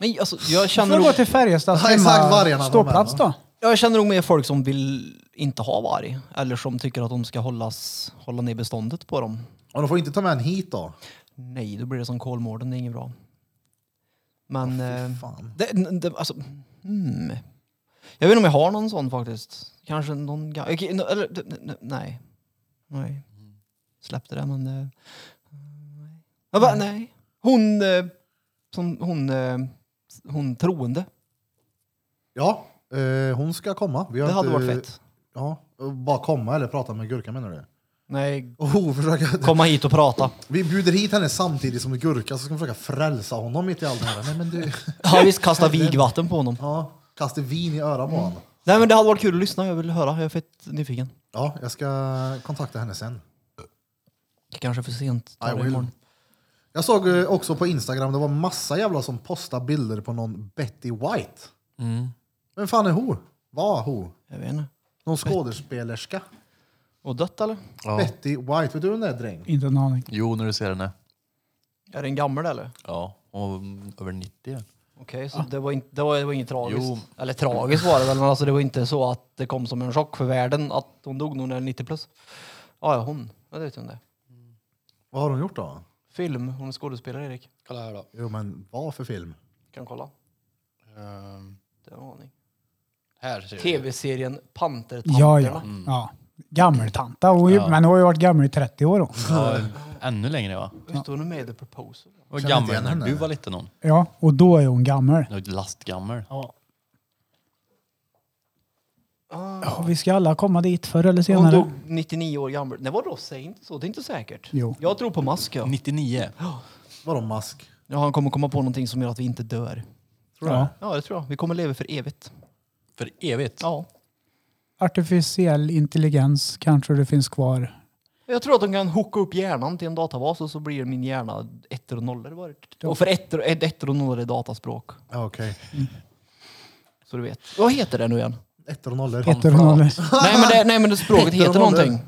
Men alltså, jag
Får
känner,
du
nog,
gå till Färjestads
Ja, exakt, vargarna,
hemma
de
ståplats
här,
då?
jag känner nog mer folk som vill inte ha varg. Eller som tycker att de ska hållas, hålla ner beståndet på dem.
Och de får inte ta med en hit då.
Nej, då blir det som Kolmården, det är inget bra. Men... eh,
Fan.
Det, n- det, alltså, hmm. Jag vet inte om jag har någon sån faktiskt. Kanske någon ga- okej, n- eller, d- n- n- Nej. Nej. Släppte det men... eh, Nej. Jag bara, nej. Hon... eh, Som, hon, eh, hon troende.
Ja, eh, hon ska komma. Vi har
Det hade
inte-
varit fett.
Ja, och bara komma eller prata med Gurka menar du?
Nej,
Oh, försöka.
komma hit och prata.
Vi bjuder hit henne samtidigt som Gurka så ska vi försöka frälsa honom mitt i allt det här. Nej, men du...
Ja, visst, kasta vigvatten på honom.
Ja, kasta vin i örat på honom.
Nej men det hade varit kul att lyssna, jag vill höra. Jag är fett nyfiken.
Ja, jag ska kontakta henne sen.
Kanske för sent. Ta
I
det
will.
imorgon.
Jag såg eh, också på Instagram, det var massa jävla som postade bilder på någon Betty White.
Mm.
Vem fan är hon? Vad hon?
Jag vet inte.
Någon skådespelerska?
Och dött eller?
Ja.
Betty White, vet du vem det är dräng?
Inte en aning.
Jo, när du ser henne.
Är det en gammal eller?
Ja, och över 90.
Okej, så det, var inte, det, var, det var inget tragiskt?
Jo.
Eller tragiskt var det väl, men alltså det var inte så att det kom som en chock för världen att hon dog nog när hon var 90 plus. Ja, ja, hon. Ja, det vet hon det.
Vad har hon gjort då?
Film. Hon är skådespelare, Erik.
Kolla här då.
Jo men vad för film?
Kan kolla.
Ehm,
Det har jag aning.
här ser du.
Tv-serien Pantertanterna.
Eh. Ja, ja.
Mm.
ja. Gammeltanta, hon, ja. men hon har ju varit gammal i 30 år. Hon.
Ja, ännu längre va?
Visst hon är med i The Proposal?
Vad
Känner inte
gammal
igen
när
henne.
du var liten hon.
Ja, och då är hon gammal.
Du är Lastgammal.
Ah.
Ja, vi ska alla komma dit förr eller
Hon
senare.
dog 99 år gammal. Nej, vadå? Säg inte så. Det är inte säkert.
Jo.
Jag tror på mask, ja.
99.
Vadå mask?
ja. Han kommer komma på någonting som gör att vi inte dör.
ja.
Ja, det tror jag. Vi kommer leva för evigt.
För evigt.
Ja.
Artificiell intelligens kanske det finns kvar.
Jag tror att de kan hooka upp hjärnan till en databas och så blir min hjärna ettor och nollor. bara. Och för ettor, ett- ettor och nollor är dataspråk.
Ja, Okej.
Så du vet. Vad heter det nu igen?
Ettor och nollor.
Petter och Nolle.
nej, men det, nej men det,
Ettor
språket
och
heter
nollor.
någonting.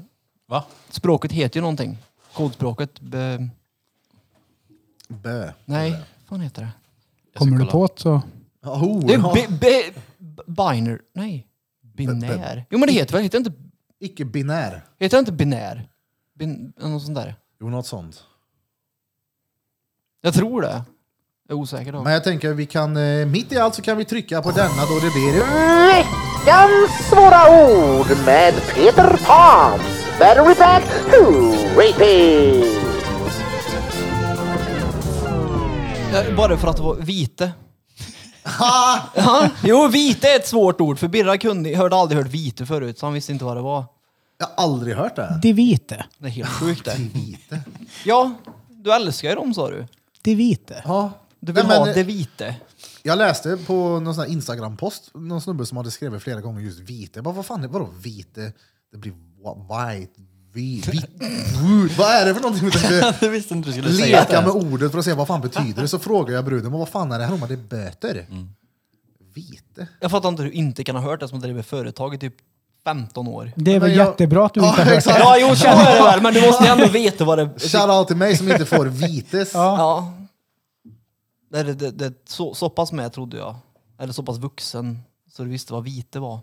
Va?
Språket heter ju någonting. Kodspråket. Be,
Bö.
nej, vad fan heter det?
Jag ska
Kommer du
kolla.
på det så...
Ja, ho,
Det
ja.
är bi- bi- b- binär. Nej. Binär. Jo men det heter väl? Heter det inte,
Icke-binär.
heter det inte binär? Bin, något sånt där.
Jo, något sånt.
Jag tror det. Jag är osäker då.
Men jag tänker vi kan, eh, mitt i allt så kan vi trycka på denna då det blir...
Veckans svåra ord med Peter Pan. Battery back to repeat.
Ja, Bara för att det var vite. ja. Jo, vite är ett svårt ord, för Birra kunde, hörde aldrig hört vite förut, så han visste inte vad det var.
Jag har aldrig hört det.
De vite.
Det är helt sjukt det.
Vite.
Ja, du älskar ju dem sa du.
De vite.
Ja.
Du vill
Nej, men,
ha det vite.
Jag läste på någon sån här Instagram-post, någon snubbe som hade skrivit flera gånger just vite. Jag bara, vad fan, vadå vite? Det blir wa- white, Vi, vi, Gud, vad är det för någonting? Jag tänkte
Du visste inte du skulle säga
leka
det.
med ordet för att se vad fan betyder det. Så frågar jag bruden, "Men vad fan är det här? Hon bara, det är böter.
Mm.
Vite.
Jag fattar inte hur du inte kan ha hört det som driver företag i typ 15 år.
Det är väl
Men jag-
jättebra att du inte har hört
exakt.
Ja, jo, så är det väl, men du måste ju ändå veta vad det...
Shoutout till mig som inte får vites.
Ja. Det, det, det, det, så, så pass med trodde jag. Eller så pass vuxen så du visste vad vite var.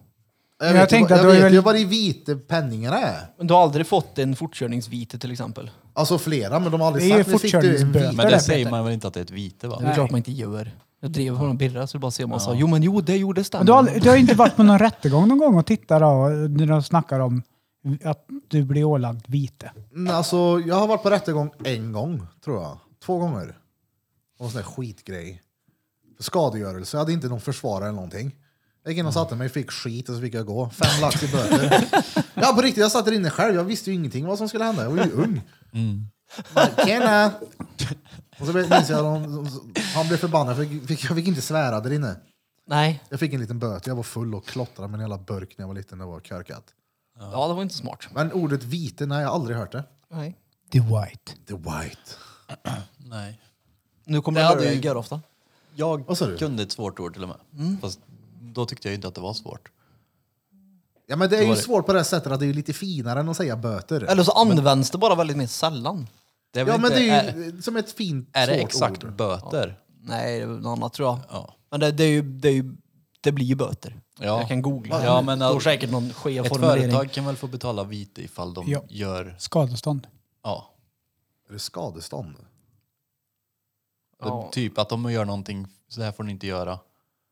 Jag
jag
vet, ju
tänkte
vad-
att
jag
det
vet
var
ju
väl-
vad de vita penningarna är.
Men du har aldrig fått en fortkörningsvite till exempel?
Alltså flera, men de har aldrig
Det är ju
sagt "Nu fick du en
fortkörningsböter.
vit.
Där
Men
är
det säger
Peter.
man väl inte att det är ett vite va?
Det är klart man inte gör. Jag drev honom Birra så det bara ser man sa jo men jo det gjorde stämmer.
Men Du har, aldrig- du har inte varit på någon rättegång någon gång och tittat då, när de snackar om att du blir ålagd vite?
Mm, Alltså, jag har varit på rättegång en gång, tror jag. Två gånger. Någon sån där skitgrej. För skadegörelse. Jag hade inte någon försvarare eller någonting. Jag gick in och satte mig, fick skit och så fick jag gå. Fem lax i böter. ja, på riktigt. Jag satt där inne själv. Jag visste ju ingenting vad som skulle hända. Jag var ju ung. Mm. Tjena! Och så minns jag att han blev förbannad för jag fick, jag fick inte svära där inne.
Nej.
Jag fick en liten böter. Jag var full och klottrade med en jävla burk när jag var liten. Det var körkat.
Ja det var inte smart.
Men ordet vite, nej, jag har aldrig hört det.
Nej.
The white.
The white.
Nej.
Nu kommer
Det
jag
hade
börja
ju-
göra ofta.
Jag
Vad sa du?
kunde ett svårt ord till och med. Fast då tyckte jag inte att det var svårt.
Ja men det är
var
ju
det.
svårt på det här sättet att det är ju lite finare än att säga böter.
Eller så används det bara väldigt mer sällan.
Det är väl
ja men
inte-
det
Äh,
är
är,
ju som ett fint
är det
svårt
exakt
ord.
böter?
Nej det är något annat tror jag.
Ja.
Men det, det, är ju, det, är ju, det blir ju böter.
Ja.
Jag kan googla.
Ja, men,
det står
ja,
säkert någon skev
Ett
formulering.
företag kan väl få betala vite ifall de
Ja.
gör...
Skadestånd.
Ja.
Är det skadestånd?
Ja.
Typ att de gör någonting, så här får ni inte göra.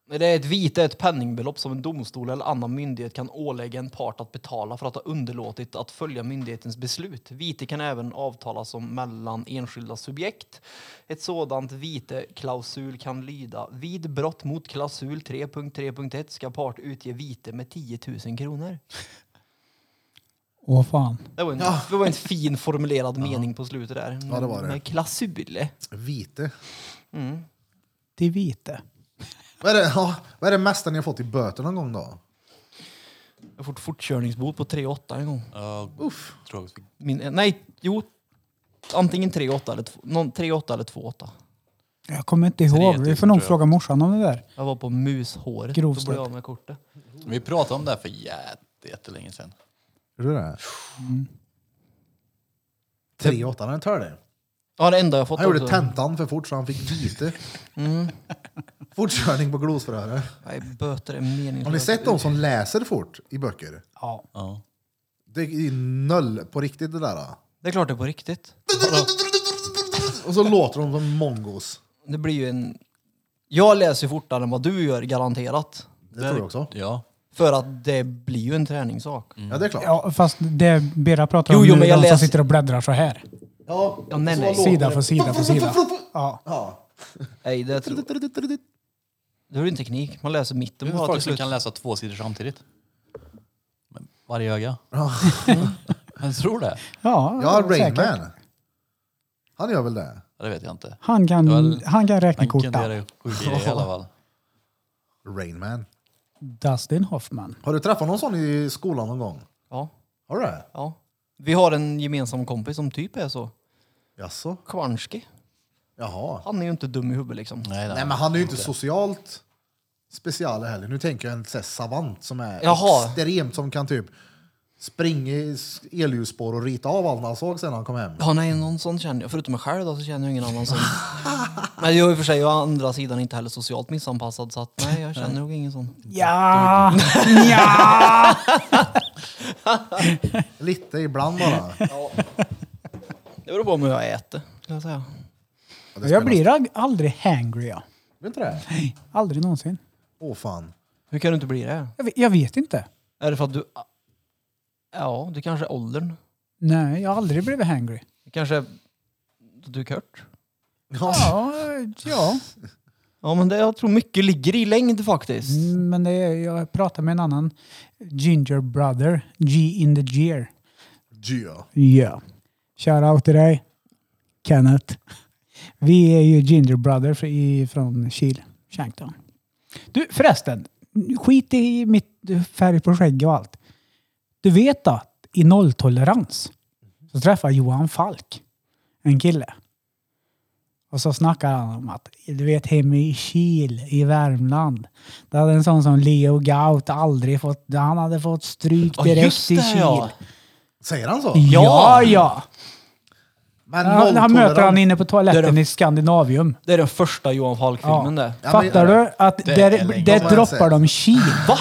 Nej, Det är ett vite, ett penningbelopp som en domstol eller annan myndighet kan ålägga en part att betala för att ha underlåtit att följa myndighetens beslut. Vite kan även avtalas om mellan enskilda subjekt. Ett sådant viteklausul kan lyda vid brott mot klausul 3.3.1 ska part utge vite med 10 000 kronor.
Åh fan.
Det var en, det var en fin formulerad mening på slutet där.
Ja, det var det.
Med klausul.
Vite.
Det vite.
Vad är, det, ja, vad är det mesta ni har fått i böter någon gång då?
Jag har fått fortkörningsbot på 3.8 en gång.
Ja, tror jag.
Min, nej, jo. Antingen 3-8 eller 2 någon 3-8 eller 2-8.
Jag kommer inte
Tre
ihåg.
tusen,
Vi får nog
tror jag.
fråga morsan om det där.
Jag var på mushåret.
Grovstöt.
Då blev jag av med kortet.
Vi pratade om det här för jätte- jättelänge sedan.
Är du det? Tre åtta, han tar det.
Ja, det enda jag fått
Han gjorde
också.
tentan för fort så han fick vite.
Mm.
Fortkörning på glosfröre.
Nej, böter är
Har ni
meningslöst.
sett de som läser fort i böcker?
Ja.
Ja.
Det är noll på riktigt det där. då.
Det är klart det är på riktigt.
Och så låter de som mongos.
Det blir ju en... Jag läser ju fortare än vad du gör, garanterat.
Det tror jag också.
Ja.
För att det blir ju en träningssak.
Mm.
Ja det är klart.
Ja, fast det Bera pratar
Jo,
om
jo,
nu,
men
är
jag
de som
läser-
sitter och bläddrar så här.
Ja,
Ja, nej,
så
nej.
låter
Sida
det.
för sida för sida. Ja.
Ja.
Nej, det tror jag.
Ah,
Det är ju en teknik. Man läser
Det
mitten
är
bara till
folk som
slut.
kan läsa två sidor samtidigt. Men varje öga. Jag tror det.
Ja,
Ja,
säkert.
Rainman. Han gör väl det?
Ja, Det vet jag inte.
Han kan,
Det var-
han kan räkna
Han kunde
korta.
göra sjuka grejer i alla fall.
Rainman.
Dustin Hoffman.
Har du träffat någon sån i skolan någon gång?
Ja,
Har du det?
ja. Vi har en gemensam kompis som typ är så.
Jaså?
Kvarnski.
Jaha.
Han är ju inte dum i huvudet liksom.
Nej,
Nej men han är ju inte socialt special heller. Nu tänker jag en sån här savant som är
Jaha.
extremt som kan typ springa i s- elljusspår och rita av allt han såg sen han kom hem.
Ja, nej, någon sån känner jag. Förutom mig själv då, så känner jag ingen annan sån. Men jag är i och för sig å andra sidan inte heller socialt missanpassad så att nej, jag känner nog ingen sån.
Ja, ja.
Lite ibland bara. Ja,
Det beror på hur jag äter, skulle jag säga.
det
Jag
spelar-
blir ag- aldrig hangry. Jag.
Vet du det?
Aldrig någonsin.
Åh fan.
Hur kan du inte bli det?
Jag vet, jag vet inte.
Är det för att du... Ja, det kanske är åldern.
Nej, jag har aldrig blivit hangry.
Det kanske är... Du är kört.
Ja, ja.
Ja, men det, jag tror mycket ligger i längd faktiskt.
Mm, men det, är- jag pratade med en annan ginger brother, G in the gear.
Ja.
Ja. Shoutout till dig, Kenneth. Vi är ju Ginger Brother fr- i- från Kil, Shankton. Du, förresten. Skit i mitt färg på skägg och allt. Du vet att i nolltolerans Så träffade jag Johan Falk, en kille. Och så snackade han om att, du vet hemma i Kil i Värmland. Där hade en sån som Leo Gaut aldrig fått, han hade fått stryk
Ja,
direkt
just
i
det,
Kil.
ja.
Ja,
Säger han så?
ja. ja.
Men
Han, han
nolltolerans-
möter han inne på
Det
toaletten
är det-
i Skandinavium.
Det är den första Johan Falk-filmen det.
Ja, men-
Fattar du? Att
Det är
där,
länge.
där
Det har jag
droppar
sett.
de Kil. Va?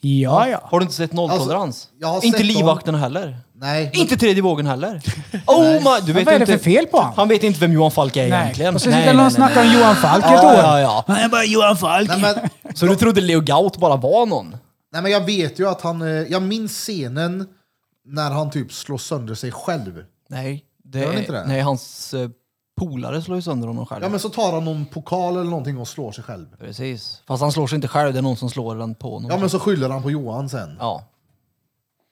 Ja, ja.
Har du inte sett Nolltolerans?
Alltså, jag har sett
inte
dem.
Livvakten heller.
Nej.
Inte Tredje vågen heller. Oh my, du vet
vad är
inte,
det för fel på han?
Han vet inte vem Johan Falk är egentligen.
Och så sitter någon och snackar om Johan Falk ett
Ja,
år.
ja, ja.
Han är bara Johan Falk.
Nej men,
Så du trodde Leo Gaut bara var någon?
nej men jag vet ju att han, eh, jag minns scenen när han typ slår sönder sig själv.
Nej. Det
Gör han
är,
inte det?
Nej, hans eh, polare slår ju sönder honom själv.
Ja men så tar han någon pokal eller någonting och slår sig själv.
Precis. Fast han slår sig inte själv, det är någon som slår den på honom.
Ja men så skyller han på Johan sen.
ja.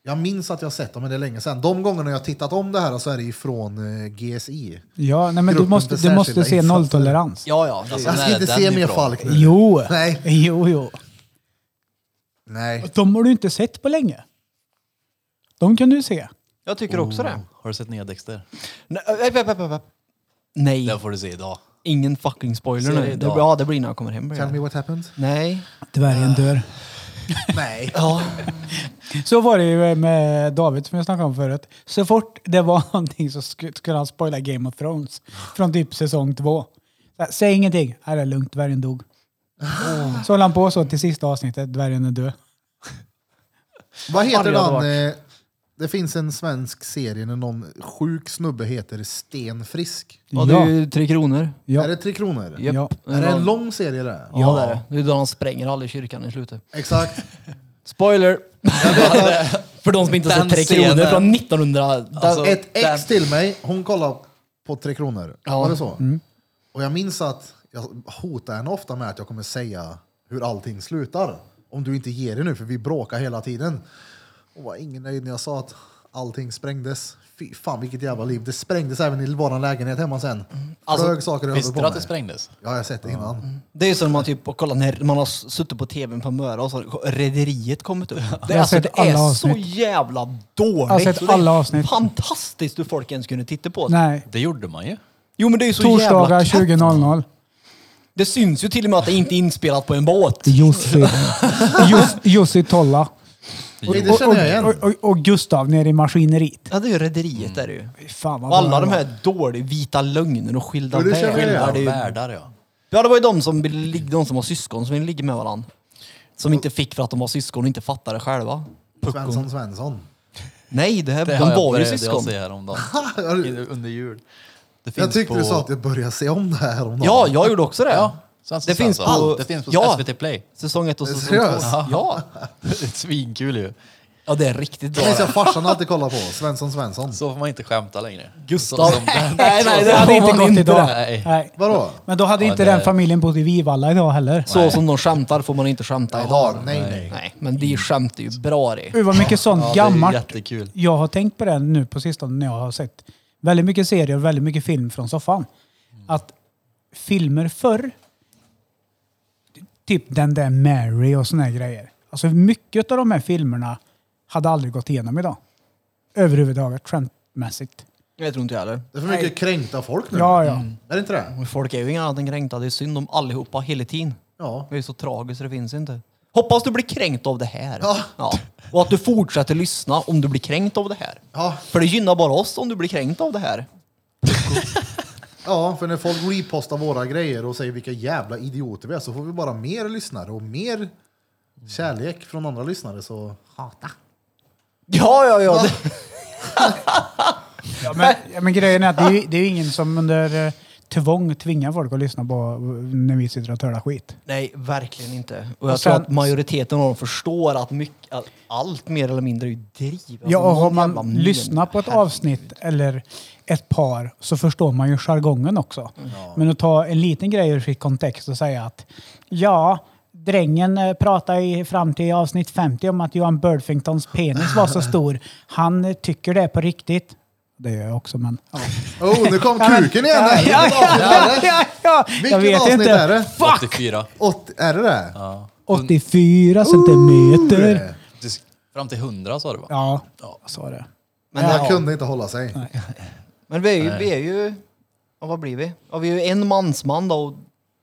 Jag minns att jag sett dem men det är länge sedan. De gångerna jag tittat om det här så är det ifrån eh, GSI.
Ja, nej, men du
Gruppen
måste,
för
du måste
särskilda
se
insatser.
nolltolerans.
Ja, ja. Alltså,
Jag
när
ska
är
inte
den
se mer
ifrån?
Falk nu.
Jo.
Nej.
Jo, jo.
Nej.
De har du inte sett på länge. De kan du se.
Jag tycker också det.
Har du sett nya Dexter?
Nej, äh, äh, äh, äh, äh. Nej,
Den får du se idag.
ingen fucking spoiler
Ser
nu.
det
Det,
idag.
blir- ja, det blir när jag kommer hem. blir
Tell me
det.
what happened.
Nej.
Dvärgen dör.
Nej.
Ja.
Så var det ju med David som jag snackade om förut. Så fort det var någonting så sk- skulle han spoila Game of Thrones. Från typ säsong två. Så här, Säg ingenting. Här är lugnt, dvärgen dog. Så höll han på så till sista avsnittet, dvärgen är död.
Vad heter
Arga
han? eh, Det finns en svensk serie när någon sjuk snubbe heter Sten Frisk.
ja, det är ju Tre Kronor.
Ja.
Är det Tre Kronor?
Japp.
Ja.
Är det en lång serie det?
Ja, det är det. Det är då han spränger alla i kyrkan i slutet.
Exakt.
Spoiler! För de som inte har
Den
sett Tre
scenen.
Kronor från 1900...
Alltså,
Ett
den-
ex till mig, hon kollade på Tre Kronor.
Ja.
Var det så? Och jag minns att jag hotar henne ofta med att jag kommer säga hur allting slutar. Om du inte ger det nu, för vi bråkar hela tiden. Hon var ingen nöjd när jag sa att allting sprängdes. Fy fan vilket jävla liv. Det sprängdes även i vår lägenhet hemma sen.
Alltså,
Flög saker över
Visste
på
du att
mig.
det sprängdes?
Ja, jag har sett det innan.
Det är ju som när man typ, och kolla när man har suttit på tvn på Möra och så har Rederiet kommit upp. Det, är
har
alltså,
sett
det är
alla
så
avsnitt.
jävla dåligt.
Jag har sett
så det är
alla avsnitt.
Fantastiskt hur folk ens kunde titta på det.
Nej.
Det gjorde man ju.
Jo men det är ju så jävla
Torsdagar
katt.
20.00.
Det syns ju till och med att det inte är inspelat på en båt.
Jussi. Jus- Jussi Tolla.
Och det känner jag igen.
Och, och, och Gustav nere i maskineriet.
Ja det är ju Rederiet är det ju.
Fy Fan vad
Och alla
bra det
de
var.
här dåliga vita lögner och skilda
Jo, det känner jag
vägar.
igen.
Ja,
Ja,
det är ju,
Värdar ja.
ja det var ju de som, vill ligga- de som har syskon som vill ligga med varandra. Som inte fick för att de var syskon och inte fattade själva.
Svensson Svensson.
Nej, det här,
Det
de
har jag
var ju
började
syskon.
jag se häromdagen.
Har du-
I- Under jul. Det
Jag
finns
tyckte
på-
du sa att jag började se om det här om
Ja, jag gjorde också det.
Ja, så alltså,
det, finns
alltså,
på,
det finns på
ja,
SVT Play.
Säsong ett och säsong två.
Seriöst?
Ja.
Det är Svinkul ju.
ja, det är riktigt bra.
Det minns jag farsan alltid kollade på. Svensson Svensson.
Så får man inte skämta längre.
Gustav.
Så- som-
nej, nej, det hade
Det hade inte
man
gått
inte.
idag.
Nej.
Vadå?
Men då hade
Ja,
inte
det-
den familjen bott i Vivalla idag heller.
Så som de skämtar får man inte skämta
Jaha,
idag.
nej nej.
Nej, men de skämtar ju bra det.
Gud vad mycket sånt
Ja, det är
gammalt.
jättekul.
Jag har tänkt på det nu på sistone när jag har sett väldigt mycket serier och väldigt mycket film från soffan.
Mm.
Att filmer förr, typ den där Mary och såna här grejer. Alltså mycket av de här filmerna hade aldrig gått igenom idag. Överhuvudtaget, trendmässigt.
Jag tror inte jag heller.
Det är för mycket kränkta folk nu.
Ja, ja.
Är det inte det?
Men Folk är ju inga annat än kränkta. Det är synd om allihopa hela tiden.
Ja.
Det är ju så tragiskt så det finns inte. Hoppas du blir kränkt av det här. Ja. Och att du fortsätter lyssna om du blir kränkt av det här.
Ja.
För det gynnar bara oss om du blir kränkt av det här.
ja, för när folk repostar våra grejer och säger vilka jävla idioter vi är så får vi bara mer lyssnare och mer kärlek från andra lyssnare. Så hata.
Ja, ja, ja. Det,
Ja, men, ja, men grejen är att det är, ju- det är ju ingen som under eh, tvång tvingar folk att lyssna på eh, när vi sitter och tölar skit.
Nej, verkligen inte. Och jag
Och sen-
tror att majoriteten av dem förstår att, mycket, att allt mer eller mindre är ju driv. Alltså,
Ja, och har
någon jävla
man
men-
lyssnat på ett
Herregud.
avsnitt eller ett par så förstår man ju jargongen också. Men att ta en liten grej ur sitt kontext och säga att ja, drängen eh, pratade i, fram till avsnitt 50 om att Johan Burfingtons penis var så stor. Han eh, tycker det på riktigt. Det gör jag också, men... Ja,
Oh, nu kom kuken igen! här.
ja, ja, ja, ja. Jag
Vilket
vet
avsnitt är
inte.
det?
84.
Åt, är det det? Eh, Ja.
84 centimeter.
Fram till 100 sa du va?
Ja, så är det.
Men han kunde inte hålla sig.
Men vi är ju, vi är ju ja, vad blir vi? Ja, vi är ju en mansman då och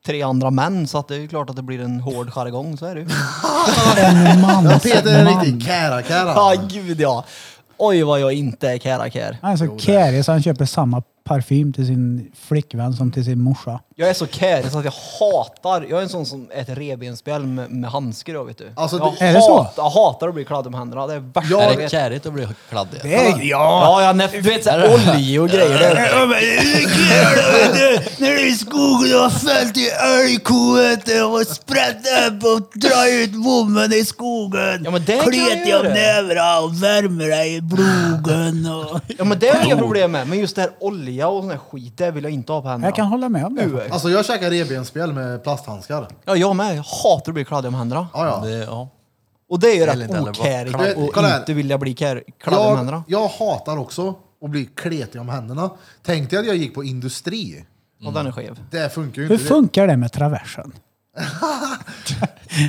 tre andra män så att det är ju klart att det blir en hård jargong, så är det ju.
En
Ja,
man.
Peter är
Alltså, man.
riktigt kära-kära.
Ja, gud ja. Oj vad jag inte är kärakär.
Han är så kärig så han köper samma parfym till sin flickvän som till sin morsa.
Jag är så kärig så att jag hatar, jag är en sån som äter revbensspjäll med, med handskar jag vet du.
Alltså,
jag,
det-
Är det så?
jag hatar att bli kladd om händerna, det är värsta
Jag-
jag
Är det
vet.
kärigt att bli kladdig?
Ja, ja, ja nej, du vet såhär olja och grejer. Det,
När du är i skogen och har följt i älgkoet och sprätt upp och drar ut bommen i skogen.
Ja, men det kan jag
Klet dig om
göra.
nävarna och värmer dig i blogen. Och...
ja men det har jag inga problem med, men just det här olja och sån här skit, det vill jag inte ha på händerna.
Jag kan hålla med om det.
Nu.
Alltså jag käkar revbensspjäl med plasthandskar.
Ja, jag med, jag hatar att bli kladdig om händerna.
Ja, ja.
Det, ja.
Och det är ju
Det är lite
rätt
heller bara
okärigt
kladd.
och
Kolla här.
inte vilja bli kär, kladd om
Jag,
händerna.
jag hatar också att bli kletig om händerna. Tänkte jag att jag gick på industri.
Och den är skev.
Det funkar ju
Hur
inte.
funkar det med traversen?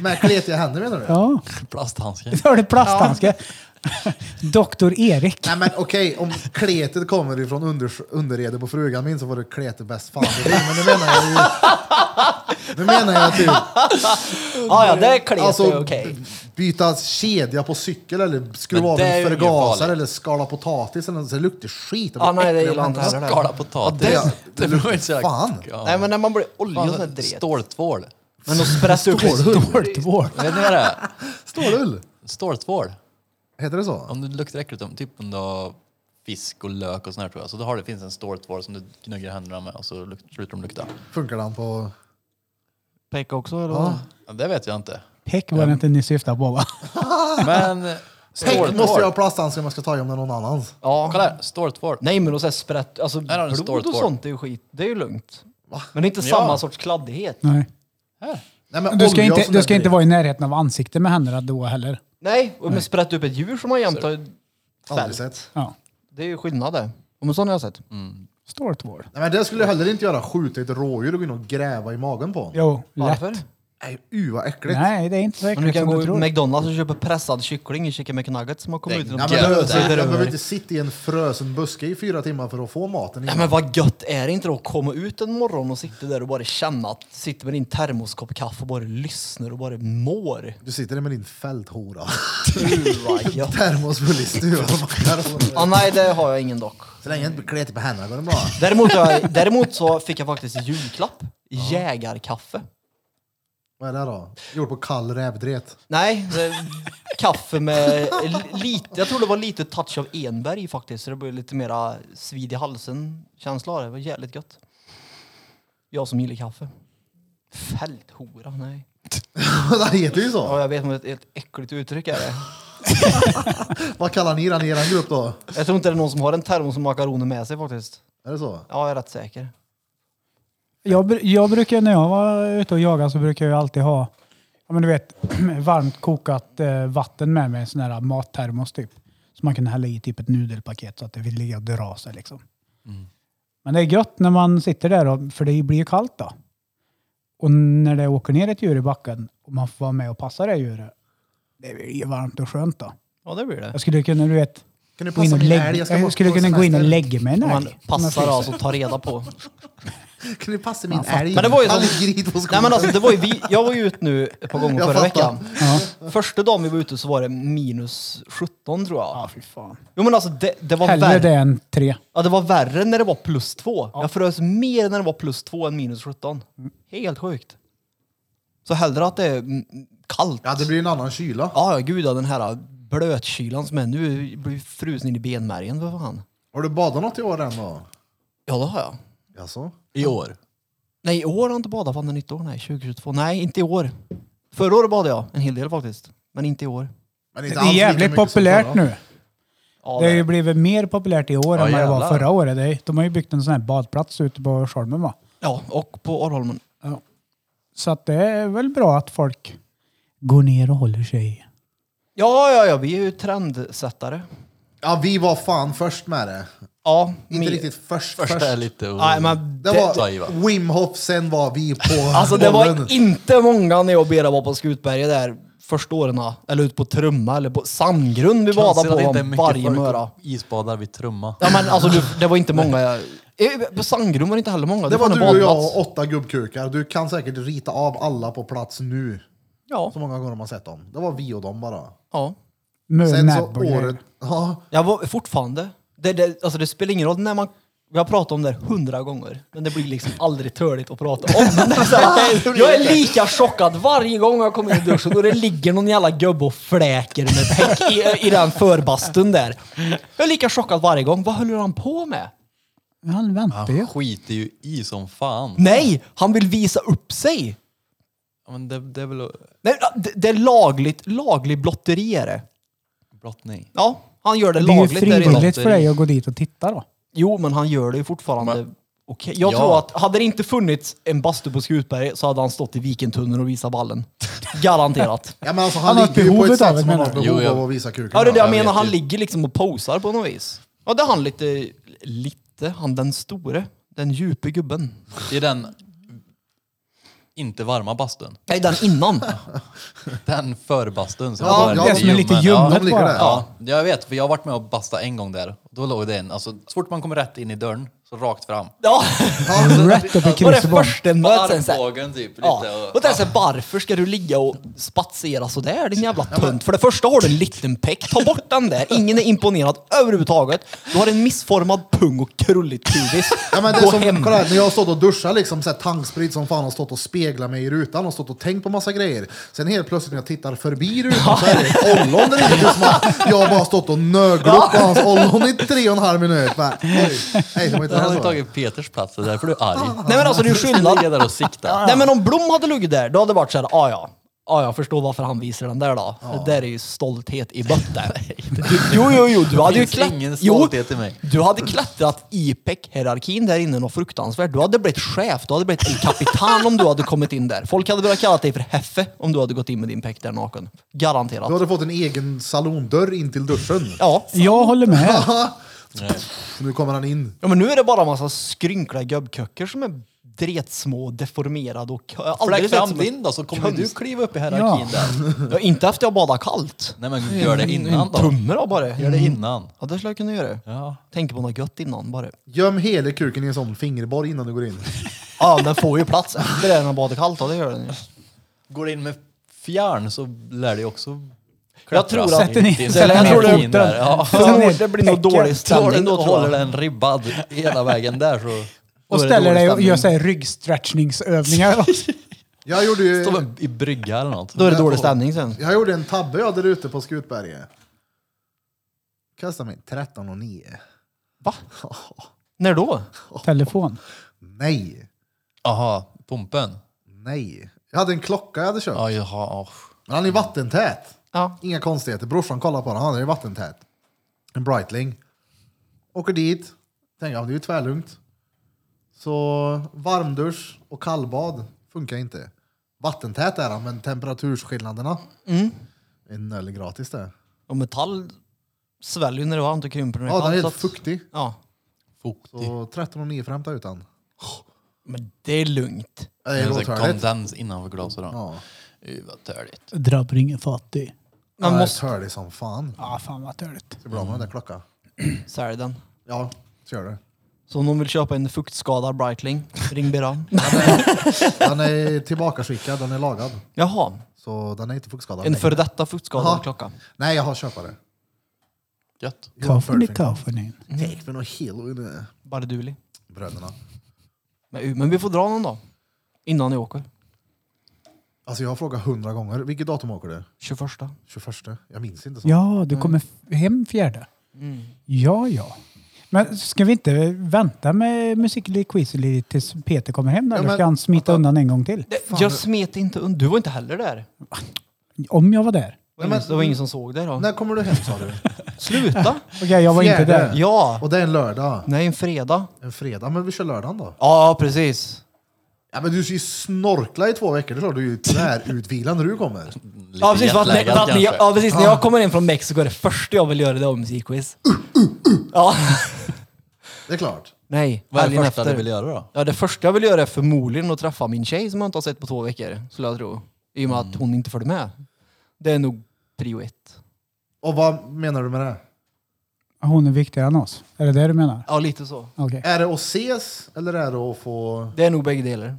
Med kletiga händer menar du?
Ja,
Plasthandskar.
då har du plasthandske. Doktor Erik.
Nej men okej, om kletet kommer ifrån under, underredet på frugan min så får du klete bäst fan det blir. Men nu menar jag ju... Nu menar jag typ...
Ah, ja, det är kletigt det är
Alltså
okej.
b- byta kedja på cykel eller skruva
Men
av
det är
en
ju inget
förgasare
farligt.
eller skala potatis eller något, så det luktar skit.
Ah, nej, det
äckliga
gillar jag inte
händerna.
heller.
Skala potatis.
Ja,
det,
det-
det blir inte så jävla-
Fan.
Ja.
Nej men när man blir olja och sån här
Fan,
dret.
Ståltvål.
Men då sprätts upp
Vårtvård.
Vet ni vad det är?
Stålull,
Ståltvål.
heter det så?
Om det luktar äckligt, om typ om du har fisk och lök och sånt här tror jag, så då har det, finns en ståltvål som du gnuggar händerna med och så luk- slutar de lukta.
Funkar den på...
Pekka också eller? vad?
Ja, det vet jag inte.
Peck var det inte ni syftade på va?
Men eh,
Tänk, måste jag ha
ståltvål.
plasthandskar om jag ska ta om det någon annans.
Ja.
Kolla här, ståltvål.
Nej men och så här sprätt, alltså
Här har du en
blod och
ståltår.
sånt är ju skit, det är ju lugnt. Men det är inte samma sorts kladdighet.
Nej.
Nej, men
Du ska,
olja och
inte,
sånt där
du ska inte
grejer.
vara i närheten av ansiktet med händerna då heller.
Nej, och men sprätt upp ett djur som man jämt har
Aldrig
fällt.
sett.
Ja.
Det är ju skillnad Mm. det. Ja, Men sån har jag sett.
Ståltvål.
Nej, men det skulle jag heller inte göra, skjuta ett rådjur och gå in och gräva i magen på honom.
Jo, lätt.
Varför?
Nej, u vad äckligt.
Nej, det är inte så
Men du
äckligt
kan
som
gå
du tror.
till McDonalds och köpa pressad kyckling i Chicken McNuggets som har kommit
Det
ut
är
genom
Nej,
gött.
men
dörren
jag
och sitter
jag behöver
över.
inte sitta i en frösen buske i fyra timmar för att få maten.
Ja,
innan.
men vad gött är det inte då att komma ut en morgon och sitta där och bara känna att sitta med din termoskopp kaffe och bara lyssnar och bara mår.
Du sitter där med din fälthora.
Gud, vad gött.
Termos full i stuvan.
Ah, nej, det har jag ingen dock.
Så länge jag inte blir kletig på händerna går det bra.
Däremot, har jag, däremot så fick jag faktiskt i julklapp. Jägarkaffe.
Vad är det då? Gjort på kall rävdret.
Nej, det, kaffe med li- lite, jag tror det var lite touch av enbär i faktiskt. Så det blev lite mera svid i halsen-känsla av det. Det var jävligt gött. Jag som gillar kaffe. Fälthora, nej.
det heter ju så.
Ja, jag vet inte det är ett äckligt uttryck är det.
Vad kallar ni den i er grupp då?
Jag tror inte det är någon som har en termos och makaroner med sig faktiskt.
Är det så?
Ja, jag är rätt säker.
Jag, br- jag brukar, när jag var ute och jagade så brukar jag alltid ha ja, men du vet, varmt kokat eh, vatten med mig, en sån här mattermos typ. Så man kunde hälla i typ ett nudelpaket så att det vill ligga och dra sig liksom.
Mm.
Men det är gött när man sitter där, och, för det blir ju kallt då. Och när det åker ner ett djur i backen och man får vara med och passa det djuret, det blir ju varmt och skönt då.
Ja, det blir det.
Jag skulle kunna, du vet,
Kan du
gå in
passa
och
min
lägga-
älg? Jag ska
jag
bort
skulle
på
kunna gå in och
semester.
lägga mig en
Man
älg.
passar alltså att ta reda på.
Kan du passa min älg?
Men det var ju
Han
som-
ligger hit på
Nej
skolan.
men alltså, det var ju vi, jag var ju ute nu ett par gånger
Jag
förra
fattar.
veckan. Första dagen vi var ute så var det minus 17 tror jag.
Ja, fy fan.
Jo men alltså det, det, var
Hellre det
värre,
än tre.
ja, det var värre när det var plus 2. Jag frös mer när det var plus 2 än minus 17.
Mm.
Helt sjukt. Så hellre att det är mm, kallt.
Ja, det blir en annan kyla.
Ja, ja, gud ja, den här blötkylan som är nu blir frusen in i benmärgen för fan.
Har du badat något i år än då?
Ja, det har jag.
Jaså?
I år.
Nej, i år har jag inte badat fan, det är nytt år. Nej, 2022. Nej, inte i år. Förra året badade jag en hel del faktiskt, men inte i år.
Men
Det
inte
är
alls lika
jävligt
mycket som
populärt
förra.
nu.
Ja,
Det har
det-
ju blivit mer populärt i år
Ja,
än vad det var
jävlar.
förra året. Det är- De har ju byggt en sån här badplats ute på Tjolmen va?
ja och på Arholmen.
Så att det är väl bra att folk går ner och håller sig.
Ja, ja, ja, vi är ju trendsättare.
Ja, vi var fan först med det.
Ja,
Inte
mer-
riktigt först.
Först
först.
är lite...
Nej, men
Det
det,
var
Ta i, va?
Wim Hof, sen var vi på
alltså, det var
bollen.
inte många när jag och Bera var på Skutberget där första åren, ah. eller ut på trumma eller på sandgrund vi
Konstigt att det
badade
inte är
på
mycket
varje
folk
möra.
som Isbadar vid trumma.
Ja men alltså du, det var inte många. Eh, På sandgrund var det inte heller många.
Det var
fan en
du och jag
badplats.
och åtta gubbkukar. Du kan säkert rita av alla på plats nu.
Ja.
Så många gånger man sett dem. Det var vi och dem bara.
ja.
Med
Sen så
näbb och
året...
grejer.
Ja,
Jag var fortfarande. Det, det, alltså det spelar ingen roll när man... Vi har pratat om det här hundra gånger, men det blir liksom aldrig törligt att prata om. Men det är så här, jag är lika chockad varje gång jag kommer in i duschen och det ligger någon jävla gubbe och fläker med ett häck i, i den förbastun där. Jag är lika chockad varje gång. Vad höll han på med?
Men Han väntar ju.
Han skiter ju i som fan.
Nej, han vill visa upp sig.
Ja, Men det, det är väl
Nej, det, det är lagligt, laglig blotteri är det.
brottning.
Ja, han gör det,
Det är ju
lagligt. där inne.
frivilligt för dig att gå dit och titta då.
Jo, men han gör det ju fortfarande.
Men-
Okej. Jag
Ja.
tror att hade det inte funnits en bastu på Skutberg så hade han stått i Vikentunneln och visat ballen. Garanterat.
ja, men alltså,
Han
han,
har
ligger ju på ett
behovet av
sätt
det,
som han har
menar
behov
du? Jo, jag-
av att visa kuken.
Ja, det är det jag
jag
menar.
vet
Han
ju.
ligger liksom och posar på något vis. Ja, det är han lite, lite, han den store. Den djupe gubben.
I den inte varma bastun.
Nej, den innan.
Den förbastun. som
Ja,
var
ja,
lite
det som
är lite
ljummen.
ljummet
Ja.
De ligger
bara.
där.
Ja, jag vet. För jag har varit med och bastat en gång där. Då låg det en. Alltså, så fort man kommer rätt in i dörren, så rakt fram.
Ja,
Rätt upp i
och det
Kristerbom.
första
På
mötet sen så här.
armbågen typ. Lite,
Ja.
och,
Och det är så här, varför ska du ligga och spatsera sådär din jävla tönt? För det första har du en liten peck, ta bort den där. Ingen är imponerad överhuvudtaget. Du har en missformad pung och krulligt pubis.
Ja, men det är
Gå
som,
hem.
kolla, här, när jag har stått och duschat liksom, så här, tanksprit som fan har stått och speglat mig i rutan och stått och tänkt på massa grejer. Sen helt plötsligt när jag tittar förbi rutan så är det ett ollon där inne. Som att jag har bara stått och nöglat på hans ollon i tre och en halv minut. Men, oj, nej, det var inte
Där
det
har du
här så.
tagit Peters plats, det är därför du är arg.
Nej men alltså det är ju
Du ligger
skillnad.
där och siktar.
Nej men om Blom hade legat där, då hade det varit såhär, ah, ja. Ja, jag förstår varför han visar den där då. Det där är ju stolthet i botten. Du- Jo, jo, jo. Du hade ju
finns
klätt-
ingen
Jo,
stolthet i mig.
Du hade klättrat i PEC-hierarkin där inne något fruktansvärt. Du hade blivit chef, du hade blivit en kapitan om du hade kommit in där. Folk hade börjat kalla dig för Heffe om du hade gått in med din PEC där naken. Garanterat.
Du hade fått en egen salondörr in till duschen.
Ja.
Jag håller med.
Så nu kommer han in.
ja, men nu är det bara en massa skrynkliga gubbköcker som är dretsmå, och deformerade och... Jag har aldrig
Fläck
sett
fram
som en-
din då, så kommer du
konst.
kliva upp i hierarkin där.
Ja, inte efter jag badat kallt.
Nej men gör det innan då.
Tummen då bara. Mm.
Gör det innan.
Ja, det skulle jag kunna göra.
Ja.
Tänker på något gött innan bara.
Göm hela kuken i en sån fingerborg innan du går in.
Ja, den får ju plats efter det när man badar kallt. Ja, det gör den ju.
Går du in med fjärn så lär det också
Jag tror att-
Sätter ni-
Det
sätter
lär
ni
ner
ner
in
foten?
där, ja.
Sätter ner
Det blir nog dålig
pecken.
Tar
stämning
den
då
och
tror
håller
jag.
den ribbad hela vägen där så...
Och
då är det
ställer
dålig
dig och gör
stämning.
så här ryggstretchningsövningar.
Jag gjorde
Står
ju...
man i brygga eller något.
Då är det dålig stämning sen.
Jag gjorde en tabbe jag där ute på Skutberget. Kastade mig 13 och 9.
Va? När då?
Telefon.
Nej,
Jaha, pumpen?
nej. Jag hade en klocka jag hade köpt.
Ja, jaha. oh.
Men han är
Mm.
vattentät.
Ja.
Inga konstigheter. Brorsan kollar på den. Han är vattentät. En brightling. Åker dit. Tänker jag, det är ju tvärlugnt. Så varmdusch och kallbad funkar inte. Vattentät är han, men temperaturskillnaderna.
Mm.
En öl är gratis det.
Och metall sväljer ju när det är varmt och krymper när det
Ja,
är
den är
kallt. så
helt
att-
fuktig.
Ja.
Fuktig.
Så 13,9 för att hämta ut den.
Men det är lugnt.
Det
Det
är
är så här
råtörligt.
Kondens innanför glaset då.
Ja,
Uy, vad törligt.
Drabbar ingen fattig.
Man
den är
måste
törlig som fan.
Ja, fan vad törligt.
Så bra med den där klockan.
sälja den.
Ja, så gör det.
Så om någon vill köpa en fuktskadad Breitling, ring Birra.
Den är tillbakaskickad, den är lagad.
Jaha,
Så den är inte fuktskadad
en
längre.
före detta fuktskadad
Jaha.
klocka.
Nej, jag har köpare.
Gött.
Kaffan i kaffan.
Tänk för något helo i det.
Barduli.
Bröderna.
Men, men vi får dra någon dag. Innan ni åker.
Alltså jag har frågat hundra gånger. Vilket datum åker du?
21.
21? Jag minns inte. Så.
Ja, du kommer f- hem fjärde. Ja, ja. Men ska vi inte vänta med musical quiz tills Peter kommer hem? Då?
Ja,
Eller
men-
ska han smita undan en gång till?
Det- Jag smet inte undan. Du var inte heller där.
Om jag var där.
Det var, ingen, det var ingen som såg dig då.
När kommer du hem sa du?
Sluta!
Okej, jag var inte
Fjärde.
där.
Ja!
Och det är en lördag.
Nej, en fredag.
En fredag. Men vi kör lördagen då.
Ja, precis.
Ja men du ska ju snorkla i två veckor. Det är klart du är ju tvärutvilad när du kommer.
Lite
Ja, precis. För att,
jetlaggad
för att, ni-
kanske.
ja, precis. När jag kommer in från Mexiko är det första jag vill göra det är musikquiz. Ja.
Det är klart.
Nej,
Vad är det
helgen
första du
efter.
vill göra då?
Ja, det första jag vill göra är Mm. förmodligen att träffa min tjej som jag inte har sett på två veckor, skulle jag tro. I och med att hon inte följde med. Det är nog prio ett.
Och vad menar du med det?
Hon är viktigare än oss. Är det det du menar?
Ja, lite så.
Okej.
Är det att ses eller är det att få...
Det är nog bägge delar.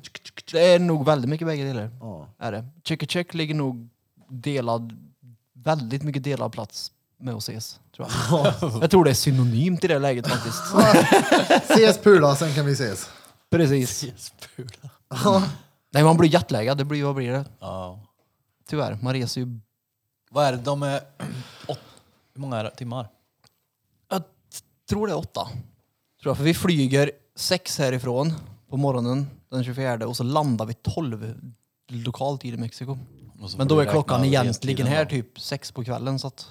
Det är nog väldigt mycket bägge delar.
Ja.
Är det. Check check ligger nog delad, väldigt mycket delad plats med att ses. Tror jag. jag tror det är synonymt i det läget faktiskt.
Ses pula, sen kan vi ses.
Precis.
Spula.
Nej, man blir jetlaggad. Det blir vad blir det?
Ja.
Tyvärr. Man reser ju...
Vad är det? De är åt, hur många är det? timmar?
Jag t- tror det är åtta. Tror jag. För vi flyger sex härifrån på morgonen den 24 och så landar vi 12 lokal tid i Mexiko.
Och så får
Men då
du
är
räkna
klockan
restiden
egentligen här
då.
typ sex på kvällen så att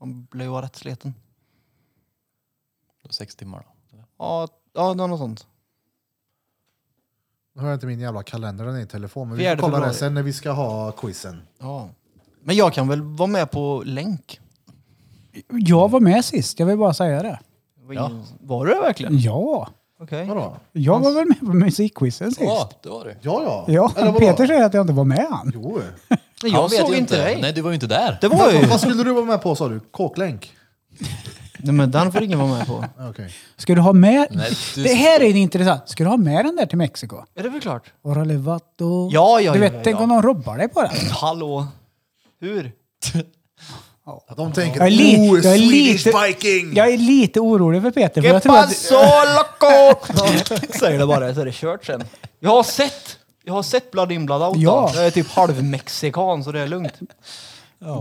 man blir ju vara rätt sliten.
Sex timmar då.
Ja, ja det var något sånt.
Nu har jag inte min jävla kalender, den är i telefon. Men vi
Fjärde
får kolla det
februari.
sen när vi ska ha quizen.
Ja. Men jag kan väl vara med på länk?
Jag var med sist, jag vill bara säga det.
Var, ingen- var du det verkligen?
Ja,
Okej.
Vadå?
jag var väl med på musikquizen sist.
Ja, det var du.
Ja, ja.
Ja,
vadå?
Peter säger att jag inte var med han.
Jo.
Nej,
Han
Jag
såg
vet ju inte dig.
Nej, du var ju inte där.
Det var ju...
Vad skulle du vara med på sa du? Kåklänk?
Nej, men den får ingen vara med på.
Okej.
Ska du ha med...
Nej, du-
Det här är en intressant. Ska du ha med den där till Mexiko?
Är det väl klart?
Ora Levato.
Ja, ja,
Du vet,
ja,
tänk
ja.
om någon robbar dig på den.
Hallå? Hur?
De tänker
Jag är li-
oh,
jag är
Swedish
lite-
Viking!
Jag är lite orolig för Peter, för jag tror
Epa
att...
så loco! Säger det bara så är det kört sen. Jag har sett! Jag har sett Blood In Blood Out.
Ja.
Jag är typ halvmexikan så det är lugnt.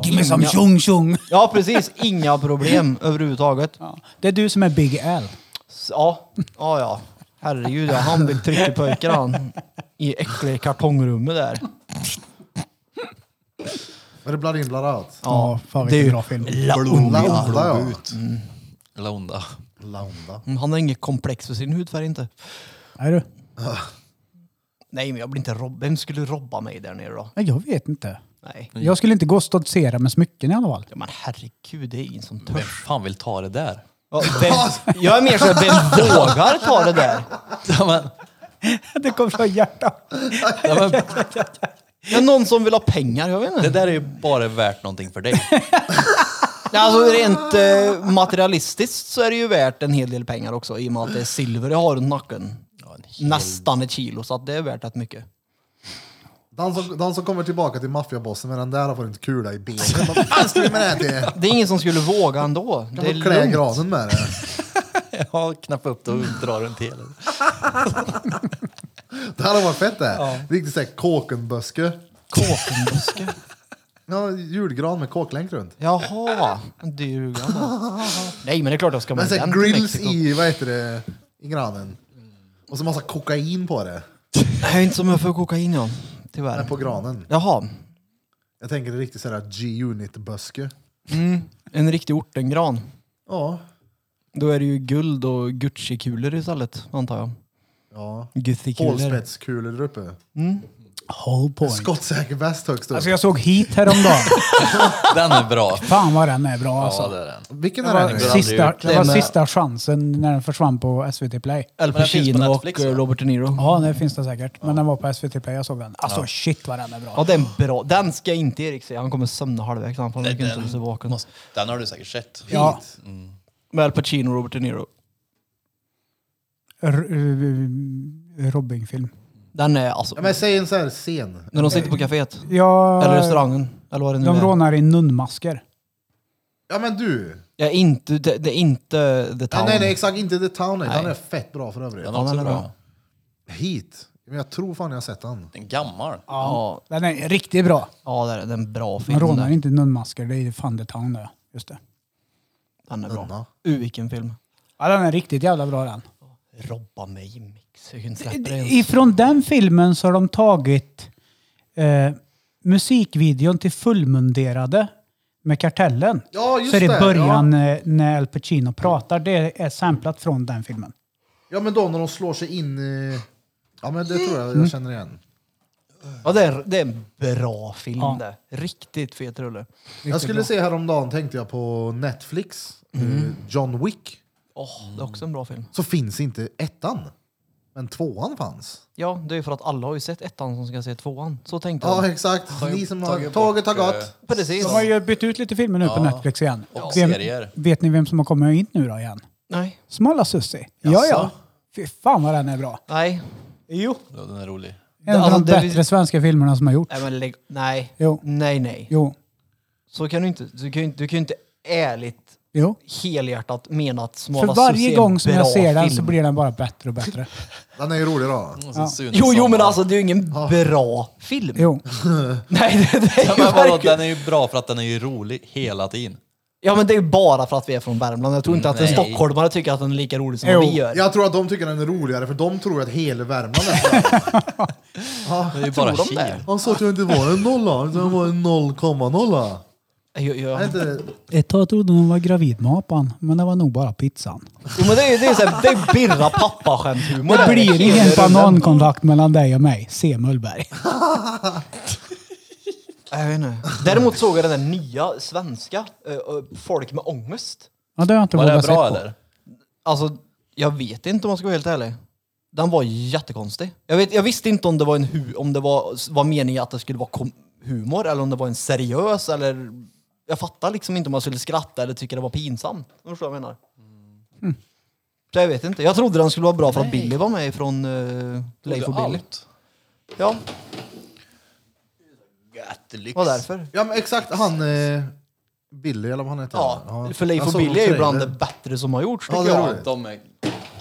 Give me some tjong tjong.
Ja precis, inga problem överhuvudtaget.
Ja. Det är du som är Big L.
S- Ja, ja, ja. Herregud, ja, han vill trycka pojkar han. I äckliga kartongrummet där.
Är det blood in, blood out?
Ja, fan vilken bra film.
Launda ja.
Eller onda.
Launda.
Mm, Han har inget komplex för sin hudfärg inte.
Nej du.
Nej men jag blir inte robb... Vem skulle robba mig där nere då?
Nej, jag vet inte.
Nej.
Jag skulle inte gå och stoltsera med smycken i alla fall.
Ja, men herregud, det är ingen som
Vem
törs.
fan vill ta det där?
Ja, vem, jag är mer såhär, vem vågar ta det där?
Ja, men,
Det kom från hjärtat.
ja, men,
Det är någon som vill ha pengar, jag vet
det
inte.
där är ju bara värt någonting för dig.
Nej, Alltså rent eh, materialistiskt så är det ju värt en hel del pengar också i och med att det är silver jag har runt nacken.
Ja, en hel-
Nästan ett kilo, så att det är värt rätt mycket.
Den som, den som kommer tillbaka till maffiabossen med den där har fått en kula i benet. Vad fan ska vi med det här till?
Det är ingen som skulle våga ändå. Det är
Kan få klä
lugnt.
granen med det.
Ja, knappa upp det och dra den till.
Det hade varit fett det. Riktigt såhär kåkenböske.
Kåkenbuske.
Ja, julgran med kåklänk runt.
Jaha, en dyr gammal. Nej men det är klart jag ska
Men
med
såhär
den till
grills
Mexiko.
i, vad heter det, i granen. Och så massa kokain på det.
Nej, inte som jag får kokain ja. Tyvärr.
Nej, på granen.
Jaha,
Jag tänker det är riktigt såhär G-unit-böske.
en riktig ortengran.
Ja.
Då är det ju guld och Gucci-kulor istället, antar jag.
Ja.
Gucci-kulor.
Hålspetskulor där uppe.
Whole point.
Skottsäker väst högst upp.
Alltså jag såg hit häromdagen.
Den är bra.
Fan vad den är bra alltså.
Ja, det är den.
Vilken
Det
är det
var,
nu?
aldrig
sista,
gjort.
det var
Den är-
sista chansen när den försvann på SVT Play.
Al
den finns på
Pacino och
Netflix,
eh,
va?
Robert De Niro.
Ja, det finns det säkert. Men den var på SVT Play, jag såg den. Alltså shit vad den är
Ja,
bra.
den är bra. Den ska inte Erik se. Han kommer somna halvvägs. Han får inte hålla sig vaken.
Den har du säkert sett.
Ja.
Med Al Pacino och Robert De Niro.
R- eh, Robbing-film.
Den är alltså...
Ja, men säg en sån här scen.
När de sitter på kaféet.
Ja,
Eller restaurangen. Eller vad det nu
de
är.
rånar i nunnmasker.
Ja men du!
Ja, inte, det, det är inte The Town.
Ja, nej nej exakt, inte The Town. Nej. Den
Nej.
är fett bra för övrigt.
Den
Ja,
är också
den är
bra.
bra.
Heat. Men jag tror fan jag har sett den.
Den är gammal.
Ja,
Den är riktigt bra.
ja det är det är en bra film.
De rånar
Den,
inte nunnmasker, det är Fun the Town det. Just det.
den är bra.
Nunna.
U, vilken film.
Ja, den är riktigt jävla bra den.
Robba mig i mix. Jag kunde släppa det ens.
Ifrån den filmen så har de tagit eh, musikvideon till Fullmunderade med Kartellen.
Ja, just
så är det
det,
i början eh, när Al Pacino pratar. Det är samplat från den filmen.
Ja men då när de slår sig in i... Ja men det tror
Mm.
jag jag känner igen.
Ja, det är, det är en bra film
Ja.
det. Riktigt fet rulle.
Jag skulle se häromdagen tänkte jag på
Mm.
Netflix, eh, John Wick.
Åh, det är också en bra film.
Så finns inte ettan. Men tvåan fanns.
Ja, det är ju för att alla har ju sett ettan som ska se tvåan. Så tänkte
Ja,
de.
exakt.
Har ju
Ni som har
tagit
tåget har
bort, eh,
gått.
Precis.
De har ju bytt ut lite filmer nu på
Ja.
Netflix igen.
Och
Vem-
serier.
Vet ni vem som har kommit in nu då igen?
Nej.
Smala Sussi. Ja, ja. Fy fan vad den är bra.
Nej.
Jo.
Ja, Den är rolig.
En av
Alltså,
de
det-
bättre svenska filmerna som har gjorts.
Nej, men lägg... Nej.
Jo.
Nej, nej.
Jo.
Så kan du inte. Du kan ju inte, du kan ju inte ärligt,
Jo.
helhjärtat mena att Smala
För varje
Sussie är
gång
en
som
bra
jag ser den så
film.
blir den bara bättre och bättre.
Den är ju rolig då.
Och så Sune
Jo, jo,
Sommar.
men alltså det är ju ingen bra film.
Jo.
Nej, det, det är
Ja,
ju
men vadå,
verkligen...
den är ju bra för att den är ju rolig hela tiden.
Ja, men det är ju bara för att vi är från Värmland. Jag tror inte att en
Nej.
stockholmare tycker att den är lika rolig som
Jo.
vi gör.
Jag tror att de tycker den är roligare för de tror att hela Värmland är bra.
Det är ju bara
de
kil.
det?
Han sa att jag inte var en nolla, utan jag var en 0,0.
Jag, jag,
Är inte det-
Ett tag trodde hon var gravid med apan, men det var nog bara pizzan.
Jo, men det är ju det är så här, det är birra pappa-skämthumor.
Det
där.
blir ingen banankontakt mellan dig och mig, C. Mullberg.
Jag vet inte. Däremot såg jag den där nya svenska, eh, eh, Folk med ångest.
Ja, det har jag inte
Var det
vågat
bra
se på.
eller?
Alltså, jag vet inte om jag ska vara helt ärlig. Den var jättekonstig. Jag, vet, jag visste inte om det var en hu- om det var, var meningen att det skulle vara kom- humor eller om det var en seriös eller... Jag fattar liksom inte om man skulle skratta eller tycka det var pinsamt. Om du förstår vad jag menar?
Mm.
Så jag vet inte. Jag trodde den skulle vara bra för att Billy var med från uh, Leif och
Gjorde
Billy.
allt.
Ja,
Jättelyx.
vad därför?
Ja men exakt, han... Eh, Billy eller vad han heter.
Ja, för Leif
Jag
och
såg
Billy är ju bland det
trailern.
bättre som har gjorts
Ja,
tycker
det är
jag.
roligt.
De är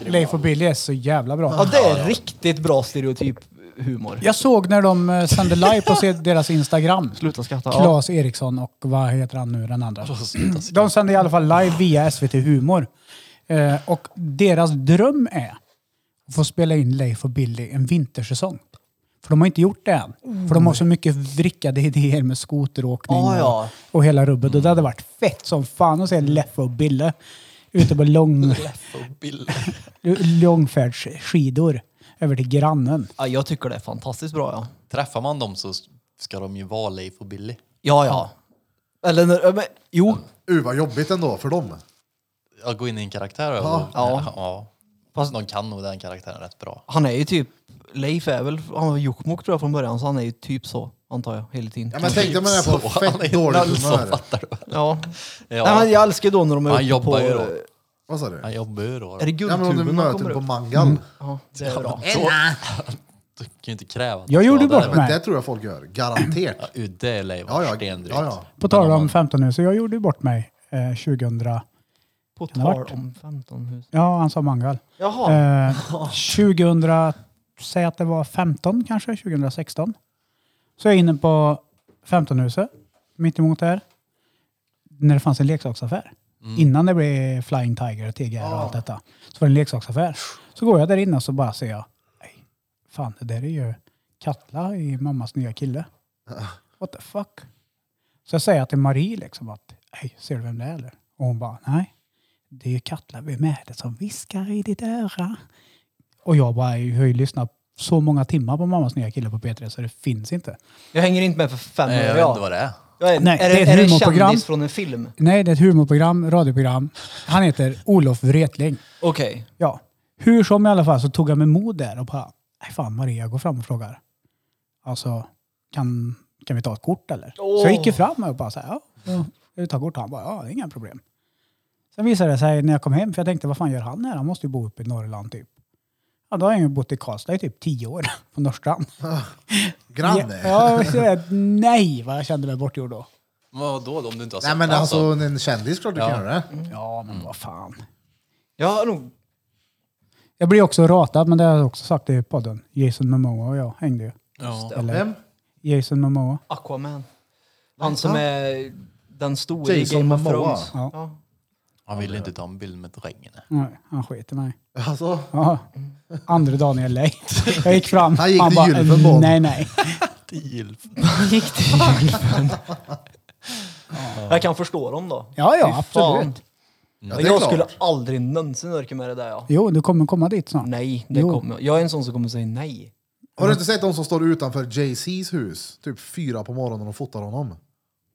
grymma.
Leif och Billy är så jävla bra.
Ja, det är riktigt bra stereotyp humor.
Jag såg när de eh, sände live på se- deras Instagram.
Sluta skratta. Ja. Alltså,
Claes Eriksson och vad heter han nu den andra? De sänder i alla fall live via SVT Humor. Eh, och deras dröm är att få spela in Leif och Billy en vintersäsong. För de har inte gjort det än. För de har så mycket vrickade idéer med skoteråkning
Ja, Ah, ja. Mm.
Och, och hela rubbet. Och det hade varit fett som fan att se Leffe och Bille ute på lång,
Leif och Billy.
långfärdsskidor över till grannen.
Ja, jag tycker det är fantastiskt bra ja.
Träffar man dem så ska de ju vara Leif och Billy.
Ja, ja. Eller när, ja, men, jo,
Uh, vad jobbigt ändå för dem.
Jag går in i en karaktär. och-
Ja.
Ja.
Fast de kan nog den karaktären rätt bra.
han är ju typ, Leif är väl, han var Jokkmokk tror jag från början, så han är ju typ så, antar jag, hela tiden.
Ja, men tänk dig man är på
Så han är
fett dåligt
noll som
humör.
fattar du?
Ja.
Ja.
Nej, men jag älskar ju då när de är
Han
uppe
jobbar
på,
ju då.
eh,
Vad sa du?
Han jobbar ju då.
Är det
Ja men om du
guldtuben de
möter
kommer
på
upp? Mm.
mangal.
Ja, det är bra.
Du kan ju inte kräva att
Jag
de ska
gjorde
vara
bort
där.
mig.
Men det tror jag folk gör. Garanterat.
Ja, det är Leif
Ja ja. ja,
stendrygt.
ja.
På tal om 15 nu, så jag gjorde ju bort mig eh, 2000.
På
det ha
tal
varit?
om 15 hus.
Ja, han sa mangal.
Jaha.
Eh, 2000, säg att det var 15 kanske, 2016. Så jag är inne på 15-huset, mitt emot där. När det fanns en leksaksaffär. Innan det blev Flying Tiger och TGR och allt detta. Så var det en leksaksaffär. Så går jag där inne och så bara ser jag, nej, fan det där är ju Katla i mammas nya kille. What the fuck? Så jag säger till Marie liksom att, hej, ser du vem det är eller? Och hon bara, nej. Det är ju Katla, vem är det som viskar i ditt öra? Och jag bara, jag har ju lyssnat så många timmar på mammas nya kille på P3 så det finns inte.
Jag hänger inte med för fem
Nej, jag
öre.
vet inte
Ja.
vad det är.
Jag är, är
Nej, det är
det,
ett
är det en
humorprogram.
kändis från en film?
Nej, det är ett humorprogram, radioprogram. Han heter Olof Wretling.
Okej.
Ja. Hur som i alla fall så tog jag mig mod där och bara, nej fan Maria, gå fram och frågar. Alltså, kan, kan vi ta ett kort eller? Så jag gick ju fram och bara så här, ja, ja, ska vi ta kort? Han bara, ja, det är inga problem. Sen visade det sig när jag kom hem, för jag tänkte, vad fan gör han här? Han måste ju bo uppe i Norrland typ. Ja, då har han ju bott i Karlstad i typ tio år på Norrstrand.
Granne.
Ja, ja, nej vad jag kände mig bortgjord då.
Men vadå då, om du inte har sett
Nej men
den,
alltså
så?
en kändis klart du kan
Ja.
göra det.
Ja, men vad fan.
Jag har nog
Jag blir också ratad, men det har jag också sagt i podden. Jason Momoa och jag hängde ju.
Ja.
Mm.
Eller-
Vem?
Jason Momoa.
Aquaman. Han som är den stora i
Jason
Game of
Momoa.
Thrones.
Ja.
Ja.
Han vill inte ta en bild med drängen.
Nej, han skiter i mig.
Alltså,
Ja. Andra dagen i LA. Jag gick fram.
Han gick till
bara,
gylfen på honom.
Nej, nej.
gick till julfen. Jag kan förstå dem då.
Ja, ja,
Fy fan.
absolut.
ja, det är
jag
klart.
skulle aldrig någonsin orka med det där. Ja.
Jo, du kommer komma dit snart.
Nej, det
Jo.
kommer jag. Jag är en sån som kommer säga nej.
Har
Mm.
du inte sett de som står utanför JC's hus? Typ fyra på morgonen och fotar honom.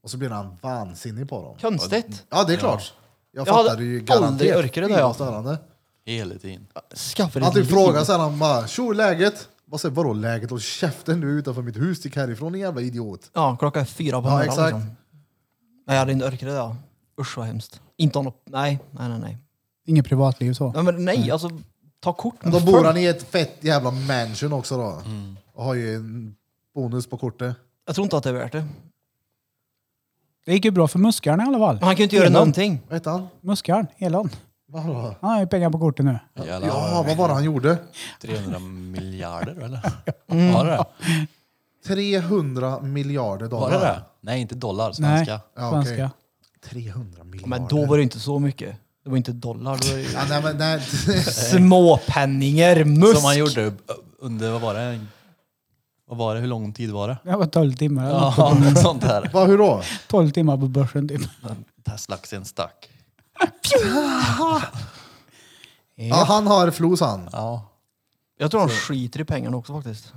Och så blir han vansinnig på dem.
Konstigt.
Ja, det är klart. Jag
Jag hade
fattade ju
aldrig
garanterat.
orkat det där, ja.
störande.
Hela tiden.
Skaffa dig
Han typ
liv.
frågar sen, han bara “tjo, läget?” Vad säger vadå läget? Och käften du är utanför mitt hus, stick härifrån din jävla idiot.
Ja, klockan är fyra på
Ja,
morgonen.
exakt.
liksom. Nej, jag hade inte orkat det. Ja. Usch vad hemskt. Inte ha något... Nej, nej, nej. nej.
Inget privatliv så.
Ja, men nej, alltså ta kort
Men
med
då bor
folk.
han i ett fett jävla mansion också då.
Mm.
Och har ju en bonus på kortet.
Jag tror inte att det är värt det.
Det gick ju bra för muskarna i alla fall.
Men han kan ju inte göra
Elon.
någonting.
Vad hette han?
Muskarn, Elon.
Vadå?
Han har ju pengar på kortet nu.
Jävlar,
Ja, vad var det han gjorde?
300 miljarder eller?
Mm.
Var det det?
300 miljarder dollar.
Var det det? Nej, inte dollar,
Nej,
svenska.
Ja,
svenska.
okej. 300 miljarder.
Men då var det inte så mycket. Det var inte dollar. Det var ju
Ja, nej, men, nej.
småpenningar, musk.
Som han gjorde under, vad var det? Vad var det? Hur lång tid var det?
Det var 12 timmar. eller något.
Ja, sånt där.
Va, hur då?
12 timmar på börsen typ.
Teslaxen stack.
Ja, han har flos han.
Ja.
Jag tror han skiter i pengarna också faktiskt.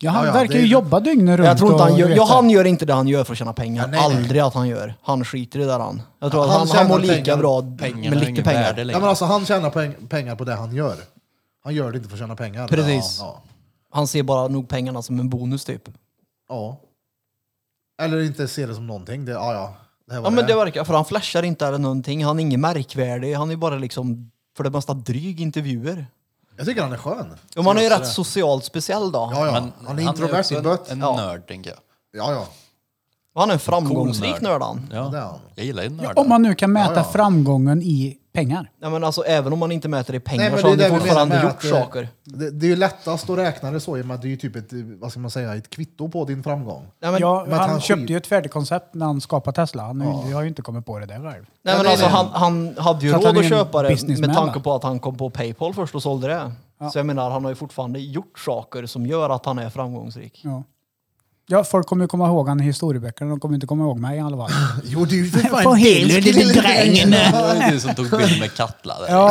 Ja, han
Ja, ja,
verkar
det-
ju jobba dygnet runt.
Jag tror inte han
och-
gör,
du
ja,
vet
han
det.
gör inte det han gör för att tjäna pengar.
Ja, nej, nej.
Aldrig att han gör. Han skiter i det där han. Jag tror att
Han
han, han,
tjänar
mår lika
pengar.
bra
Pengarna
med
har
lite
ingen
pengar.
värde
Ja,
längre.
men alltså, han tjänar peng- pengar på det han gör. Han gör det inte för att tjäna pengar.
Precis.
Ja, ja.
Han ser bara nog pengarna som en bonus typ.
ja. Eller inte ser det som någonting. Det, ja, ja. Det här var
Ja men det verkar, för han flashar inte eller någonting. Han är ingen märkvärdig. Han är bara liksom för det mesta dryg i intervjuer.
Jag tycker han är skön.
Ja, man är ju rätt socialt speciell då.
Ja, ja.
Men
han är introvert
också
i bött.
En
Ja.
nörd, tänker jag.
Ja, ja.
Och Han är en framgångsrik
Cool nörd.
nörd han.
det är
Ja.
han.
Jag gillar ju nördar.
Om man nu kan mäta
Ja, ja.
framgången i pengar.
Ja, men alltså, även om man inte mäter i pengar
Nej, men
så har
det är
han
det vi menar
fortfarande
med
gjort
att, eh,
saker.
Det, det är ju lättast att räkna det så i och med att det är ju typ ett, eh, vad ska man säga, ett kvitto på din framgång.
Nej, men,
ja,
men att
han,
han skit-
köpte ju ett färdigkoncept när han skapade Tesla. Han har ju inte kommit på det där själv.
nej,
Ja,
men
det är
alltså,
det.
han, han hade ju
Så att han
råd
är
att
en
köpa det
businessman,
med tanke
va?
på att han kom på Paypal först och sålde det. Så jag menar, han har ju fortfarande gjort saker som gör att han är framgångsrik.
Ja. Ja, folk kommer ju komma ihåg han i historieböckerna. De kommer inte komma ihåg mig i alla fall.
Jo, det är ju för fan
Vad helvete,
din
lille drängen.
Det var ju du som tog bild med Katla. Där.
Det är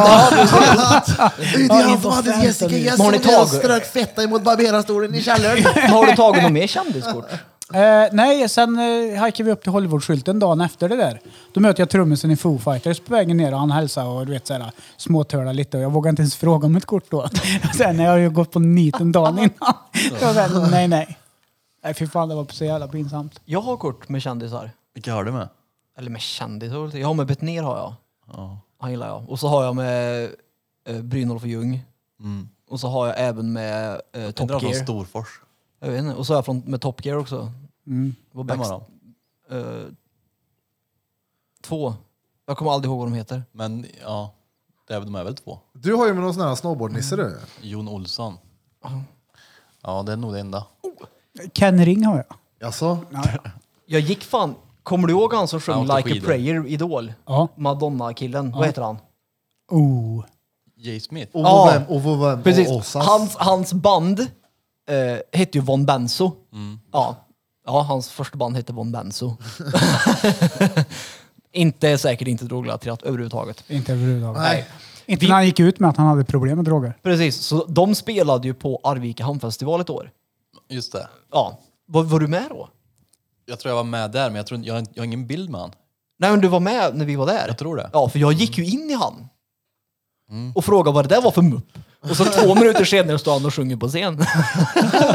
han som hade Jessica
Men har ni
Jessica
tagit-
strök fetta emot barberarstolen i källaren.
har du tagit något mer kändiskort?
Eh, nej, sen eh, hajkade vi upp till Hollywoodskylten dagen efter det där. Då möter jag trummisen i Foo Fighters på vägen ner och han hälsar och du vet såhär småtölar lite och jag vågar inte ens fråga om ett kort då. sen när jag har ju gått på niten dagen innan. jag bara, nej, nej. Nej, fy fan det var så jävla pinsamt.
Jag har kort med kändisar.
Vilka har du med?
Eller med kändisar? Jag har med Betnér har jag. Han gillar jag. Och så har jag med eh, Brynolf och Ljung. Och så har jag även med eh, Top
Inte de från
Gear.
Storfors?
Jag vet inte. Och så har jag från, med Top Gear också.
Mm.
Var
Vem
backst-
var de?
eh, två. Jag kommer aldrig ihåg vad de heter.
Men ja, det är, de är väl två?
Du har ju med någon sån här snowboardnisse du.
Jon Olsson. Ja, det är nog det enda.
Ken Ring har jag.
Jaså?
Jag gick fan... Kommer du ihåg han som
Han
sjöng
åkte
Like
skidor.
a prayer, Idol?
Ja.
Madonna-killen. Vad heter han?
Oh.
Jay Smith?
Och
Ja.
vem? Och vem?
Precis.
Och Åsas?
Hans, hans band eh, hette ju Von Benzo.
Mm.
Ja. ja, hans första band hette Von Benzo. inte säkert inte drogrelaterat överhuvudtaget.
Inte överhuvudtaget.
Nej.
Inte när han gick ut med att han hade problem med droger.
Precis, så de spelade ju på Arvika Hamnfestival ett år.
Just det.
Ja. Var, var du med då?
Jag tror jag var med där, men jag, tror, inte- jag, har, jag har ingen bild med han.
Nej men du var med när vi var där.
Jag tror det. Mm.
Ja, för jag gick ju in i han. Och frågade vad det där var för mupp. Och så två minuter senare står han och sjunger på scen.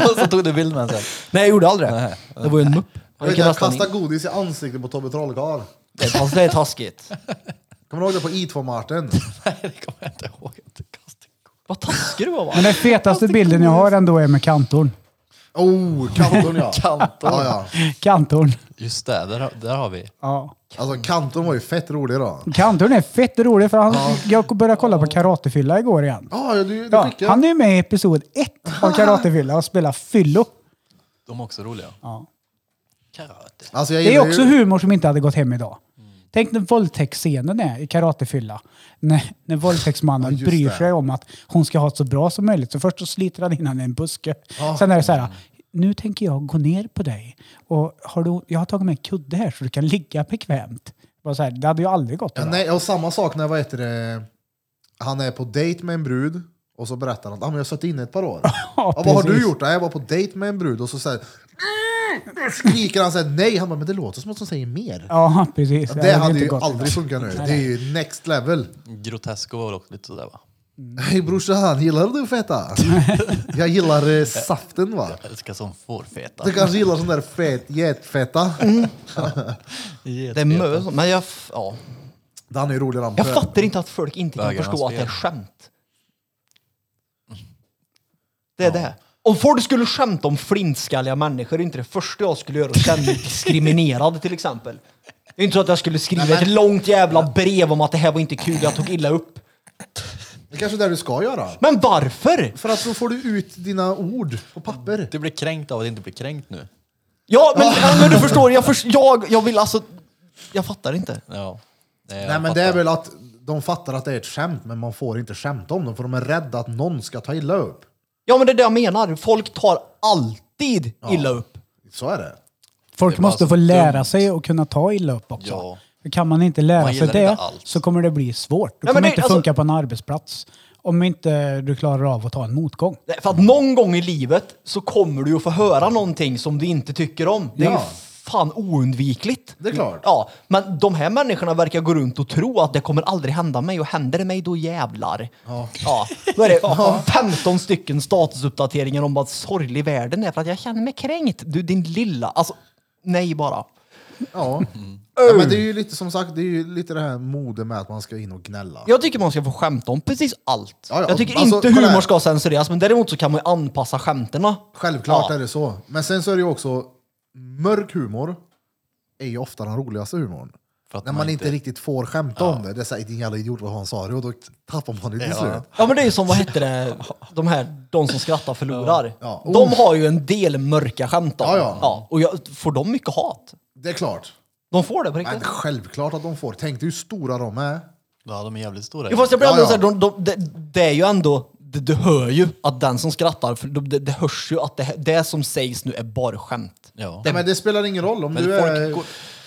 Och så tog du bild med honom sen.
Nej, jag gjorde aldrig det. Det var ju en mupp.
Jag
Han
vet,
gick
jag
nästan in.
kastade godis i ansiktet på Tobbe Trollkarl.
Det är tas- Det är taskigt.
Kommer du ihåg det på I2-marschen?
Nej, det kommer jag inte ihåg. att du kastade.
Vad taskig du var va?
Men den fetaste bilden jag har ändå är med kantorn.
Oh, kantorn ja.
Kantorn.
ja, ja.
Kantorn.
Just det, där, har- där har vi.
Ja.
Alltså kantorn var ju fett rolig då.
Kantorn är fett rolig för han, jag började kolla på Karatefylla igår igen.
Ja, du, du
Ja,
skickade.
han är med i episod ett av Karatefylla och spelar fyllo.
De är också roliga.
Ja.
Karate.
Alltså, jag
Det är
gillar
också
ju...
humor som inte hade gått hem idag. Tänk när våldtäktsscenen är i Karatefylla. När, när
Ja,
våldtäktsmannen
just
bryr
det.
sig om att hon ska ha det så bra som möjligt. Så först så sliter han in henne i en buske. Sen är det så här, nu tänker jag gå ner på dig. Och har du, jag har tagit med en kudde här så du kan ligga bekvämt. Bara så här, det hade ju aldrig gått.
Ja,
idag.
nej, och samma sak när vad heter det, han är på dejt med en brud och så berättar han att ah, men jag har suttit inne ett par år. ja, vad har
precis.
du gjort? "Nej, Jag var på dejt med en brud och så säger "Mm!" skriker han såhär nej. Han bara, men det låter som att de säger mer.
Ja, precis.
det
hade ju
hade
inte
ju
gått
aldrig
idag.
funkat nu. Det är ju next level.
Grotesco var väl också lite sådär va?
Hej brorsan, gillar du feta? Jag gillar eh, saften va?
Jag älskar som fårfeta.
Du kanske gillar sån där fet, getfeta?
Det är mö som- Men jag, f- ja.
Den är rolig den.
jag fattar inte att folk inte kan
Bögarnas
förstå att det är
spel.
skämt. Det är det. Om folk skulle skämta om flintskalliga människor är inte det första jag skulle göra att känna mig diskriminerad till exempel. Det är inte så att jag skulle skriva ett långt jävla brev om att det här var inte kul, jag tog illa upp.
Det är kanske är det du ska göra.
Men varför?
För att så får du ut dina ord på papper.
Du blir kränkt av att inte bli kränkt nu.
Ja, men, ja, men du förstår, jag, förs- jag, jag vill alltså... Jag fattar inte.
Ja.
Nej men det är väl att de fattar att det är ett skämt men man får inte skämta om dem för de är rädda att någon ska ta illa upp.
Ja, men det är det jag menar. Folk tar alltid illa upp.
Så är det.
Folk
bara
måste
så
få lära
dumt.
sig att kunna ta illa upp också.
Ja.
För kan man inte lära
Man
sig
gillar
det
inte allt.
så kommer det bli svårt. Du
Nej, men
kommer
det-
inte
alltså-
funka på en arbetsplats om inte du klarar av att ta en motgång.
Nej, För att någon gång i livet så kommer du ju få höra någonting som du inte tycker om. Det är ju
Ja.
fan oundvikligt.
Det är klart.
Ja, men de här människorna verkar gå runt och tro att det kommer aldrig hända mig och händer det mig då jävlar. Ja. då är det 15 stycken statusuppdateringar om vad sorglig världen är för att jag känner mig kränkt. Du din lilla, alltså nej bara.
Ja. ja men det är ju lite som sagt, det är ju lite det här mode med att man ska in och gnälla.
Jag tycker man ska få skämta om precis allt.
Ja, ja,
Jag tycker
alltså,
inte
kolla
humor
här.
ska censureras men däremot så kan man ju anpassa skämterna.
Självklart
Ja.
är det så. Men sen så är det ju också, mörk humor är ju ofta den roligaste humorn.
För att
När
man
man, inte
inte-
riktigt får skämta om det. Det är såhär, din jävla idiot vad han sa det och då tappar man det till
Ja.
slut.
Ja men det är ju som, vad heter det, de här, de som skrattar förlorar.
Ja. Oh.
De har ju en del mörka skämt om.
Ja, ja.
och jag, får de mycket hat?
Det är klart.
De får det på
Men
riktigt?
självklart att de får. Tänk dig hur stora de är.
Ja, de är jävligt stora.
Jo, fast jag blir
Ja,
ändå
ja.
såhär, de, de, det, det är ju ändå, det, du hör ju att den som skrattar, för det, det hörs ju att det, det som sägs nu är bara skämt.
Ja.
Ja, men det spelar ingen roll om
Men
du är...
folk, går,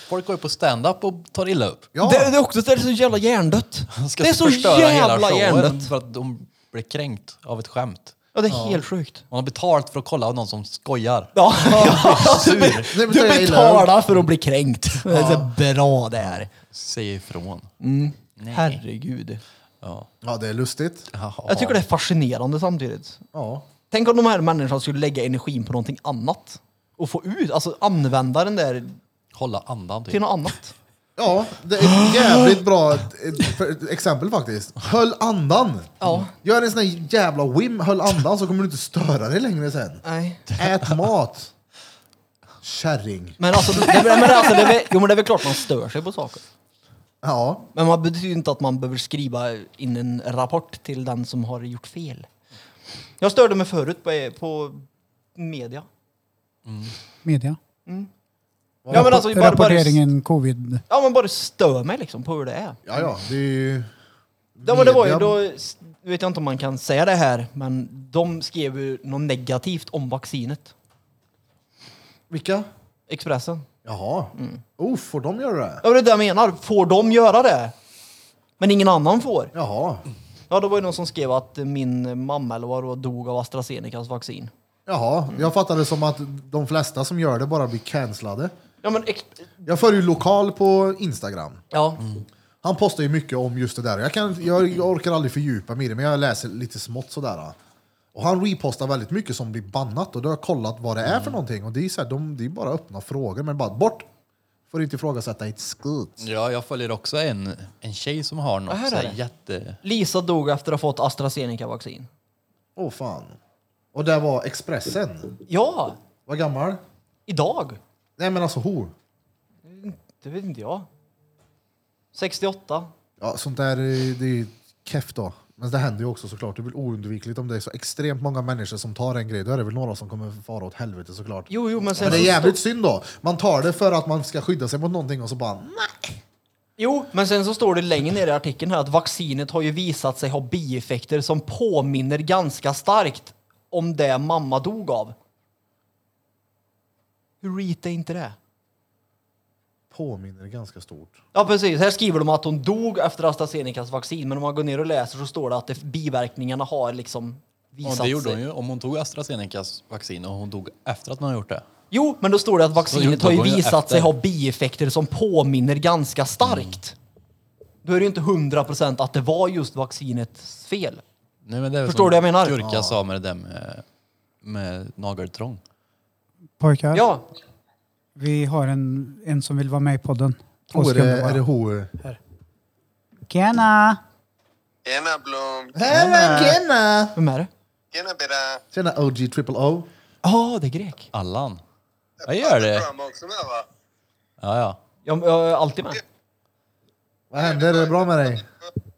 folk går ju på stand-up och tar illa upp.
Ja,
Det, det är också det är så jävla hjärndött.
De ska
Det är så
förstöra
jävla
hela showen
hjärndött.
för att de blir kränkt av ett skämt.
Ja, det är helt sjukt.
Man har betalt för att kolla av någon som skojar.
Ja. du, be-
Nej, men det
du
är illa.
betalar för att bli kränkt. Det är så bra det här.
Säg ifrån.
Mm. Herregud.
Ja.
ja, det är lustigt.
Jag tycker det är fascinerande samtidigt.
Ja.
Tänk om de här människorna skulle lägga energin på någonting annat. Och få ut, alltså använda den där
Hålla andan typ.
till något annat.
Ja, det är ett jävligt bra ett- för- exempel faktiskt. Höll andan.
Ja.
Gör en sån här jävla whim, höll andan, så kommer du inte störa dig längre sen.
Nej.
Ät mat. Kärring.
Men alltså, det, men alltså det, är väl- jo, men det är väl klart man stör sig på saker.
Ja,
Men man betyder ju inte att man behöver skriva in en rapport till den som har gjort fel. Jag störde mig förut på, på media.
Media.
Ja men alltså bara, bara,
Rapporteringen covid.
ja, men bara stör mig liksom på hur det är.
ja, ja. Det är ju...
Ja, men det var ju
media.
då, nu vet jag inte om man kan säga det här, men de skrev ju något negativt om vaccinet.
Vilka?
Expressen.
Jaha. Oh, får de göra det?
Ja, men det är det jag menar. Får de göra det? Men ingen annan får.
Jaha.
Ja, det var ju någon som skrev att eh, min mamma eller vad det var dog av AstraZenecas vaccin.
Jaha, jag fattade som att de flesta som gör det bara blir cancellade.
Ja, men... Exp-
Jag följer ju Lokal på Instagram.
ja.
Han postar ju mycket om just det där. Jag, kan, jag, jag orkar aldrig fördjupa mig i det, men jag läser lite smått sådär. Och han repostar väldigt mycket som blir bannat och då har jag kollat vad det är för någonting. Och det är, så här, de, det är bara öppna frågor, men bara bort! Får inte ifrågasätta ett skut.
Ja, jag följer också en, en tjej som har något
här är
så här
det.
jätte...
Lisa dog efter att ha fått AstraZeneca-vaccin.
Åh fan. Och där var Expressen.
Ja,
Vad gammal?
idag.
Nej men alltså ho.
Det vet inte jag. 68.
Ja, sånt där eh, det är ju keff då. Men det händer ju också såklart. Det är väl oundvikligt om det är så extremt många människor som tar en grej. Då är det väl några som kommer fara åt helvete såklart.
Jo, jo, men alltså-
Men
sen...
det är
så
jävligt
stod-
synd då. Man tar det för att man ska skydda sig mot någonting och så bara
Jo, men sen så står det längre ner i artikeln här att vaccinet har ju visat sig ha bieffekter som påminner ganska starkt om det mamma dog av. Hur reet är inte det?
påminner ganska stort.
Ja, precis. Här skriver de att hon dog efter AstraZenecas vaccin, men om man går ner och läser så står det att det, biverkningarna har liksom
Ja,
visat
det gjorde
sig.
hon ju om hon tog AstraZenecas vaccin och hon dog efter att man har gjort det.
Jo, men då står det att vaccinet
gjorde
har ju
hon ju
visat
efter.
sig ha bieffekter som påminner ganska starkt. Då är det ju inte 100% att det var just vaccinets fel.
Nej, men det är väl
Förstår
som
du vad jag menar?
Gurka
Ja.
sa med det där med, eh, med nageltrång.
Pojkar,
Ja,
vi har en, en som vill vara med i podden. Två
Oh, är, det,
sekunder
är det
bara.
hon?
Tjena!
Tjena Blom!
Tjena! Tjena!
vem är det?
Tjena Bera!
Tjena OG triple O.
Ja, det är grek.
Allan. Jag gör det.
Bram också med va?
Ja, ja.
Jag, jag är alltid med.
Vad händer? Är det bra med dig?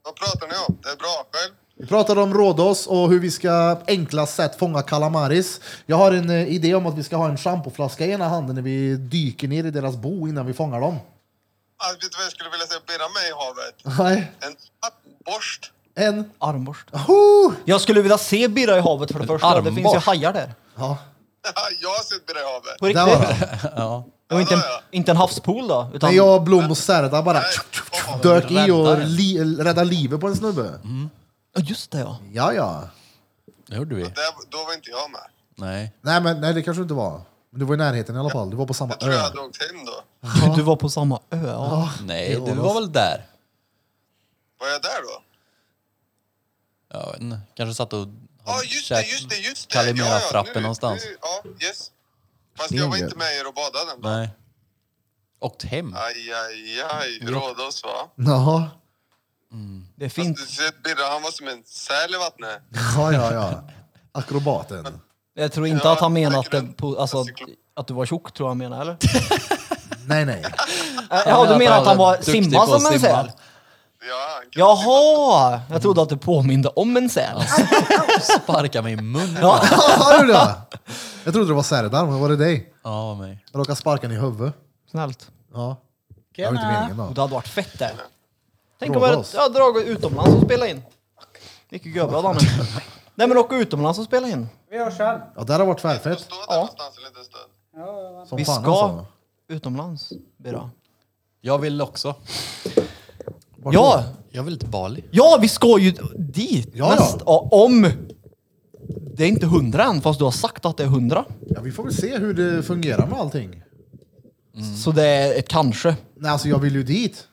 Vad pratar ni om? Det är bra själv?
Vi pratade om Rhodos och hur vi ska på enklast sätt fånga kalamaris. Jag har en eh, idé om att vi ska ha en schampoflaska i ena handen när vi dyker ner i deras bo innan vi fångar dem.
Alltså, vet du vad jag skulle vilja se Bera med i havet?
Nej,
En tappborst!
en.
Armborst.
Ho!
Jag skulle vilja se birra i havet för det första. Det finns ju
armborst?
hajar där.
Ja,
jag har sett Bera i havet!
På
där
riktigt.
var den.
Det var inte en, inte en havspool då. Utan
När jag, Blom och Serda bara
fan.
dök i och
Räddare.
li, räddade livet på en snubbe.
Mm. Ja, just det ja.
Ja, ja.
Det gjorde vi.
Där, då var inte jag med.
Nej.
Nej, men nej, det kanske du inte var. Men du var i närheten i alla fall. Du var på samma
Jag tror jag
ö.
hade åkt hem då.
Du var på samma ö. Ja.
Nej, du var väl där?
Var jag där då?
Jag vet inte. Kanske satt och...
Ja just det, just det, just det!
Kalimera-frappen
nu,
någonstans.
Nu, ja, yes. Fast jag var
Stenbjörn.
inte med er och badade den.
Nej. Åkt hem.
Aj, aj, aj. Rhodos va?
Jaha.
Det är fint.
Fast du ser Birra, han var som en säl i vattnet.
Ja, ja, ja. Akrobaten.
Jag tror inte
Ja,
att han menar att,
säkert
det,
en-
på, alltså,
en
att,
cyklop.
att du var tjock, tror jag han menar, eller?
Nej, nej.
Ja, du menar att han var
duktig
simma
på att
som en
simma.
säl?
Ja, han kan
Jaha! Jag trodde att du påminde om en säl.
Sparka mig i munnen.
Ja.
Har du det? Jag trodde det var Serdar, men var det dig?
Ja, mig.
Jag råkade sparka den i huvudet.
Snällt.
Ja. Det var inte meningen
Och
då.
det hade varit fett det. Tänk om
Fråga
jag hade
oss.
ja, dragit utomlands och spelat in. Vilket görbra Danne. Nej men åka utomlands och spela in.
Vi hörs sen.
Ja, där har varit
inte
tvärfett.
stå där någonstans en liten stund.
Som
Vi
fan
ska
alltså.
utomlands, Bira.
Jag vill också.
Vart
Ja,
Jag vill till Bali.
ja vi ska ju dit
Ja, ja.
nästa, ja, om... Det är inte hundra än fast du har sagt att det är hundra.
då? Ja, vi får väl se hur det fungerar med allting.
Så det är ett kanske.
Nej, alltså jag vill ju dit.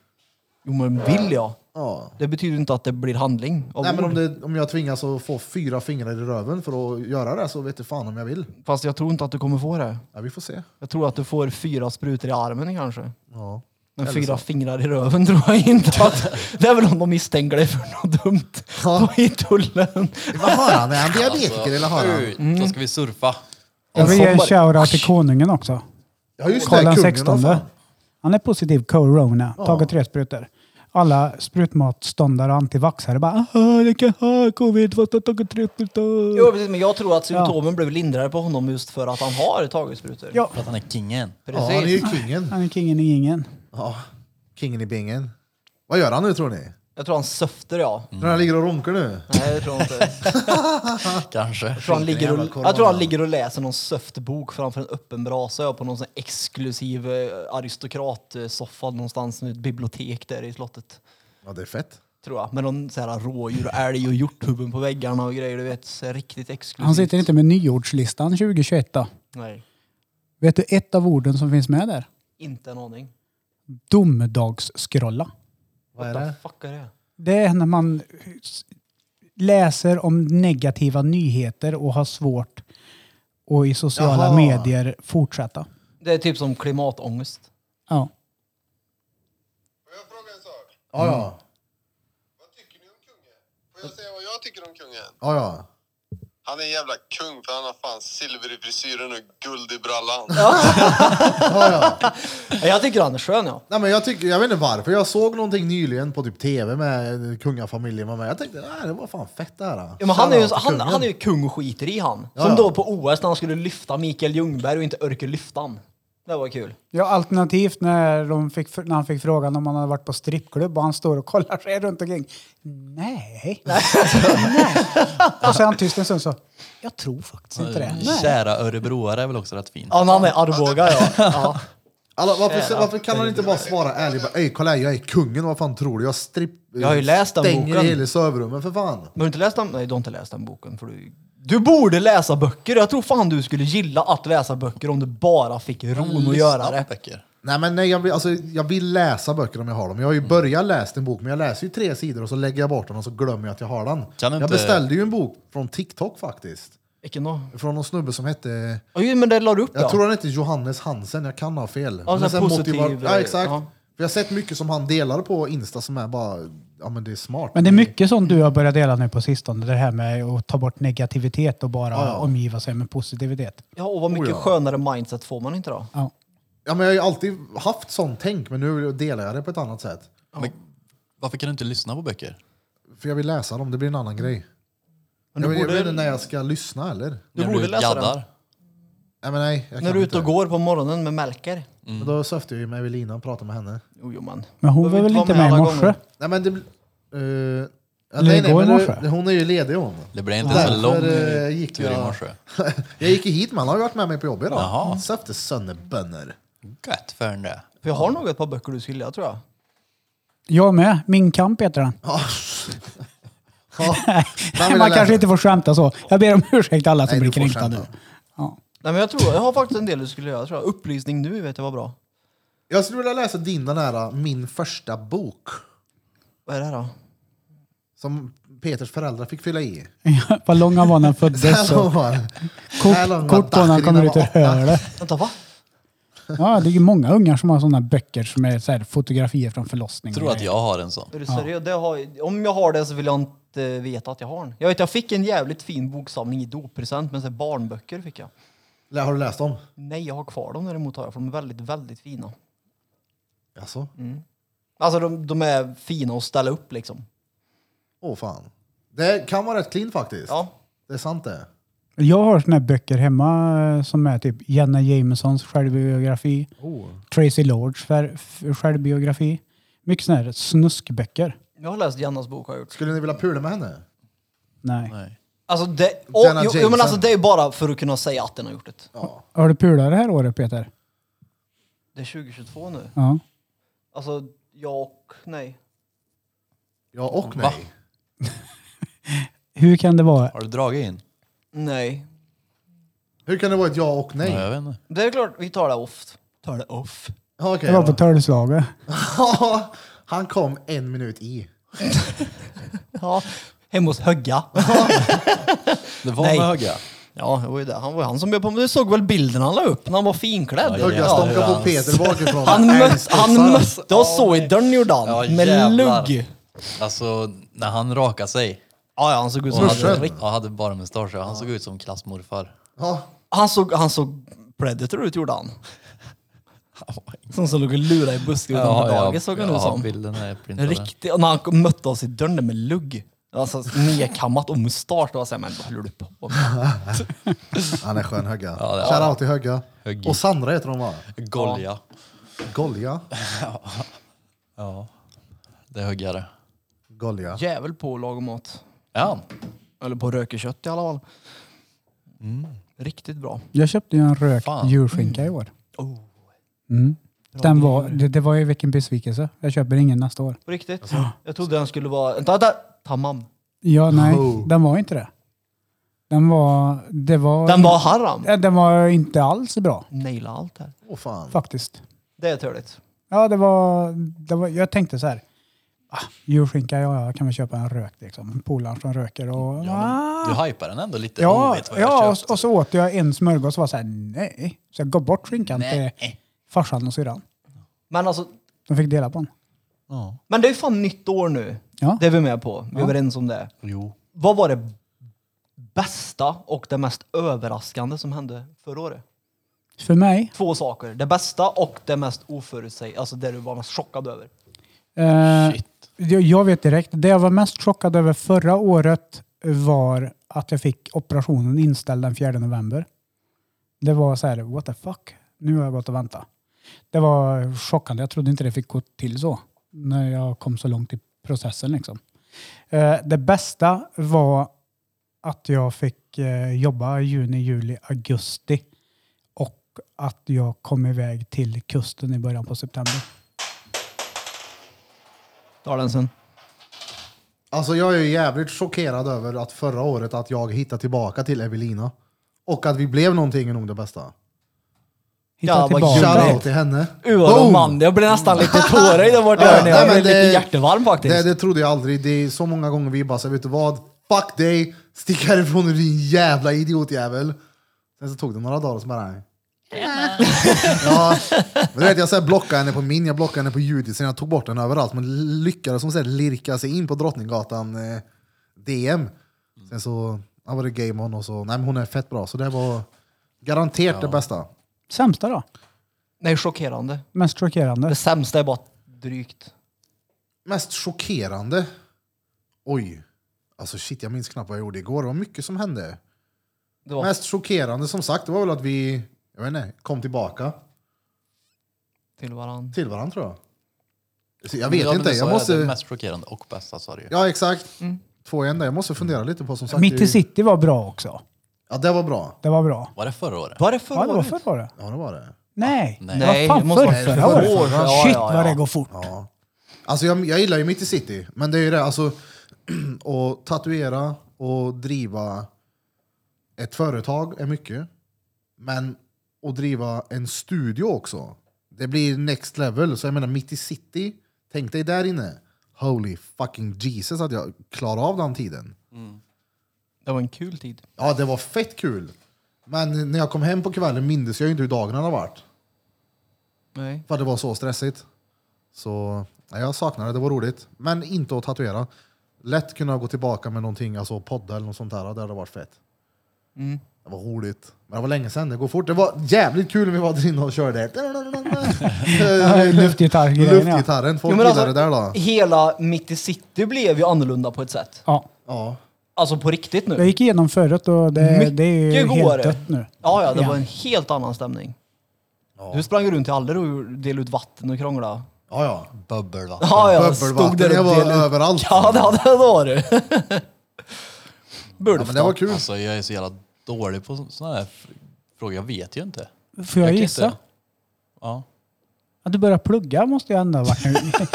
Jo men vill jag.
Ja.
Det betyder inte att det blir handling av
Nej, men
ord.
om, det, om jag tvingas att få fyra fingrar i röven för att göra det så vet du fan om jag vill.
Fast jag tror inte att du kommer få det.
Ja, vi får se.
Jag tror att du får fyra sprutor i armen kanske.
Ja.
Men
Eller
fyra fingrar i röven tror jag inte att... Det är väl om de misstänker dig för något dumt.
Ja.
I tullen.
Vad har han? Är han diabetiker eller har han?
Alltså, Ut,
Mm.
Då ska vi surfa.
Jag vill ge en
sommar.
shoutout till konungen också.
Ja, just
Karl
det.
den
Kungen. vad
16.
fan.
Han är positiv corona. Tagit tre sprutor. Alla sprutmatståndare och antivaxare bara "Aha, jag kan ha covid fast jag har tagit tre sprutor.
Jo precis, men jag tror att symptomen blev lindrigare på honom just för att han har tagit sprutor.
Ja.
För att han är kingen.
Ja, han är ju kingen.
Han är kingen i ingen.
Ja. Kingen i bingen. Vad gör han nu tror ni?
Jag tror han söfter ja.
Tror han ligger och runkar nu?
Mm. Nej det tror jag inte.
Kanske.
Jag tror, han ligger
jävla
och,
corona.
jag tror han ligger och läser någon söftbok framför en öppen brasa ja, på någon sån här exklusiv eh, aristokratsoffa någonstans i ett bibliotek där i slottet.
Ja, det är fett.
Tror jag. Med någon så här rådjur och älg och hjorthuvuden på väggarna och grejer. Du vet, så här riktigt exklusivt.
Han sitter inte med nyordslistan 2021 då.
Nej,
Vet du ett av orden som finns med där?
inte en aning.
Domedagsskrolla.
Vad är
What the
det?
fuck är det?
Det är när man s- läser om negativa nyheter och har svårt att i sociala
Jaha.
medier fortsätta.
Det är typ som klimatångest.
Ja.
Får jag fråga en sak?
Ja, ja.
Vad tycker ni om kungen? Får jag säga vad jag tycker om kungen?
ja, ja.
Han är en jävla kung för han har fan silver i frisyren och guld i brallan.
Ja, Jag tycker han är skön ja.
Nej, men jag, tycker, jag vet inte varför, jag såg någonting nyligen på typ tv med kungafamiljen var med. Jag tänkte, nej, det var fan fett det här.
Ja, men han, är ju,
Shoutout till
han,
kungen.
han är ju kung och skiter i han.
Ja,
Som
ja.
då på OS när han skulle lyfta Mikael Ljungberg och inte orkade lyfta han. Det var kul.
Ja, alternativt när, de fick, när han fick frågan om han hade varit på strippklubb och han står och kollar sig runt omkring. Nej. Nej. Och så är han tyst en stund så. Jag tror faktiskt inte det. Nej.
Kära örebroare är väl också rätt fin.
Ja, men han är Arboga ja. ja.
Alla, varför, varför kan han inte bara svara ärligt? Bara, Ey, kolla här, jag är kungen, vad fan tror du? Jag stripp...
Jag har ju läst den
stänger
boken.
hela sovrummet för fan.
Men har du inte läst den? Nej, du har inte läst den boken. För du, du borde läsa
Mm,
böcker. Jag tror fan du skulle gilla att läsa böcker om du bara fick ron att göra det.
Böcker.
Nej, men nej, jag, vill, alltså, jag vill läsa böcker om jag har dem. Jag har ju
Mm.
börjat läsa en bok, men jag läser ju tre sidor och så lägger jag bort den och så glömmer jag att jag har den.
Kan du
jag
inte-
beställde ju en bok från TikTok faktiskt.
Vilken då?
Från någon snubbe som hette...
Ja, ju, men det la du upp
Jag
ja.
tror han hette Johannes Hansen, jag kan ha fel.
Ja,
Men
så
sen
här positiv- eh,
motiva- Ja, exakt.
ja.
För jag har sett mycket som han delar på Insta som är bara, ja men det är smart.
Men det är mycket sånt du har börjat dela nu på sistone. Det här med att ta bort negativitet och bara
Ja, ja.
omgiva sig med positivitet.
Ja, och vad mycket
Oh, ja.
skönare mindset får man inte då?
Ja.
Ja, men jag har ju alltid haft sånt tänk, men nu delar jag det på ett annat sätt.
Men varför kan du inte lyssna på böcker?
För jag vill läsa dem, det blir en annan grej.
Men
jag,
du
vet- jag
borde,
vet inte när jag ska lyssna eller?
du
När
borde läsa den.
gaddar.
Nej, men nej, jag
När
kan
du är
inte. Mm.
ute och går på morgonen med Melker.
Men då söfte jag ju med Evelina och pratade med henne.
Jo, jo, man.
Men hon
Behöver
var väl
inte
inte
vara
med i
med alla
morse?
gånger.
Nej men det... bl- eh, ja,
Eller
nej, nej,
igår
men
i
det-
morse.
det- hon är ju ledig hon.
Det blir inte
Därför,
så lång
eh, gick
tur i
jag-
morse.
jag gick ju hit men han har ju varit med mig på jobbet idag. Mm.
Jaha.
Han Söfte sönderbönder.
Gött för en det.
För jag har nog ett par böcker du skulle vilja, tror jag.
Jag med. Min kamp heter den.
Ja. Ja. Den vill jag
Man
läsa.
kanske inte får skämta så. Jag ber om ursäkt alla som
Nej,
blir
du får
kränkta nu.
skämta.
Ja.
Nej, men jag tror, jag har faktiskt en del du skulle göra, tror jag. Upplysning nu vet jag var bra.
Jag skulle vilja läsa din den här Min första bok.
Vad är det här då?
Som Peters föräldrar fick fylla i.
Vad lång han var när han
Så
föddes.
här lång
och
var den. Här lång
Kort,
var
kort på när han
Dachrin,
kommer
den
ut ur
var åtta.
hölet.
Vänta, va?
Ja, det är ju många ungar som har sådana böcker som är så här, fotografier från förlossningen.
Tror att jag har en sån.
Är du seriös? Det har, om jag har det så vill jag inte veta att jag har den. Jag vet, jag fick en jävligt fin boksamling i doppresent, men så här barnböcker fick jag.
Lä- Har du läst dem?
Nej, jag har kvar dem däremot, har jag, för de är väldigt, väldigt fina.
Jaså?
Alltså, de, de är fina att ställa upp liksom.
Åh fan. Det kan vara rätt clean faktiskt.
Ja.
Det är sant det.
Jag har såna här böcker hemma eh, som är typ Jenna Jamesons självbiografi, Tracy Lords fär- f- självbiografi. Mycket sådana här snuskböcker.
Jag har läst Jannas bok har jag gjort.
Skulle ni vilja pula med henne?
Nej.
Nej.
Alltså det, och,
Jenna
jo, jo, men
Jameson.
alltså det är ju bara för att kunna säga att den har gjort det.
Har du pulat det här året Peter?
Det är 2022 nu.
Ja.
Alltså, jag och nej.
Ja och nej.
Va?
Hur kan det vara?
Har du dragit in?
Nej.
Hur kan det vara ett ja och nej?
Nej. Jag vet inte.
Det är klart, vi tar det off. Tar det off?
Ja, okej
Jag var
då.
på Törnslaget.
Ja, Han kom en minut i.
Ja. Hemma hos Högga.
Det var
Nej.
med höga.
Ja, det var ju det. Han var ju han som bjöd på mig. Du såg väl bilden han la upp när han var finklädd?
Ja,
Högga
jävlar.
stånkade på Peter bakifrån.
Han, möt,
Älgstudsar.
han mötte oss så i dörren gjorde han.
Ja,
med
jävlar.
lugg.
Alltså, när han rakade sig.
Ja, ja, han såg ut som
Och
Morsan.
hade, ja, hade bara mustasch. ja. Han såg ut som klassmorfar.
Ja,
han såg, han såg predator ut gjorde han. Som som låg och lurade i busken utanför dagis såg han
ja,
ut som.
bilden är printad.
Riktigt. Och när han kom- mötte oss i dörren där med lugg. Alltså nedkammat och mustasch. Då var jag såhär, men vad håller du på med?
han är skön Högga.
Ja, det är
Shoutout till Högga.
Höggi.
Och Sandra heter hon va?
Golja.
Golja.
Ja. Det är höggare.
Golja.
Jävel på att laga mat.
Ja.
Eller på rökekött i alla fall. Mm. Riktigt bra.
Jag köpte ju en rökt
Fan.
julskinka i år. Mm. Den var, Oh. det, det var ju vilken besvikelse. Jag köper ingen nästa år.
På riktigt. Jag trodde den skulle vara... Vänta, vänta! Tamam.
Ja, nej.
Oh.
Den var inte det. Den var... Det var
Den var haram.
Eh, Den var inte alls bra
Naila allt här.
Åh fan.
faktiskt.
Det är törligt.
Ja, det var, det var, jag tänkte så här. Ah, julskinka, ja, ja, kan vi köpa en rök liksom. Polaren som röker och...
ja men, du hypar den ändå lite. Oh,
Ja,
vet vad jag
ja
köpt.
och, och så åt jag en smörgås och var så här, nej. Så jag gav bort skinkan till
Nej.
farsan och syrran.
Men alltså,
De fick dela på den.
Ja.
men det är ju fan nytt år nu.
Ja.
Det är vi med på. Vi är
Ja.
överens om det.
Jo.
Vad var det bästa och det mest överraskande som hände förra året?
För mig,
Två saker. Det bästa och det mest oförutsägbara. Alltså det du var mest chockad över.
eh,
Shit.
jag, jag vet direkt. Det jag var mest chockad över förra året var att jag fick operationen inställd den 4 november. Det var så här, what the fuck? Nu har jag gått och väntat. Det var chockande. Jag trodde inte det fick gå till så. När jag kom så långt i processen liksom. Eh, det bästa var att jag fick eh, jobba juni, juli, augusti. Och att jag kom iväg till kusten i början på september.
Tar den sen.
Alltså jag är ju jävligt chockerad över att förra året att jag hittade tillbaka till Evelina. Och att vi blev någonting är nog det bästa.
Hitta
Ja, vad
tillbaka.
kul.
Shoutout till henne.
Uh, vad
Boom!
romantiskt. Jag blir nästan lite tårögd där borta.
Ja,
hörni.
nej,
jag
men
blev
det-
lite hjärtevarm faktiskt.
Det, det trodde jag aldrig. Det är så många gånger vi bara säger, vet du vad? Fuck dig! Stick härifrån din jävla idiotjävel! Sen så tog det några dagar och så bara... nej. Ja, men du vet, jag så här blockade henne på min, jag blockade henne på Judith, sen jag tog bort henne överallt. Men lyckades hon så här lirka sig in på Drottninggatan eh, DM. Sen så ja, var det game on och så, nej men hon är fett bra. Så det var garanterat det bästa.
Sämsta då?
Nej, chockerande.
Mest chockerande?
Det sämsta är bara drygt.
Mest chockerande? Oj. Alltså shit, jag minns knappt vad jag gjorde igår. Det var mycket som hände.
Det var
Mest chockerande som sagt, det var väl att vi jag vet inte, kom tillbaka
till varandra.
till varandra tror jag. Så jag vet
Ja, men
inte,
det sa
jag
Det
måste...
mest chockerande och bästa sa du ju.
Ja exakt. Två igen där. Jag måste fundera lite på som sagt.
Mm. Mitt
det-
i city var bra också.
Ja det var bra.
Det var bra.
Var det förra året?
Var det förra
Ja, det var
året?
förra året.
Ja det var det.
Nej,
Nej.
det var
Nej, det
fan
måste
förr,
vara
förra
förra
året.
året. Ja,
Shit
ja, ja.
vad det går fort.
Ja. Alltså jag, jag gillar ju Mitt i City, men det är ju det alltså att tatuera och driva ett företag är mycket. Men att driva en studio också, det blir next level. Så jag menar Mitt i City, tänk dig där inne. Holy fucking Jesus att jag klarade av den tiden.
Det var en kul tid.
Ja, det var fett kul. Men när jag kom hem på kvällen mindes jag ju inte hur dagen hade varit.
Nej.
För att det var så stressigt. Så nej, jag saknar det, det var roligt. Men inte att tatuera. Lätt kunna gå tillbaka med någonting, alltså podda eller något sånt där. Det hade varit fett. Det var roligt. Men det var länge sedan, det går fort. Det var jävligt kul när vi var där inne och körde. Eh,
Luftgitarrgrejen, ja.
Luftgitarren, folk
Jo, men
gillade
alltså,
det där då.
Hela Mitt i City blev ju annorlunda på ett sätt.
Ja.
Ja.
Alltså på riktigt nu.
Jag gick igenom förut och det,
Mycket
det är ju
godare.
helt dött nu.
Ja, ja, det
Ja.
var en helt annan stämning. Du sprang runt i Aller och delade ut vatten och krånglade.
Ja, ja.
Bubbel va?
Ja, ja,
Bubbelvatten,
stod där
det
och
var
delade ut.
överallt.
Ja, det, det var det.
ja
Bulf
men
då.
det var kul.
Alltså jag är så jävla dålig på sådana här fr- frågor. Jag vet ju inte.
Får jag,
kan
gissa?
inte- Ja.
Att du började plugga måste jag ändå ha varit nu.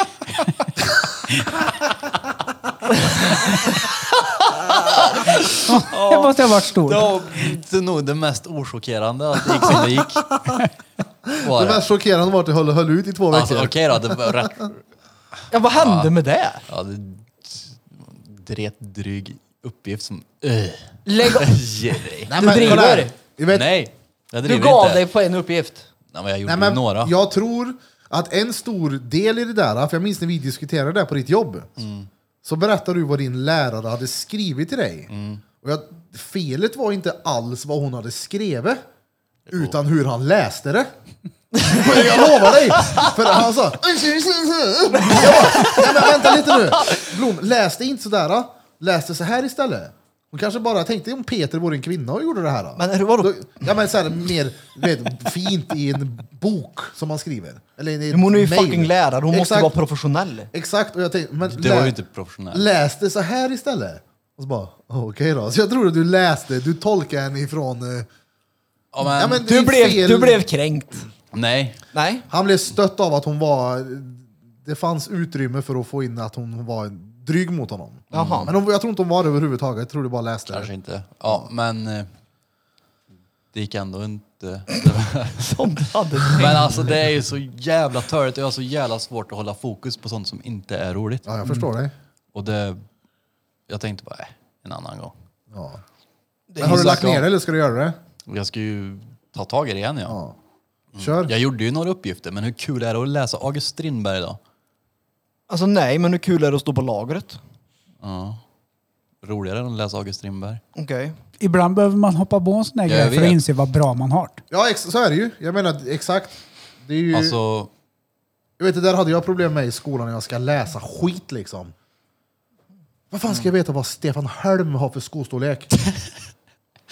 Det måste ha varit stort.
Det var det- nog det mest ochockerande att det gick som det gick. Var
Det
det.
mest chockerande var att jag höll, höll ut i två
Alltså
veckor.
okej då, det var rätt...
Ja, vad hände med det?
Ja, det dret dryg uppgift som... Öh.
Lägg av.
Ge dig.
Nej,
Du
men kolla här.
driver.
Jag vet-
Nej, jag
Du
driver
gav
inte.
dig på en uppgift.
Nej, men jag gjorde
Nej, men
några.
Jag tror att en stor del i det där, för jag minns när vi diskuterade det här på ditt jobb, så berättade du vad din lärare hade skrivit till dig. Och jag, felet var inte alls vad hon hade skrivit, utan hur han läste det. Men jag lovar dig! För han sa... Jag bara, Nej men vänta lite nu! Blom, läste inte sådär. Läste så här istället. Hon kanske bara tänkte om Peter vore en kvinna och gjorde det här.
Men är det vadå?
Då- Ja men såhär mer du vet, fint i en bok som man skriver. Eller i ett
Men hon är ju
mail.
fucking lärare, hon måste
Exakt.
vara professionell.
Exakt, och jag tänkte... Men
Det var
lä-
ju inte professionellt.
Läste så här istället. Och så bara, okej då. Så jag tror att du läste, du tolkade henne ifrån... eh,
Ja, men,
Ja, men det är
Du blev,
fel.
du blev kränkt.
Nej,
Nej.
Han blev stött av att hon var... Det fanns utrymme för att få in att hon var dryg mot honom.
Jaha.
Men hon, jag tror inte hon var det överhuvudtaget, jag tror du bara läste
kanske
det.
inte. Ja, men eh, det gick ändå inte.
Som du hade tänkt.
men alltså det är ju så jävla törligt och jag har så jävla svårt att hålla fokus på sånt som inte är roligt.
Ja, jag förstår
Mm.
dig.
Och det, jag tänkte bara, äh, en annan gång.
Ja. Men har du
ju
lagt
sagt,
ner
ja.
det eller ska du göra det?
Och Jag ska ju ta tag i det igen ja.
Ja. Kör.
Jag gjorde ju några uppgifter, men hur kul är det att läsa August Strindberg idag?
Alltså nej, men hur kul är det att stå på lagret?
Ja. Roligare än att läsa August Strindberg.
Okej.
Ibland behöver man hoppa på en sån här
Jag
grej för att
vet.
inse vad bra man har.
Ja, ex- så är det ju. Jag menar exakt. Det är ju,
Alltså,
jag vet, det där hade jag problem med i skolan när jag ska läsa skit liksom. Vad fan ska jag veta vad Stefan Holm har för skostorlek?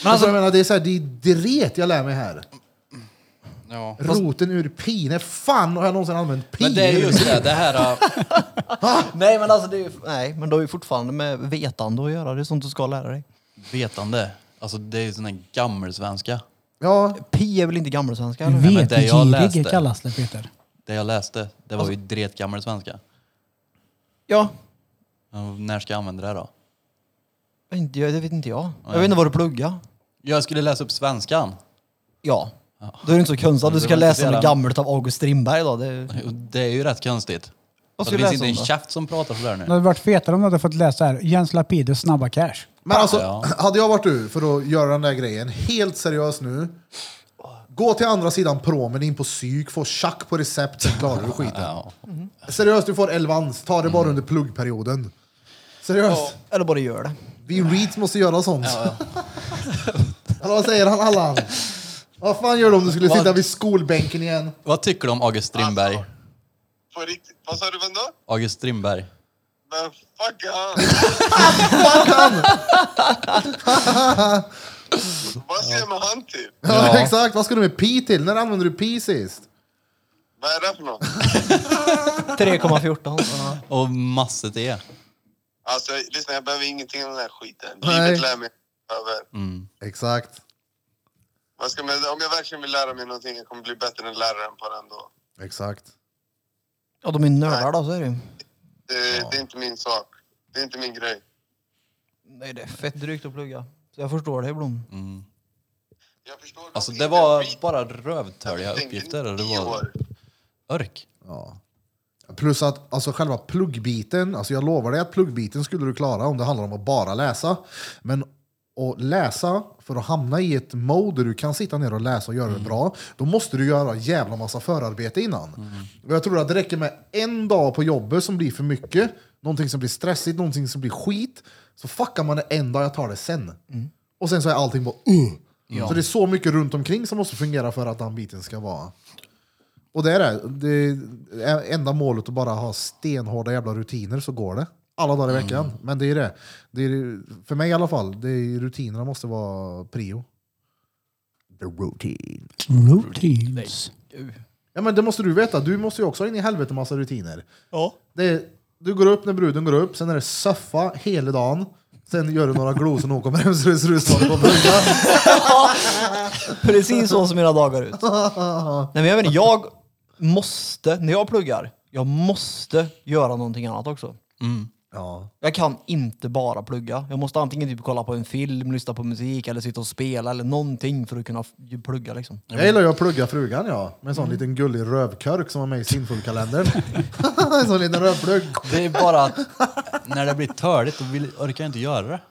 Men alltså, jag menar, det är så här, det är dret jag lär mig här.
ja.
Roten ur pine. Fan har jag någonsin använt pine?
Men det är just det, det här... äh,
Nej, men alltså det är ju... Nej, men du har ju fortfarande med vetande att göra. Det är sånt du ska lära dig.
vetande. Alltså det är ju sån här gammelsvenska.
Ja,
Pi är väl inte gammelsvenska? eller?
men det jag
Vetgirig
läste.
kallas det Peter.
Det jag läste, det var ju dret gammelsvenska.
Ja.
Ja, När ska jag använda det då?
Inte jag, Det vet inte jag. Jag vet inte vad du pluggar.
Jag skulle läsa upp svenskan.
Ja. Då är det inte så konstigt att du ska
Det var inte
läsa
så
något
jävla-
gammalt av August Strindberg då. Det är...
Och Det är ju rätt konstigt.
Vad
För
ska
det
vi
finns
läsa om
inte en
då?
käft som pratar sådär nu.
Det hade varit fetare om du hade fått läsa här. Jens Lapidus snabba cash.
Men alltså,
Ja.
hade jag varit du för att göra den där grejen, helt seriös nu. Gå till andra sidan promen, in på psyk, få tjack på recept, sen klarar du skiten.
Ja. Mm.
Seriöst, du får elvans. Ta det bara under pluggperioden. Seriöst.
Eller bara gör det.
Vi reads måste göra sånt. Eller vad säger han, Allan? Vad fan gör du om du skulle
Vad-
sitta vid skolbänken igen?
Vad tycker du om August Strindberg?
Alltså. På riktigt. Vad sa du, vem då?
August Strindberg.
Men fuck han! Vad ser man han till?
Ja. Exakt, vad ska du med pi till? När använder du pi sist?
Vad är det för något?
3,14. Ja.
Och E. massor till.
Alltså, lyssna, jag behöver ingenting av den här skiten.
Nej.
Livet lär mig över.
Mm.
Exakt,
Vad ska man, om jag verkligen vill lära mig någonting, jag kommer bli bättre än läraren på den då.
exakt.
ja, de är nördar då, så är det ju.
Det, det är inte min sak. Det är inte min grej.
Nej, det är fett drygt att plugga. Så jag förstår det Blom.
Jag förstår
Mm. Alltså
dock
det
inte
var
skit.
bara rövtöliga
Jag tänkte
uppgifter. och Det
nio
var
år.
örk.
Ja. Plus att alltså själva pluggbiten, alltså jag lovar dig att pluggbiten skulle du klara om det handlar om att bara läsa. Men att läsa för att hamna i ett mode där du kan sitta ner och läsa och göra det bra, då måste du göra en jävla massa förarbete innan. Och jag tror att det räcker med en dag på jobbet som blir för mycket, någonting som blir stressigt, någonting som blir skit, så fuckar man det en dag, jag tar det sen. Och sen så är allting bara uh. Så det är så mycket runt omkring som måste fungera för att den biten ska vara. Och det är det. det är enda målet att bara ha stenhårda jävla rutiner så går det. Alla dagar i veckan. Men det är det. det är, för mig i alla fall, det är, rutinerna måste vara prio. The routine.
Routines.
Ja men det måste du veta, du måste ju också ha in i helvete massa rutiner. Ja. Det är, du går upp när bruden går upp, sen är det söffa hela dagen. Sen gör du några glosor när hon kommer hem så det ser ut som att hon kommer hem.
Precis så ser mina dagar ut. Nej, men jag vet inte, jag måste, när jag pluggar, jag måste göra någonting annat också.
Ja.
Jag kan inte bara plugga. Jag måste antingen typ kolla på en film, lyssna på musik eller sitta och spela eller någonting för att kunna f- plugga liksom.
Jag gillar ju att plugga frugan ja, med en sån liten gullig rövkörk som var med i Sinful-kalendern. en sån liten rövplugg.
Det är bara att när det blir töligt då vill, orkar jag inte göra det.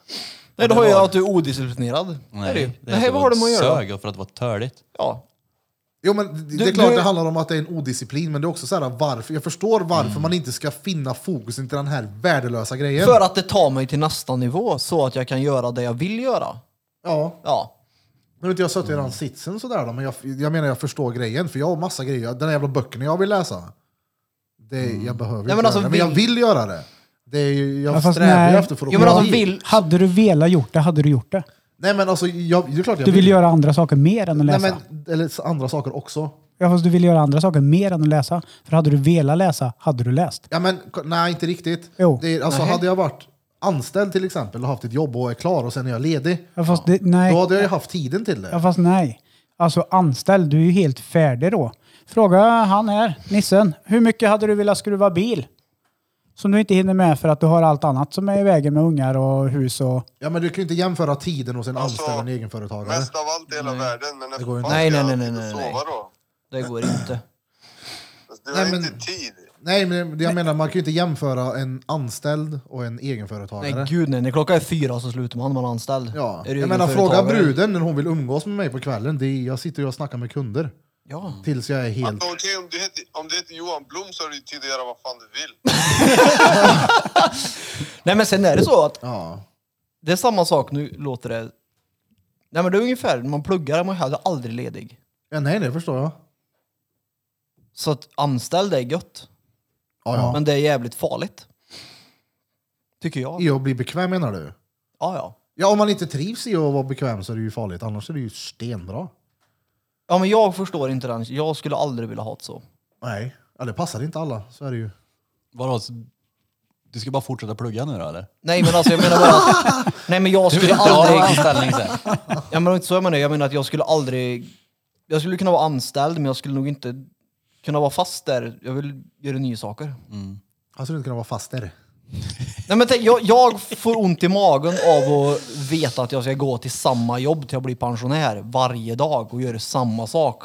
Nej, då har jag att du är odisciplinerad. Nej, det är det. Nej, vad har du med att göra?
Sög och för att vara töligt.
Ja.
Jo, men det, det
Du-
är klart
du-
det handlar om att det är en odisciplin, men det är också så här varför. Jag förstår varför man inte ska finna fokus till den här värdelösa grejen.
Mm. För att det tar mig till nästa nivå så att jag kan göra det jag vill göra.
Ja,
Ja.
nu har inte jag suttit i den sitsen sådär då, men jag, jag menar jag förstår grejen, för jag har massa grejer. Den här jävla böckerna jag vill läsa, det, jag behöver inte
men
göra
alltså,
det, men jag
vill-
vill göra det. det är, ju- jag
Ja, fast
strävar ju
nej.
efter för att
Jo, men
komma
alltså,
dit.
vill,
Hade du velat gjort det, hade du gjort det.
Nej men alltså, jag, det är klart jag
Du vill göra andra saker mer än att
Nej,
läsa.
men, eller så- andra saker också.
Ja, fast du vill göra andra saker mer än att läsa. För hade du velat läsa, hade du läst.
Ja, men, ko- nej, inte riktigt.
Jo.
Det är, alltså, hade jag varit anställd till exempel och haft ett jobb och är klar och sen är jag ledig,
Ja, fast det, nej.
då hade jag ju haft tiden till det.
Ja, fast nej. Alltså anställd, du är ju helt färdig då. Fråga han här, nissen. Hur mycket hade du velat skruva bil? Som du inte hinner med för att du har allt annat som är i vägen med ungar och hus och...
Ja, men du kan ju inte jämföra tiden hos en
Alltså,
anställd och en egenföretagare.
Mest av allt i hela världen, men när
går
fan
inte.
ska
Nej, nej,
jag
nej,
sitta
nej,
och
nej, nej.
sova då?
det går inte.
Alltså, Du
Nej,
har
men-
inte tid.
Nej, men det jag menar, man kan ju inte jämföra en anställd och en egenföretagare.
Nej gud nej, när klockan är fyra så slutar man, man är anställd.
ja.
Är du
Jag menar, fråga
egenföretagare?
bruden när hon vill umgås med mig på kvällen. Det är, jag sitter ju och snackar med kunder
Ja.
tills jag är helt...
Alltså, okej, om, du heter, om du heter Johan Blom så har du ju tid att göra vad fan du vill.
Nej men sen är det så att
Ja.
det är samma sak, nu låter det... Nej men det är ungefär, när man pluggar är man heller aldrig ledig.
ja. Nej, det förstår jag.
Så att anställd är gött,
Ja, ja.
men det är jävligt farligt. Tycker jag.
I att bli bekväm menar du?
Ja ja.
Ja, om man inte trivs i att vara bekväm så är det ju farligt. Annars är det ju stenbra.
Ja men jag förstår inte den, jag skulle aldrig vilja ha det så.
Nej, ja, det passar inte alla. Så är det ju.
Vadå? så- Du ska bara fortsätta plugga nu då eller?
Nej men alltså jag menar bara att, Nej men jag
Du vill
skulle
inte ha en
aldrig...
anställning sen?
Jag menar inte så jag menar, jag menar att jag skulle aldrig... Jag skulle kunna vara anställd men jag skulle nog inte kunna vara fast där. Jag vill göra nya saker.
Alltså, Han skulle inte kunna vara fast där.
Nej, men tänk, jag, jag får ont i magen av att veta att jag ska gå till samma jobb till jag blir pensionär varje dag och göra samma sak.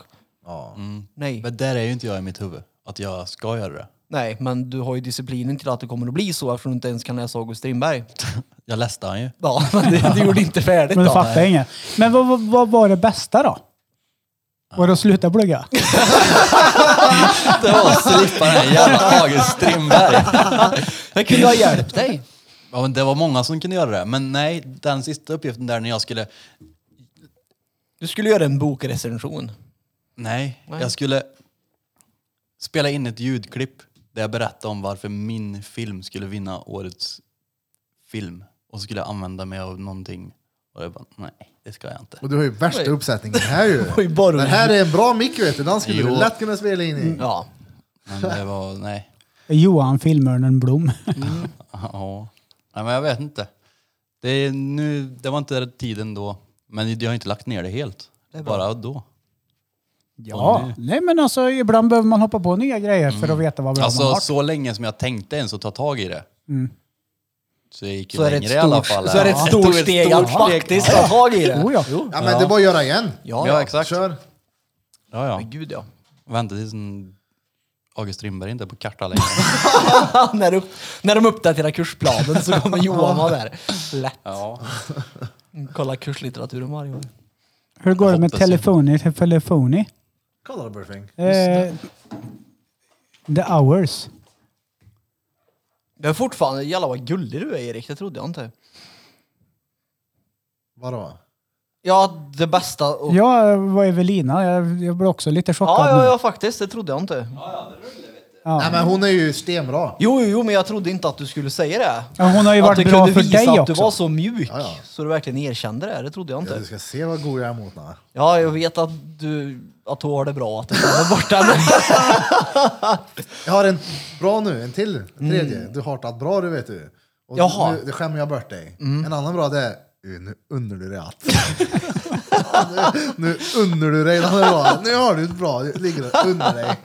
Nej.
Men där är ju inte jag i mitt huvud, att jag ska göra det.
Nej, men du har ju disciplinen till att det kommer att bli så eftersom du inte ens kan läsa August Strindberg.
Jag läste han ju.
Ja, men det, det gjorde inte färdigt
Men du
då.
fattar inget. Men vad, vad, vad var det bästa då? Var det att sluta plugga?
Det var att slippa den här jävla August Strindberg.
Jag kunde ha hjälpt dig.
Ja, men det var många som kunde göra det, men nej, den sista uppgiften där när jag skulle...
Du skulle göra en bokrecension.
Nej, jag skulle spela in ett ljudklipp där jag berättade om varför min film skulle vinna årets film. Och så skulle jag använda mig av någonting. Och jag bara, nej, det ska jag inte.
Och du har ju värsta uppsättningen här ju.
ju bara- Mm.
Den här är en bra mick vet du. Den skulle
Jo.
du lätt kunna spela in i.
Ja.
Men det var, nej.
Johan Filmörnen Blom.
Ja. Nej, men jag vet inte. Det, är nu, det var inte tiden då, men jag har inte lagt ner det helt. bara då.
Ja, nej men alltså ibland behöver man hoppa på nya grejer för
Mm.
att veta vad bra man
Alltså
har.
så länge som jag tänkte ens att ta tag i det. Så jag gick ju
Mm. Så är det
längre
ett
i alla
stort,
fall.
så är det ett
Ja.
stort
tog ett
steg
stort
att faktiskt ta tag i det.
Jo, ja.
Ja men det är bara att göra igen.
Ja,
Ja,
ja.
exakt.
Kör.
Ja, ja.
Men gud ja.
Vänta tills en August Strindberg inte är på kartan längre.
när, upp, när de uppdaterar kursplanen så kommer Johan vara där. Lätt.
ja.
Kolla kurslitteraturen varje gång.
Hur går det med
hoppas jag.
telefoni? telefoni?
Kolla Burfing.
Eh, the hours.
Jag är fortfarande, jävlar vad gullig du är Erik, det trodde jag inte.
Vadå?
Ja, det bästa och... Ja,
Jag var Evelina, jag, jag blev också lite chockad.
ja, ja,
nu.
faktiskt, det trodde jag inte.
Nej men hon är ju stenbra.
Jo, jo, jo, men jag trodde inte att du skulle säga det.
Ja, Hon har ju
Att
varit
du
bra
kunde
för
visa
dig
att du
också.
var så mjuk
Ja, ja.
så du verkligen erkände det, det trodde jag
Ja,
inte.
du ska se vad god jag är mot henne.
Ja, jag vet att du, att du har det bra, att du är borta nu.
Jag har en bra nu, en till, en tredje. Du har tagit bra du vet du. Och
Jaha.
Nu, det skämmer jag bort dig. En annan bra det är, "Uh, nu unnar du dig att. nu, nu unnar du dig den här bra. Nu har du ett bra, du ligger och unnar dig.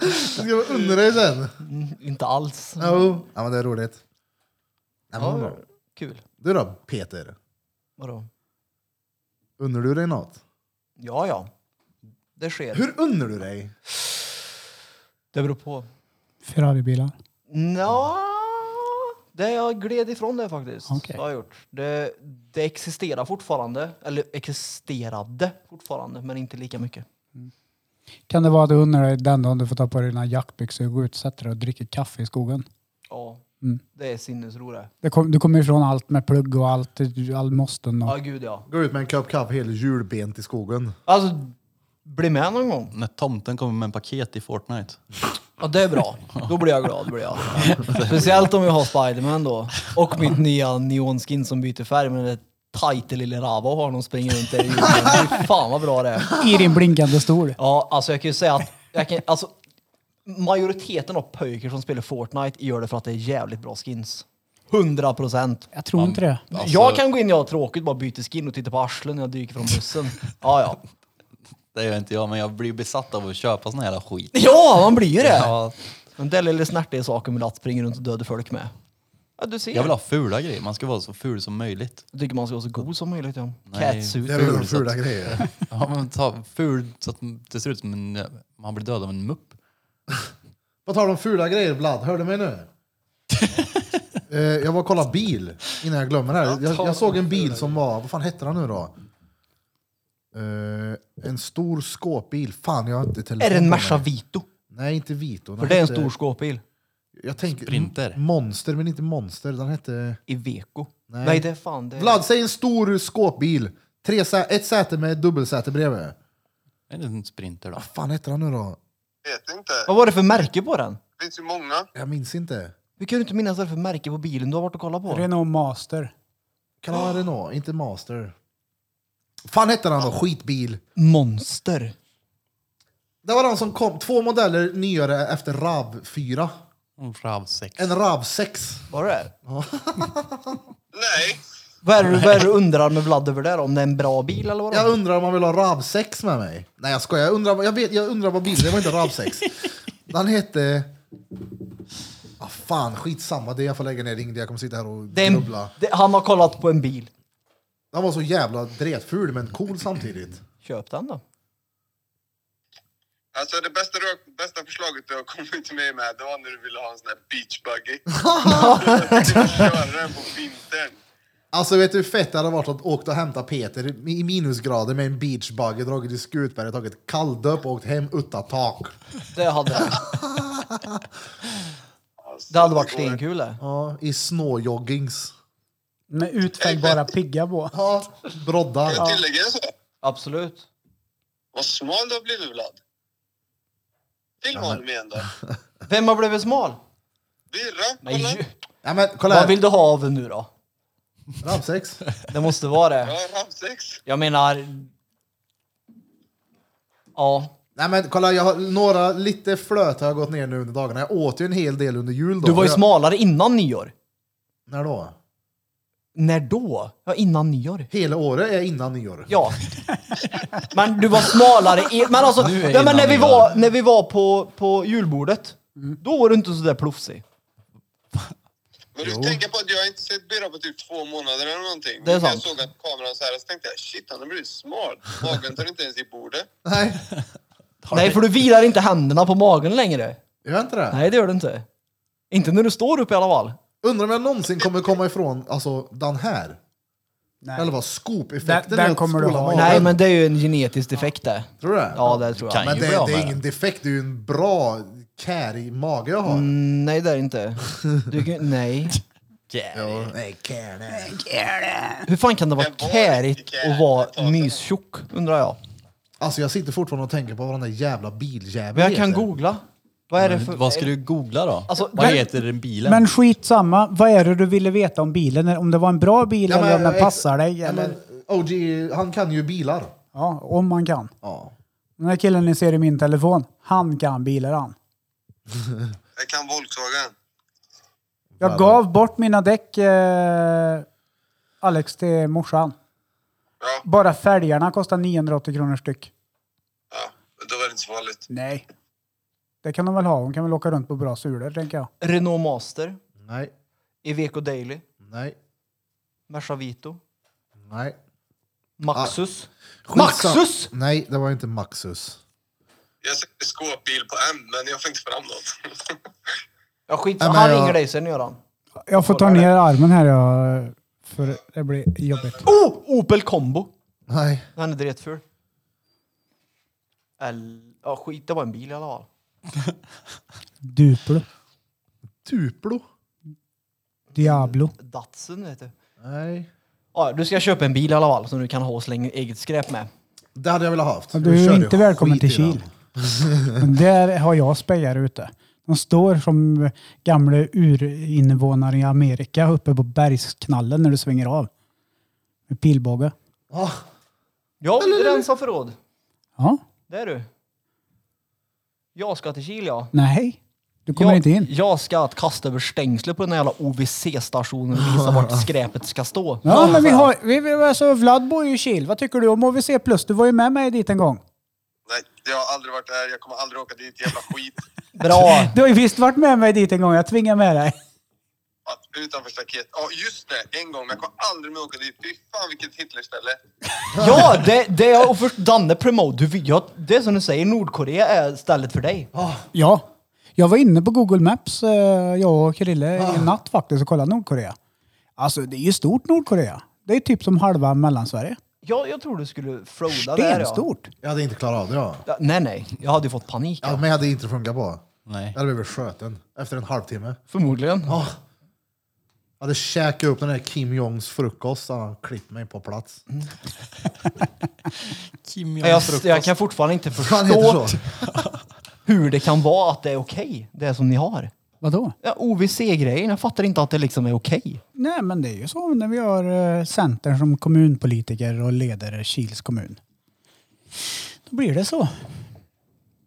du ska unna dig sen.
inte alls.
Jo. Ja men det är roligt. Ja, men
Ja,
bra.
kul.
Du då Peter,
Vadå?
unnar du dig något?
Ja, ja. Det sker.
Hur unnar du dig?
Det beror på.
Ferraribilar.
Nå, det jag gled ifrån det faktiskt.
Okej.
Det har jag gjort. Det, det existerar fortfarande, eller existerade fortfarande, men inte lika mycket.
Kan det vara att du undrar dig den dagen du får ta på dig dina jackbyxor och gå ut och sätta dig och dricka kaffe i skogen?
Ja, det är sinnesro det.
Det kom, du kommer ifrån allt med plugg och allt, all måsten
Ja,
och...
gud ja.
Gå ut med en kopp kaffe, hel julbent i skogen.
Alltså, bli med någon gång.
När tomten kommer med en paket i Fortnite.
Ja, det är bra. Då blir jag glad. Blir jag. Speciellt om jag har Spiderman då. Och mitt nya neonskin som byter färg med det tajta lille Rava har någon springer runt där i jorden. Fy Fan vad bra det är.
I din blinkande stol.
Ja, alltså jag kan ju säga att jag kan, alltså, majoriteten av pojkar som spelar Fortnite gör det för att det är jävligt bra skins. 100 procent.
Jag tror inte det.
Alltså,
Jag kan gå in när jag har tråkigt, bara byta skin och titta på arslen när jag dyker från bussen. Ja, ja.
Det gör inte jag, men jag blir besatt av att köpa sån här jävla skit.
Ja, man blir ju det!
Ja,
Den där lilla snärtiga saken med att springa runt och döda folk med. Ja, du ser.
jag vill ha fula grejer, man ska vara så ful som möjligt.
Jag tycker man ska vara så god som möjligt. Ja.
Nej.
Det
Catsuit.
är väl de fula grejer.
Ja, men ta ful så att det ser ut som en, man blir död av en mupp.
På tal om fula grejer Vlad, hör du mig nu? Eh, jag var och kollade bil innan jag glömmer det här. Jag, jag såg en bil som var, vad fan hette den nu då? Eh, en stor skåpbil. Fan jag har inte telefonen.
Är det
på
en Merca
mig.
Vito?
Nej inte Vito. Den
För det är en
hette-
stor skåpbil.
Jag tänker,
Sprinter.
Monster men inte Monster. Den hette...
I Veko.
Nej.
Nej. det är fan det. är-
Vlad säg en stor skåpbil. Tre sä- ett säte med dubbelsäte bredvid.
Är det en sprinter då?
Vad fan hette den nu då?
Vet inte.
Vad var det för märke på den?
Det finns ju många.
Jag minns inte.
Vi kunde inte minnas vad det är för märke på bilen du har varit och kollat på.
Renault Master.
Kan det vara Renault? Inte Master. Fan hette den då? Skitbil.
Monster.
Det var den som kom, två modeller nyare efter RAV 4.
En Rav6.
En RAV 6.
Var det
Nej,
Vad är det vad är det du undrar med Vlad över där? Om det är en bra bil eller vad det
Jag
är?
undrar om man vill ha RAV 6 med mig. Nej jag skojar, jag undrar, jag vet, jag undrar vad bilen, det var inte RAV 6. Den hette... Ah, fan, skitsamma. Det jag får lägga ner ring, det jag kommer sitta här och
Det är en,
grubbla.
det, han har kollat på en bil.
Den var så jävla dretful men cool samtidigt.
Köp den då.
Alltså det bästa, du- bästa förslaget du har kommit till mig med, det var när du ville ha en sån här beach buggy. Du vill köra den på vintern.
Alltså vet du hur fett det hade varit att åka och hämta Peter i minusgrader med en beachbuggy, dragit i Skutberget, tagit kalldöp och åkt hem utan tak.
Det hade,
Alltså,
det hade varit
går-
stenkul det.
Ja, I snowjoggings.
Med utfällbara pigga på.
Ja, broddar.
Kan jag tillägga en sak?
Absolut.
Vad smal du har blivit Vlad. Filma honom igen då.
Vem har blivit smal?
Birra,
Nej,
kolla.
ju-
Ja, men kolla
vad
här.
vill du ha av nu då?
Ramsex.
Det måste vara det.
Ja, ramsex.
Jag menar... Ja.
Nej men kolla, jag har, några lite flöt har jag gått ner nu under dagarna. Jag åt ju en hel del under jul då.
Du var ju
Jag-
smalare innan nyår.
När då?
När då? Ja, innan nyår.
Hela året är innan nyår.
Ja. Men du var smalare. I, men alltså,
Nu är
ja, men när, vi
innan
var, när vi var på, på julbordet, då var du inte så där plufsig.
Men du tänker på att jag har inte sett Birra på typ två månader eller någonting.
Det är
Men när
sant.
Jag såg att kameran så här så tänkte jag shit han har blivit smal. Magen tar inte ens i bordet.
Nej,
Nej, för du vilar inte händerna på magen längre.
gör inte det?
Nej, det gör du inte. Inte när du står upp i alla fall.
Undrar om jag någonsin kommer komma ifrån alltså, den här.
Nej.
Eller vad
Den-
skopeffekten
den
är att
kommer du
spola
ha.
magen.
Nej, men det är ju en genetisk defekt det.
Tror du det?
Ja, det tror jag.
Kan
Men
ju
det,
bra
det är
med
ingen defekt, det är ju en bra kärig mage jag har.
Mm, Nej, det är det inte. Du, kan- nej.
Ja. Nej, kär, nej.
Hur fan kan det vara
Det var
kärigt
riktigt
att vara
kärigt.
mystjock, undrar jag.
Alltså jag sitter fortfarande och tänker på vad den där jävla biljäveln
Men jag kan
heter.
googla. Vad är det för...
Vad ska du googla då?
Alltså,
vad
men-
heter den bilen?
Men skitsamma, vad är det du ville veta om bilen? Om det var en bra bil eller om den
ex-
passar dig?
ja,
Eller?
men, OG, han kan ju bilar.
Ja, om man kan.
Ja.
Den här killen ni ser i min telefon, han kan bilar han.
Jag kan Volkswagen.
Jag gav bort mina däck, eh, Alex, till morsan.
Ja,
Bara fälgarna kostar 980 kronor styck.
ja. Då var det inte så farligt.
Nej. Det kan de väl ha? Hon kan väl åka runt på bra sulor, tänker jag.
Renault Master,
Nej,
Iveco Daily,
nej,
Merca Vito,
nej.
Maxus.
Skitsam-
Maxus!
Nej, det var inte Maxus.
Jag sökte skåpbil på M, men jag får inte fram något.
Ja, skit
Nej, men
Han
jag-
ringer dig sen, Göran.
Jag får ta ner armen här, jag, för det blir jobbigt.
Oh! Opel Combo.
Nej.
Han är dretful. Eller... Ja, skit. Det var en bil i alla fall.
Duplo.
Tuplo?
Diablo.
Datsun, vet du.
Nej.
Ja, du ska köpa en bil i alla fall som du kan ha och slänga eget skräp med.
Det hade jag velat haft.
Ja, Du
Kör
är inte välkommen
skit i
till
den.
Kil. Men där har jag spejar ute. De står som gamla urinvånare i Amerika uppe på bergsknallen när du svänger av. Med pilbåge.
Ah,
Ja, rensa förråd.
Ja.
Det är du. Jag ska till Kil, ja.
Nej. Du kommer
jag,
inte in.
Jag ska att kasta över stängslet på den här jävla OVC-stationen och visa vart skräpet ska stå.
Ja, men vi har... Vi, vi, alltså, Vlad bor ju i Kil. Vad tycker du om OVC+. Plus? Du var ju med mig dit en gång.
Nej, jag har aldrig varit där. Jag kommer aldrig åka dit. Jävla skit.
Bra!
Du har ju visst varit med mig dit en gång. Jag tvingade med dig.
Att, utanför staket. Ja, just det. En gång. Men jag kommer aldrig mer åka dit. Fy fan vilket Hitlerställe.
Ja, det, det är, och först Danne promote. Du, vill- ja, det är som du säger, Nordkorea är stället för dig.
Ja. Jag var inne på Google Maps, eh, jag och Krille, i natt faktiskt och kollade Nordkorea. Alltså det är ju stort Nordkorea. Det är typ som halva Mellansverige.
Ja, jag tror du skulle froda där. Ja.
Stenstort.
jag hade inte klarat av det. Ja.
Ja, nej, nej. Jag hade ju fått panik.
Ja, men jag hade inte funkat på.
Nej.
Jag hade blivit sköten efter en halvtimme.
Förmodligen.
Ah. Jag hade käkat upp den där Kim Jongs frukost. Han klippt mig på plats.
Kim
Men Jag, jag kan fortfarande inte
Han heter
förstå
så.
hur det kan vara att det är okej, det som ni har.
Vadå?
Ja, OVC-grejen, jag fattar inte att det liksom är okej.
Nej men det är ju så när vi har eh, Centern som kommunpolitiker och leder Kils kommun. Då blir det så.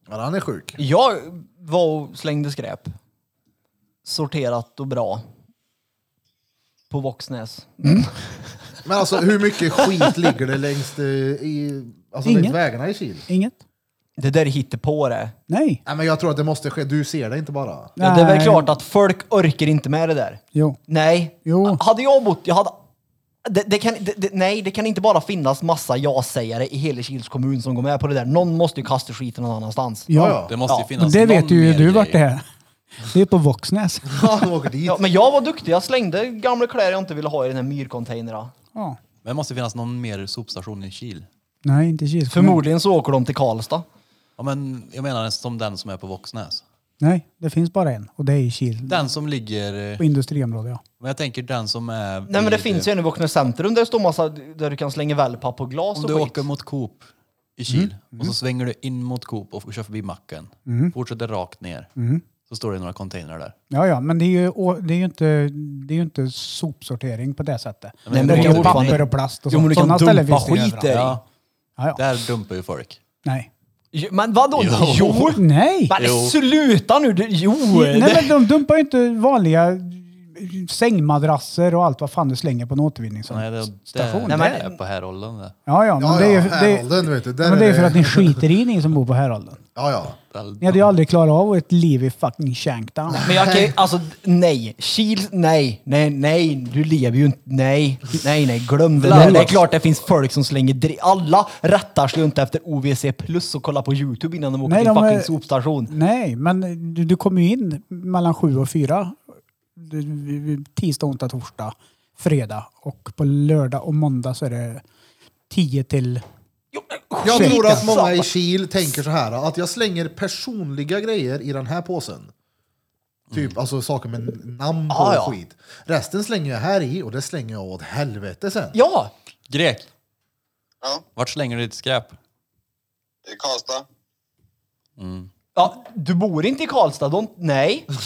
Men han är sjuk.
Jag var och slängde skräp. Sorterat och bra. På Våxnäs.
Men alltså hur mycket skit ligger det längs eh, i, alltså,
Inget.
längs vägarna i Kil?
Inget?
Det där är på det.
Nej.
Nej, men jag tror att det måste ske. Du ser det inte bara.
Ja, det är väl
Nej.
klart att folk orkar inte med det där.
Jo.
Nej.
Jo.
Hade jag bott, jag hade... Det, det kan, det, det, nej, det kan inte bara finnas massa ja-sägare i hela Kils kommun som går med på det där. Någon måste ju kasta skiten någon annanstans.
Ja.
Det måste ju
Och
finnas
det
Alltså, någon
vet ju
mer
du vart
grej.
det är. Det är på Våxnäs.
Ja, de åker dit.
Ja, men jag var duktig. Jag slängde gamla kläder jag inte ville ha i den här myrcontainern.
Ja.
Men det måste finnas någon mer sopstation i Kil.
Nej, inte Kils kommun.
Förmodligen så åker de till Karlstad.
Ja, men jag menar som den som är på Våxnäs.
Nej, det finns bara en. Och det är i Kil.
Den som ligger... eh,
På industriområdet, ja.
Men jag tänker den som är...
Nej men det
vid-
finns ju en i Våxnäs centrum där det står massa, där du kan slänga wellpapp och glas
eh, Om
och
du
skit.
åker mot Coop i Kil och så svänger du in mot Coop och kör förbi macken. Fortsätter rakt ner. Så står det några containrar där.
Ja, ja, men det är ju, å- det är ju, inte, det är ju inte sopsortering på det sättet.
Nej, men
det
du
är
kan
ju
fortfarande-
papper och plast och
Jo, men du
sånt.
kan
Sådana ställen
dumpa
finns det ju
skit
överallt.
där.
Ja,
Ja,
ja.
där dumpar ju folk.
Nej.
Jo, Men vadå?
Jo.
Jo!
Nej!
Men
Jo.
sluta nu! Du, jo!
Nej, men de dumpar ju inte vanliga eh, sängmadrasser och allt vad fan du slänger på en återvinningsstation.
Nej, det,
Station.
det,
Nej, men-
det är på härhållen det.
Ja, ja, men
Ja,
det är ju
ja,
det,
härolden vet du. Där
men det är ju för
det-
att ni skiter i ni som bor på Härolden.
Ja, ja.
Ni hade ju aldrig klarat av ett liv i fucking Shanktown.
Men jag kan ju- alltså nej. Kil, nej, nej, nej, du lever ju inte, nej, nej, nej, glöm det där. Det är klart det finns folk som slänger dri- Alla rättar sig ju inte efter OVC plus och kollar på YouTube innan de åker
Nej,
till
de
fucking
är-
sopstation.
Nej, men du, du kommer ju in mellan sju och fyra. Du- du- du- Tisdag, onsdag, torsdag, fredag. Och på lördag och måndag så är det tio till...
Jag
Ursäkta.
tror att
alltså.
många
alltså.
i Kil tänker så här att jag slänger personliga grejer i den här påsen. Typ alltså saker med namn på
Ah, ja.
och skit. Resten slänger jag här i och det slänger jag åt helvete sen.
Ja!
Grek,
Ja,
vart slänger du ditt skräp?
det är Karlstad.
ja! Du bor inte i Karlstad, de, nej.
Hej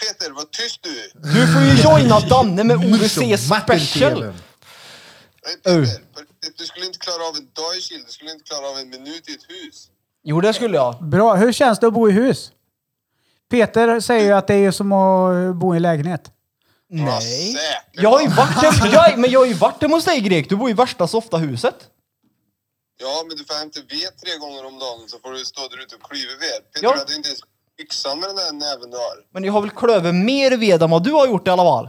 Peter, vad tyst du är.
Du får ju joina Danne med OVC special.
Matten-tvn.
Hej Peter, du skulle inte klara av en dag i Kil, du skulle inte klara av en minut i ett hus.
Jo, det skulle jag.
Bra, hur känns det att bo i hus? Peter säger ju att det är som att eh, bo i en lägenhet.
Ja,
Nej.
säkert.
Jag har ju varit hemma, jag, men jag har ju varit hemma hos dig Grek, du bor ju i värsta softa huset.
Ja, men du får hämta ved tre gånger om dagen så får du stå där ute och klyva ved. Peter,
Ja.
du hade inte ens yxan med den där näven du har.
Men jag har väl klöver mer ved än vad du har gjort i alla fall.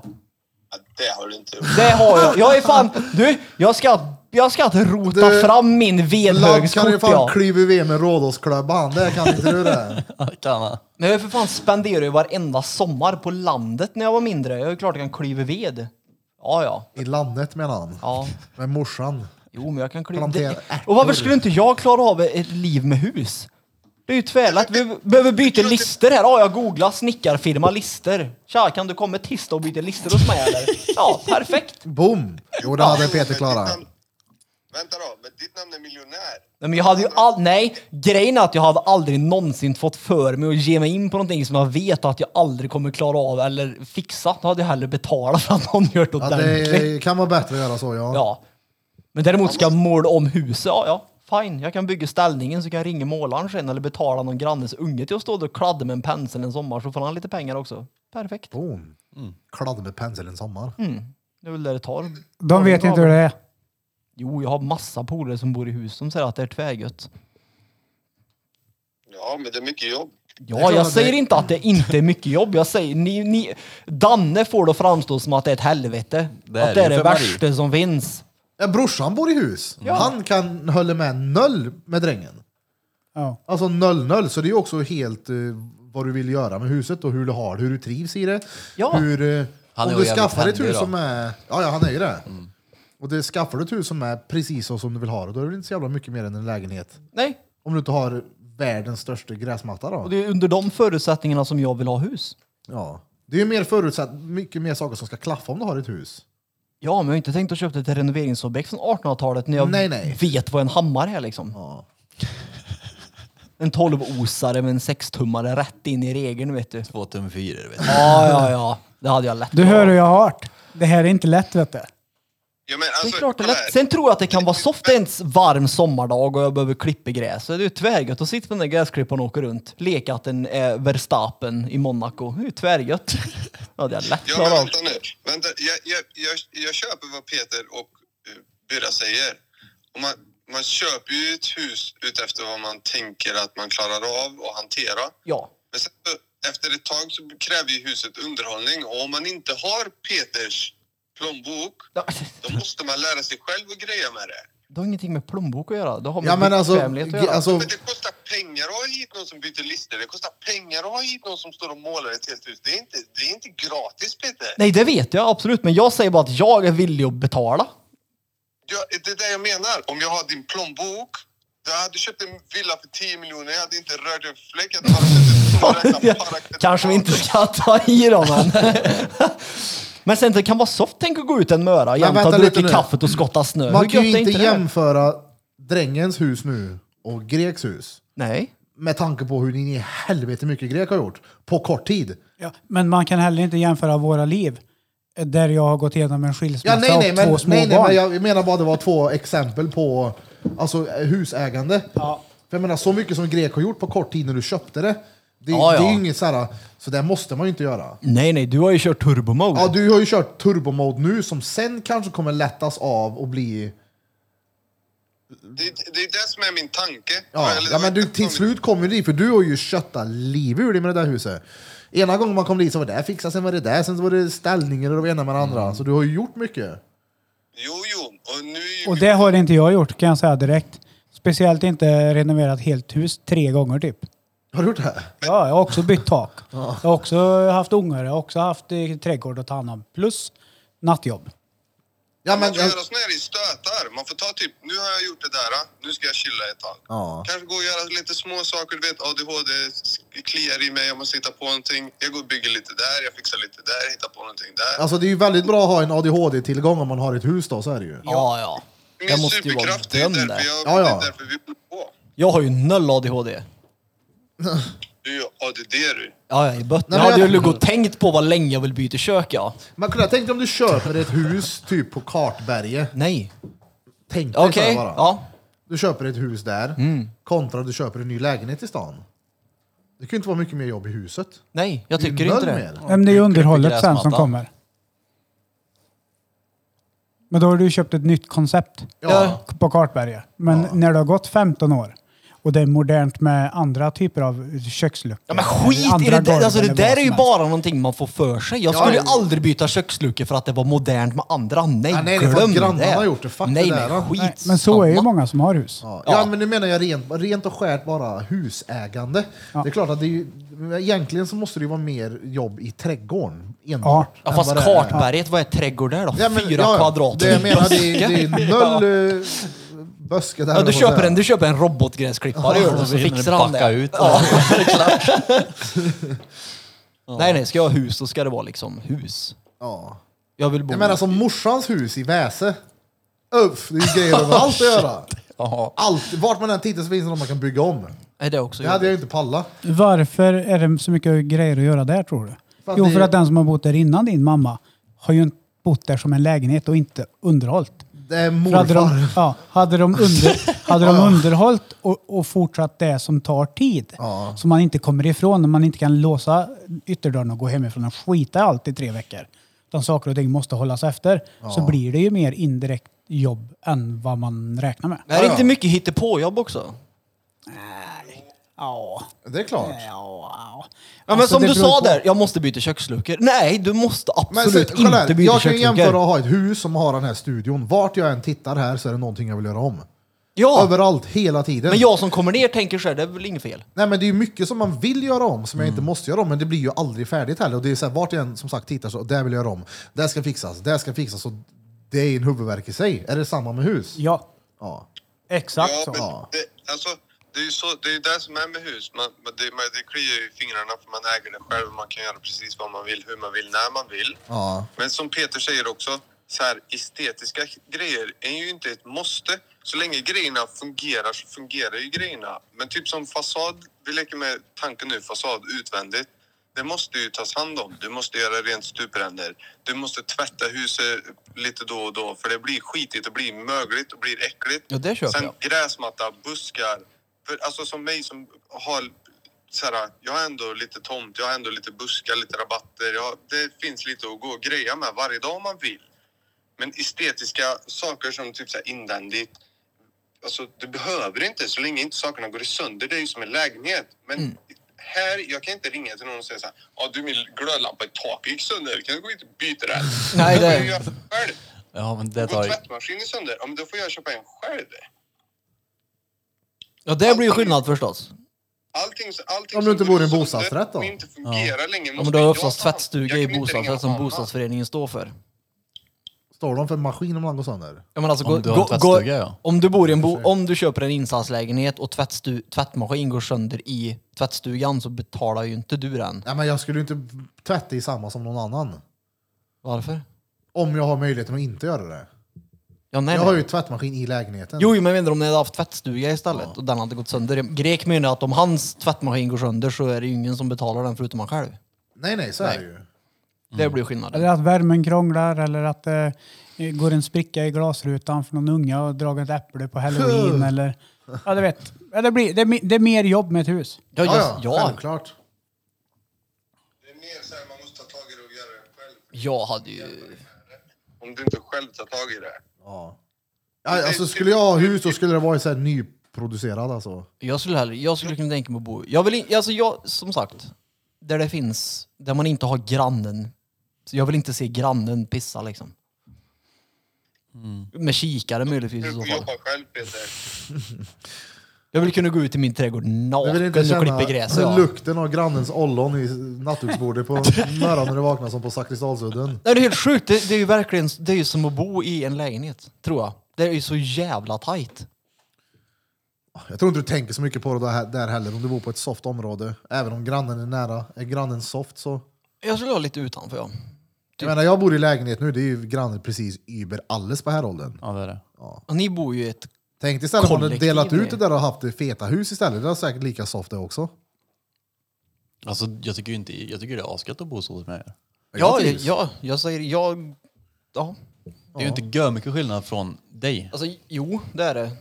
Ja, det har du inte gjort.
Det har jag. Jag är fan... Du, jag ska, jag ska rota
Du,
fram min
Ladd kan ju
vedhögskort
fan
ja.
klyva ved med rådhusklubban, det kan inte du det.
Kan han?
Men jag för fan spenderade ju varenda sommar på landet när jag var mindre. Jag är ju klart jag kan klyva ved. Ja, ja.
I landet menar han.
Ja.
Med morsan.
Jo, men jag kan klyva...
Plantera
Det-
ärtor.
Och varför skulle inte jag klara av ett liv med hus? Det är ju tvärlätt. Vi behöver byta lister här. Ja, jag googlar snickarfirma lister. Tja, kan du komma tisdag och byta lister hos mig eller? Ja, perfekt.
Boom! Jo, det hade Peter klarat.
Ditt namn- Vänta då, men ditt namn är miljonär.
Nej, men jag hade ju all... Nej, grejen är att jag hade aldrig någonsin fått för mig att ge mig in på någonting som jag vet att jag aldrig kommer klara av eller fixa. Då hade jag hellre betalat för att någon gjort
Ja,
ordentligt.
det kan vara bättre att göra så ja.
Ja. Men däremot ska jag måla om huset, ja ja. Fine, jag kan bygga ställningen så kan jag ringa målaren sen eller betala någon grannes unge till att stå där och kladda med en pensel en sommar så får han lite pengar också. Perfekt.
Boom!
Mm.
Kladd med pensel en sommar.
Det är väl det det tar.
De vet inte hur det är.
Jo, jag har massa polare som bor i hus som säger att det är tvärgött.
Ja, men det är mycket jobb.
Ja,
klart
jag
att
säger
det-
inte att det inte är mycket jobb. Jag säger, ni, ni, Danne får det att framstå som att det är ett helvete.
Det är
att det är
det
det
för Marie.
värsta som finns.
Ja, brorsan bor i hus. Han kan hålla med noll med drängen.
Ja.
Alltså noll noll, så det är ju också helt eh, vad du vill göra med huset och hur du har det, hur du trivs i det.
Ja.
Hur, eh,
Han är
om du
ju jävligt
skaffar ett
händig
hus
då. Mm.
som är... Ja, ja, han är ju det. Och det skaffar du ett hus som är precis så som du vill ha det, då är det väl inte så jävla mycket mer än en lägenhet.
Nej,
Om du inte har världens största gräsmatta då.
och det är under de förutsättningarna som jag vill ha hus.
Ja. Det är ju mer förutsatt, mycket mer saker som ska klaffa om du har ett hus.
Ja, men jag har inte tänkt att köpa ett renoveringsobjekt från 1800-talet när jag
Nej, nej.
vet vad en hammare är liksom.
Ja.
En 12-osare med en 6-tummare rätt in i regeln, vet du.
Två tum fyror vet du.
Ja, ja, ja. Det hade jag lätt
Du hör hur jag har hört. Det här är inte lätt vet du.
Ja, men
Det
alltså,
är klart det är
kolla
lätt.
här.
Sen tror jag att det kan vara soft. Det är en s- varm sommardag och jag behöver klippa gräs. Så det är ju tvärgött att sitta på den där gräsklipparen och åka runt. Leka att den är Verstappen i Monaco. Det är ju tvärgött. Ja, det är lätt
Ja,
klarat
men alltså-
av.
vänta nu. Vänta, jag, jag, jag, jag köper vad Peter och eh, Byrra säger. Om man, man köper ju ett hus utefter vad man tänker att man klarar av att hantera.
Ja.
Men sen, så- efter ett tag så kräver ju huset underhållning och om man inte har Peters plånbok
Ja,
då måste man lära sig själv att greja med det.
Det har ingenting med plånbok att göra. Det har med
Ja men alltså,
bekvämlighet att göra.
alltså
Men det kostar pengar att ha hit någon som byter lister. Det kostar pengar att ha hit någon som står och målar ett helt hus. Det är inte, det är inte gratis Peter.
Nej, det vet jag absolut. Men jag säger bara att jag är villig att betala.
Jag, det är det jag menar. Om jag har din plånbok. Jag hade köpt en villa för 10 miljoner. Jag hade inte rört en fläck. Jag hade bara köpt en stor jävla park.
Kanske vi inte ska ta i dem men... men sen det kan vara soft, tänk att gå ut en möra jämt
vänta
ha
lite
druckit
nu.
kaffet och skotta snö.
man
Hur
kan
gött
ju
är
inte
det?
jämföra drängens hus nu och Greks hus.
Nej.
Med tanke på hur in i helvete mycket Grek har gjort på kort tid.
Ja, men man kan heller inte jämföra våra liv. eh, Där jag har gått igenom en
Ja,
skilsmässa
nej, nej,
och
men,
två små
nej, nej,
barn.
men jag menar bara det var två exempel på alltså, eh, husägande.
Ja.
För jag menar, så mycket som Grek har gjort på kort tid när du köpte det, det,
Ja,
det är
ja.
ju inget så här, så det måste man ju inte göra.
Nej, nej, du har ju kört turbo mode.
Ja, du har ju kört turbomode nu som sen kanske kommer lättas av och bli...
Det, det är det som är min tanke.
Ja,
Eller-
ja men du, till slut kommer du dit, för du har ju köttat liv ur dig med det där huset. Ena gången man kom dit så var det där fixat, sen var det där, sen så var det ställningar och det var ena med det andra. Så du har ju gjort mycket.
Jo, jo. Och nu är ju
Och det har inte jag gjort kan jag säga direkt. Speciellt inte renoverat helt hus tre gånger typ.
Har du gjort det?
Ja, jag har också bytt tak. Jag har också haft ungar, jag har också haft eh, trädgård att ta hand om. Plus nattjobb.
Ja,
Man
men...
får göra såna här i Alltså, stötar. Man får ta typ, nu har jag gjort det där, ah. nu ska jag chilla ett tag.
Ja.
Kanske gå och göra lite små saker, du vet ADHD sk- kliar i mig, jag måste hitta på någonting. Jag går och bygger lite där, jag fixar lite där, hittar på någonting där.
Alltså det är ju väldigt bra att ha en ADHD-tillgång om man har ett hus då, så är det ju.
ja. ja. Jag
Min
måste ju vara
superkraft, det är
dömd
därför
där.
Ja,
jag,
ja.
det är därför vi bor på.
Jag har ju noll ADHD.
Du är ju ADD du.
Ja, jag är bött.
Nej,
jag
men
hade ju
jag-
legat och tänkt på vad länge jag vill byta kök, ja.
Man kunde ha tänkt om du köper ett hus typ på Kartberget.
Nej.
Tänk dig
Okej,
så här bara.
ja. Mm.
Du köper ett hus där, kontra du köper en ny lägenhet i stan. Det kan ju inte vara mycket mer jobb i huset.
Nej, jag
Det är ju
tycker inte
noll
det.
mer.
Men det är ju underhållet sen
gräsmattan.
som kommer. Men då har du ju köpt ett nytt koncept
Ja.
på Kartberget. Men när det har gått 15 år och det är modernt med andra typer av köksluckor.
Ja, men skit i
andra
det där.
golv
Alltså, det
eller vad
där är
som
ju
helst.
bara någonting man får för sig. Jag
Ja,
skulle ju
ja.
aldrig byta köksluckor för att det var modernt med andra. Nej,
Ja, nej, det är för att
glöm det.
grannarna har gjort det. Fuck
nej,
det där,
nej,
då.
skit
Nej, Men så är ju
samma.
många som har hus.
Ja. men nu menar jag rent, rent och skärt bara husägande. Det är klart att det är ju, egentligen så måste det ju vara mer jobb i trädgården enbart.
Ja,
än
fast
vad det är.
Kartberget, vad är trädgård där då?
Ja, men-
Fyra
ja, ja.
kvadrat.
Det jag menar, det är, det är noll eh, buske där.
Ja,
höll jag
du,
på att
köper
säga.
en, du köper en robotgräsklippare gör du, och så
hinner
fixar
den
han
backa
det.
ut.
Ja. Nej, nej, ska jag ha hus så ska det vara liksom hus.
Ja.
Jag vill bo...
Jag menar som morsans hus i Väse. Uff, det är ju grejer överallt att göra.
Jaha.
Allt, vart man än tittar så finns det något man kan bygga om.
Är det också
Det hade jag
jobbigt?
ju inte pallat.
Varför är det så mycket grejer att göra där tror du?
För att
jo,
det-
för att den som har bott där innan din mamma har ju inte bott där som en lägenhet och inte underhållit.
Det är
För
morfar.
Hade de, ja, hade de, under, hade de underhållit och, och fortsatt det som tar tid, som man inte kommer ifrån och man inte kan låsa ytterdörren och gå hemifrån och skita i allt i tre veckor, utan saker och ting måste hållas efter, så blir det ju mer indirekt jobb än vad man räknar med.
Det är inte mycket hittepåjobb också.
Ja,
Det är klart.
ja.
Ja, men
Alltså,
som
det
du
beror
sa
på-
där, jag måste byta köksluckor. Nej, du måste
Men
absolut
så, kolla här,
inte byta
jag kan ju jämföra
köksluckor.
att ha ett hus som har den här studion. Vart jag än tittar här så är det någonting jag vill göra om.
Ja,
Överallt, hela tiden.
men jag som kommer ner tänker så här, det är väl inget fel.
Nej, men det är ju mycket som man vill göra om som jag inte måste göra om, men det blir ju aldrig färdigt heller. Och det är så här, vart jag än som sagt tittar så, där vill jag göra om. Där ska fixas, där ska fixas. Och det är en huvudvärk i sig. Är det samma med hus?
ja
Ja.
exakt
Ja,
så.
men det, alltså, det är ju så, det, är ju det som är med hus. Man, man, det, man, det kliar ju i fingrarna för man äger det själv. Man kan göra precis vad man vill, hur man vill, när man vill.
Ja.
Men som Peter säger också, så här, estetiska grejer är ju inte ett måste. Så länge grejerna fungerar så fungerar ju grejerna. Men typ som fasad, vi leker med tanken nu, fasad utvändigt. Det måste ju tas hand om. Du måste göra rent stupränder. Du måste tvätta huset lite då och då för det blir skitigt och blir mögligt och blir äckligt.
Ja, det köper
Sen
jag.
gräsmatta, buskar. För, alltså som mig som har så här, jag har ändå lite tomt, jag har ändå lite buskar, lite rabatter. Jag, det finns lite att gå och greja med varje dag om man vill. Men estetiska saker som typ så här invändigt, Alltså, du behöver inte så länge inte sakerna går sönder. Det är ju som en lägenhet. Men
Mm.
här, jag kan inte ringa till någon och säga så här. Ja, du min glödlampa i taket gick sönder. Kan du gå hit och byta den?
Nej, det-
Jag vill ju göra det själv.
Ja, men det
Går
tar...
tvättmaskinen sönder? Ja, men då får jag köpa en själv.
Ja, det blir ju skillnad förstås.
Allting, allting
Om du
som
inte
går
bor i en
sönder
bostadsrätt då?
och inte fungerar längre
Ja, men
måste
du har
jag
oftast
ta hand om.
tvättstuga
Jag
i
kan inte ringa
bostadsrätt som
någon annan.
bostadsföreningen står för.
Står de för en maskin om någon går sönder?
Ja, men alltså,
Om
gå,
du har en
gå, gå,
tvättstuga, ja.
om, du bor i en bo, om du köper en insatslägenhet och tvättstu, tvättmaskin går sönder i tvättstugan så betalar ju inte du den.
Nej, men jag skulle ju inte tvätta i samma som någon annan.
Varför?
Om jag har möjligheten att inte göra det.
Ja, nej,
Jag har
nej.
ju tvättmaskin i lägenheten.
Jo, jo, men jag menar om ni hade haft tvättstuga istället och den hade gått sönder. Grek menar att om hans tvättmaskin går sönder så är det ju ingen som betalar den förutom han själv.
Nej, nej, så är det ju.
Mm.
Det blir skillnaden.
Eller att värmen krånglar eller att det går en spricka i glasrutan för någon unga och dragit ett äpple på halloween eller... Ja, du vet. Ja, det, blir, det, är mi- det är mer jobb med ett hus.
Ja,
Ja,
ja,
ja,
ja,
självklart.
Det är mer så här, man måste ta tag i det och göra det själv.
jag hade ju...
Om du inte själv tar tag i det.
Ja. Ja, alltså, skulle jag ha hus så skulle det vara så här nyproducerad alltså.
Jag skulle hellre, jag skulle kunna tänka mig att bo... Jag vill in, alltså jag, som sagt, där det finns, där man inte har grannen. Så jag vill inte se grannen pissa liksom.
Mm.
Med kikare möjligtvis i
Du
så
får
fall.
jobba själv Peter.
Jag vill kunna gå ut i min trädgård
Jag vill
naken och
inte
klippa
känna
gräset. Ja.
lukten av grannens ollon i nattduksbordet på morgonen när du vaknar som på Zakrisdalsudden.
Nej, det är helt sjukt, det, det är ju verkligen det är ju som att bo i en lägenhet, tror jag. Det är ju så jävla tajt.
Jag tror inte du tänker så mycket på det där, där heller om du bor på ett soft område. Även om grannen är nära. Är grannen soft så...
Jag skulle ha lite utanför ja.
Jag menar, jag bor i lägenhet nu, det är ju grannen precis über alles på här åldern.
Ja, det är det.
Och ni bor ju i ett...
Tänk dig istället om man hade
Kollektiv,
delat
nej.
ut det där och haft det feta hus istället. Det är säkert lika soft det också.
Alltså, jag tycker ju inte... Jag tycker det är asgött att bo så hos mig.
Ja,
trivs.
ja, jag säger... Jag... Ja.
Det är ju inte gör mycket skillnad från dig.
Alltså, jo, det är det.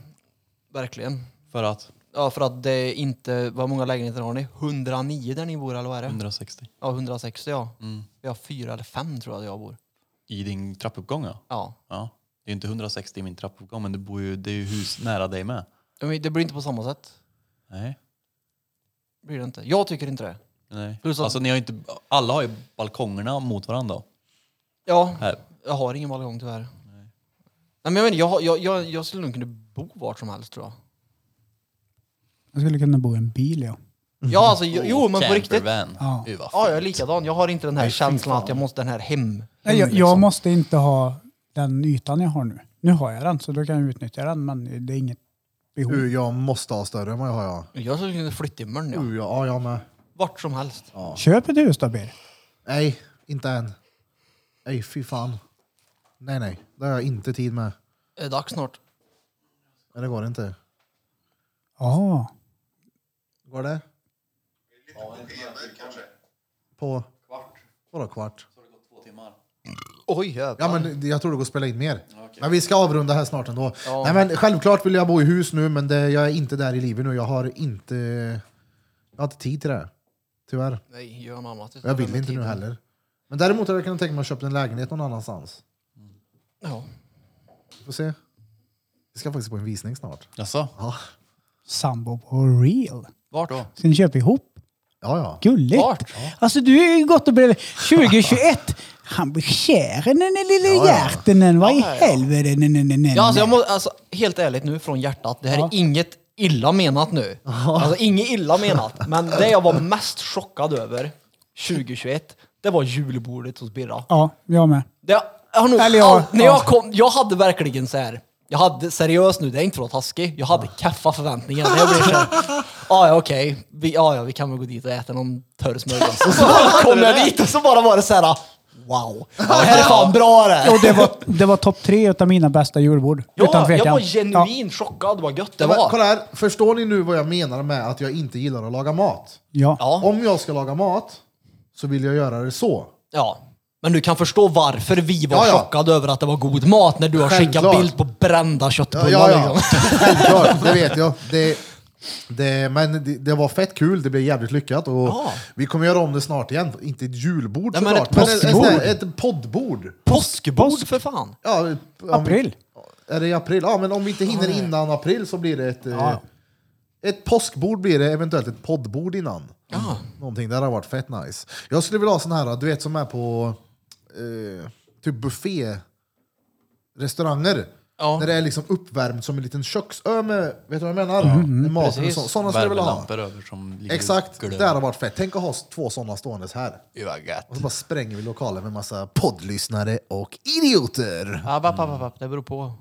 Verkligen.
För att
Ja, för att det är inte... Vad många lägenheter har ni? 109 där ni bor, eller vad är det?
160
Ja, 160 ja. Vi har fyra eller fem tror jag där jag bor.
i din trappuppgång, ja.
Ja.
ja. Det är ju inte 160 i min trappuppgång, men det, bor ju, det är ju hus nära dig med.
Men det blir inte på samma sätt.
Nej.
Blir det inte. Jag tycker inte det.
Nej.
Plus att-
Alltså, ni har ju inte, alla har ju balkongerna mot varandra.
Ja,
Här.
jag har ingen balkong tyvärr. Nej. Nej, men jag, menar, jag, har- jag, jag, jag skulle nog kunna bo vart som helst tror jag.
Jag skulle kunna bo i en bil, ja.
Ja, alltså, jo, jo men på riktigt.
Campervan.
Ja.
Fy, vad
Ja,
fint.
jag är likadan. Jag har inte den här känslan att jag måste den här hem.
Nej,
hem,
jag, jag
liksom.
måste inte ha den ytan jag har nu. Nu har jag den, så då kan jag utnyttja den, men det är inget behov.
Uh, jag måste ha större än vad jag har. Ja,
Jag skulle kunna flytta i Möln, ja.
uh, ja, ja jag med.
Vart som helst.
Köp ett hus då, Bir.
Nej, inte än. Nej, fy fan. Nej, nej. Det har jag inte tid med.
Det är dags snart.
Nej, det går inte.
Ja.
Går det? På? Kvart. Vadå kvart?
Oj,
Ja,
jävlar.
men jag tror det går att spela in mer. Men vi ska avrunda här snart ändå.
Ja.
Nej, men självklart vill jag bo i hus nu, men det, jag är inte där i livet nu. Jag har inte, jag har inte tid till det. här. Tyvärr.
Nej, gör något annat.
Jag vill
Med
inte nu
tiden.
heller. Men däremot hade jag kunnat tänka mig att köpa en lägenhet någon annanstans.
Ja.
Vi får se. Vi ska faktiskt på en visning snart.
Jaså?
Ja,
Sambo på real.
Vart då?
Ska ni köpa ihop?
ja. ja.
Gulligt.
Vart?
Alltså du är ju gott och bredvid. 2021. Han blir kär den där lille hjärtenen. Vad i
Ja, ja.
helvete? Nej, nej, nej, nej.
Ja, alltså, jag må, alltså, helt ärligt nu från hjärtat, det här är inget illa menat nu. Alltså inget illa menat, men det jag var mest chockad över 2021, det var julbordet hos Birra.
Ja, jag med.
Det, jag har nog,
Eller jag-
all, när
ja.
jag kom, jag hade verkligen så här. Jag hade, seriöst nu, det är inte för att vara taskig, jag hade kaffa förväntningar. Jag blev såhär, ah, ja okej, vi, ja, ja, vi kan väl gå dit och äta någon törr smörgås. Och så bara kom jag dit och så bara var det såhär, wow, det här är fan bra det här.
Och det var, det var topp tre utav mina bästa julbord. utan
Ja,
tvekan.
jag var
Ja,
genuint chockad vad gött det
Men,
var.
kolla här, förstår ni nu vad jag menar med att jag inte gillar att laga mat?
ja.
Ja.
Om jag ska laga mat så vill jag göra det så.
Ja. Men du kan förstå varför vi var
Ja, ja.
chockade över att det var god mat när du har skickat
Självklart.
bild på brända köttbullar.
Ja, ja,
Liksom.
ja. Självklart, det vet jag. Det, Det, men det, det var fett kul, det blev jävligt lyckat. Och
Ja.
Vi kommer göra om det snart igen. Inte ett julbord
Nej, men
såklart,
ett
men ett,
påskbord.
ett, ett, ett poddbord.
Påskbord för fan!
Ja, om,
April.
Är det i april? Ja, men om vi inte hinner innan april så blir det ett... eh, Ett påskbord blir det, eventuellt ett poddbord innan.
Ja.
Någonting, det hade varit fett nice. Jag skulle vilja ha sån här, du vet som är på eh, typ buffé-restauranger.
Ja.
Där det är liksom uppvärmt som en liten köksö med, vet du vad jag menar? Med mat och
Precis.
så. Såna skulle jag vilja ha.
Värmelampor över som ligger
Exakt,
och glöder.
det hade varit fett. Tänk att ha två såna ståendes här.
Det var gött.
Och så bara spränger vi lokalen med massa poddlyssnare och idioter.
App, app, app, app, det beror på.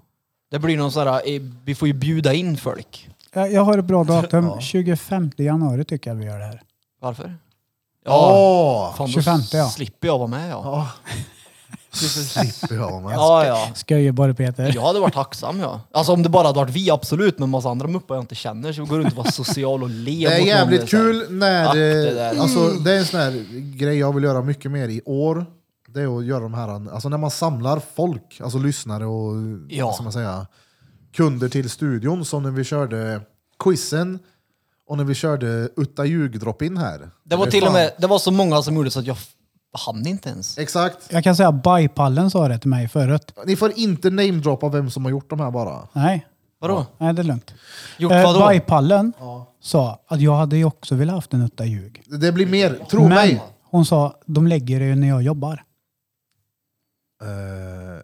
Det blir någon sån här, eh, vi får ju bjuda in folk.
Jag, jag har ett bra datum. 25 januari tycker jag vi gör det här.
Varför?
Åh!
fan,
25,
då
ja.
slipper jag vara med ja.
Ja. Slipper jag med.
Ja, ja.
Sköjeborg Peter.
Jag hade varit tacksam ja. Alltså om det bara hade varit vi absolut, men massa andra muppar jag inte känner så vi går runt och vara social och le
Det är
mot någon,
jävligt
liksom. så här.
kul när...
Ack, det
eh,
där. Mm.
alltså, det är en sån här grej jag vill göra mycket mer i år. Det är att göra de här... Alltså när man samlar folk, alltså lyssnare och
Ja.
vad ska man säga, kunder till studion. Som när vi körde quizen och när vi körde Utta ljug drop in här.
Det var
är
till och
fan-
med, det var så många som gjorde så att jag f- hann inte ens.
Exakt.
Jag kan säga att Bajpallen sa det till mig förut.
Ni får inte namedroppa vem som har gjort de här bara.
Nej,
Vadå?
nej det är lugnt.
Gjort
Eh,
vadå?
Bajpallen sa att jag hade ju också velat haft en utta ljug.
Det blir mer, tro
Men
mig.
hon sa, de lägger det ju när jag jobbar.
Eh,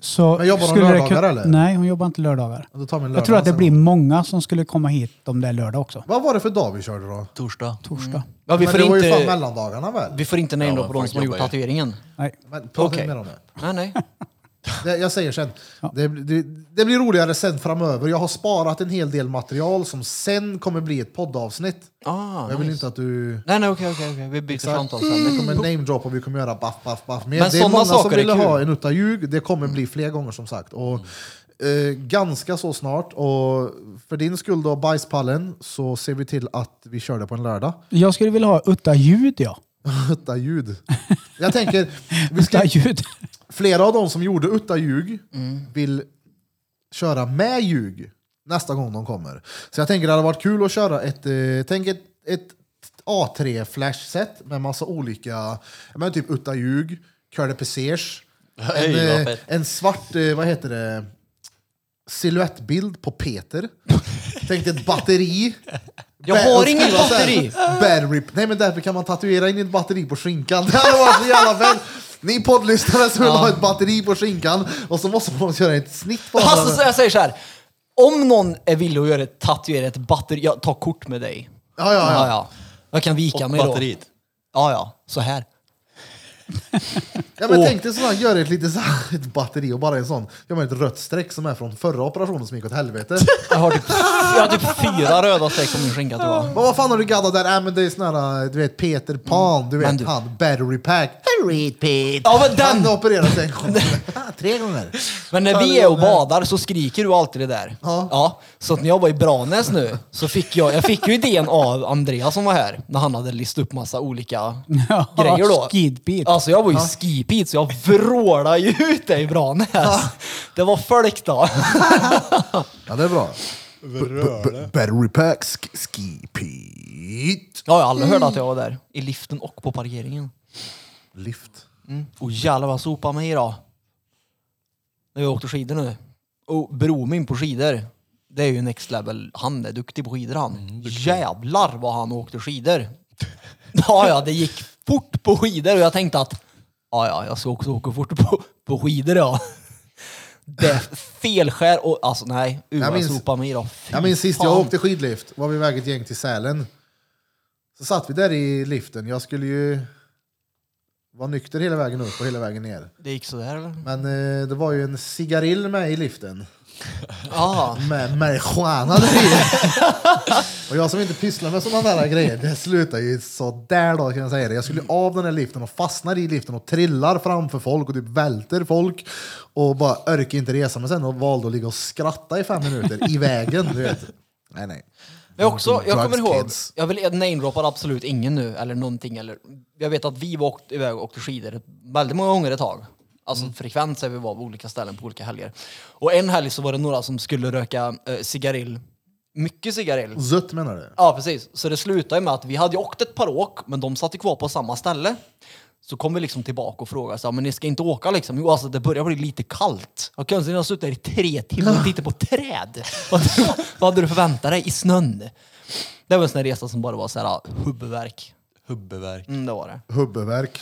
Så
Men jobbar hon
skulle det
lördagar,
kun-
eller?
Nej, hon jobbar inte lördagar.
Eh, då tar vi en
Jag tror att det
lördag
blir
sen.
många som skulle komma hit om det är lördag också.
Vad var det för dag vi körde då?
Torsdag.
Torsdag.
Ja, vi,
Men
får
det var ju fan
inte,
mellandagarna väl?
vi får inte nej
Ja,
då
men
på de
folk
som har gjort
jobbar ju.
tatueringen.
Nej.
Men prata
Okej.
inte mer om det.
Nej, nej. Ah,
det. Jag säger sen. Det, det, det blir roligare sen framöver. Jag har sparat en hel del material som sen kommer bli ett poddavsnitt.
Ah,
jag vill
nice.
inte att du...
Nej, nej, okej, okej, okej. Vi byter samtal sen.
Det kommer namedrop och vi kommer göra baff, baff, baff. Men,
Mm. Men
det är
såna
många som
saker är
vill
kul. Mm.
ha en utta ljug. Det kommer bli fler gånger som sagt. Och, eh, ganska så snart. Och för din skull då, bajspallen, så ser vi till att vi kör det på en lördag.
Jag skulle vilja ha utta ljud ja.
Utta ljud. Jag tänker, vi ska
Utta ljud.
Flera av de som gjorde Utta ljug vill köra med ljug nästa gång de kommer. Så jag tänker det hade varit kul att köra ett, eh, tänk ett, ett A3 flashset med massa olika, men typ Utta ljug, Cœur de Pesers, en,
Oj, vad
eh,
fett.
en svart, eh, vad heter det, siluettbild på Peter. Tänk dig ett batteri.
Jag
Bär-
har
och
inget
skriva så här,
batteri.
Bär rip. Nej men därför kan man tatuera in ett batteri på skinkan. Det hade varit så jävla fett. Ni poddlyssnare som vill ha ett batteri på skinkan och så måste man göra ett snitt på
Alltså, så
den.
jag säger så här. Om någon är villig att göra ett tatuera ett batteri, jag tar kort med dig.
Ja, ja, ja.
Jag kan vika
Och
mig då.
batteriet.
Ja, ja. Så här.
ja men tänk dig sådär, gör ett litet så här, ett batteri och bara en sån. Gör man ett rött streck som är från förra operationen som gick åt helvete.
Jag har typ, jag har typ fyra röda streck på min skinka tror jag.
Men vad fan har du gaddat där? Äh, men det är sån här, du vet Peter Pan, du
Mm. Men
vet
du-
han, battery pack.
Ja, men
Han
den!
har opererat sig en gång. Tre gånger.
Men när vi är och badar så skriker du alltid det där.
Ja.
Så att när jag var i Branäs nu så fick jag, jag fick ju idén av Andreas som var här när han hade listat upp massa olika
Ja,
grejer då.
skidbeat.
Alltså jag var ju skipit så jag vrålade ju ut det i Branäs. Det var folk då.
Ja det är bra. B- b- Battery pack, sk- ski pit.
Ja, jag har aldrig hört att jag var där. I liften och på parkeringen.
Lift.
Och jävlar vad jag sopade mig idag. När jag åkte skidor nu. Och Bromin på skidor. Det är ju next level. Han är duktig på skidor han.
Mm,
Jävlar vad han åkte skidor. ja, ja, det gick fort på skidor och jag tänkte att ja, ja, jag ska också åka fort på, på skidor ja. Det är felskär och alltså nej, uh,
Jag
jag,
minns-
sopade mig idag. Fy
Jag minns sist jag
fan.
åkte skidlift var vi iväg ett gäng till Sälen. Så satt vi där i liften. Jag skulle ju vara nykter hela vägen upp och hela vägen ner.
Det gick sådär eller?
Men eh, det var ju en cigarill med i liften.
Ja.
Med marijuana där i. Och jag som inte pysslar med sådana där grejer, det slutar ju sådär då kan jag säga det. Jag skulle av den här liften och fastnar i liften och trillar framför folk och typ välter folk. Och bara orkar inte resa mig sen och valde att ligga och skratta i fem minuter i vägen. Du vet. Nej nej.
Men Jag, också, jag kommer
Drugs
ihåg,
kids.
jag vill jag namedroppar absolut ingen nu eller någonting. Eller, jag vet att vi var åkt, iväg och åkte skidor väldigt många gånger ett tag. Alltså
Mm.
frekvent så vi var på olika ställen på olika helger. Och en helg så var det några som skulle röka eh, cigarill mycket cigarill.
Zött menar du?
Ja, precis. Så det slutade med att vi hade ju åkt ett par åk, men de satt ju kvar på samma ställe. Så kom vi liksom tillbaka och frågade, så, här, men ni ska inte åka liksom? Jo, alltså det börjar bli lite kallt. Och konstigt, ni har suttit där i tre timmar och tittat på träd. Vad, vad hade du förväntat dig i snön? Det var en sån här resa som bara var så här huvudvärk.
Hubbeverk.
Mm, det var det.
Hubbeverk.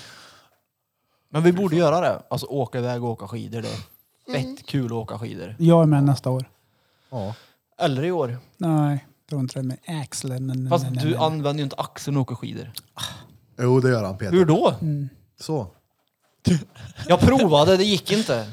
Men vi borde göra det. Alltså åka iväg och åka skidor. Det är fett kul att åka skidor.
Jag är med nästa år.
Ja.
Eller i år.
Nej, tror inte det. Men axeln... nej, nej,
Fast
nej, nej,
du
nej.
använder ju inte axeln och åker skidor.
Jo, det gör han Peter.
Hur då?
Så.
Jag provade, det gick inte.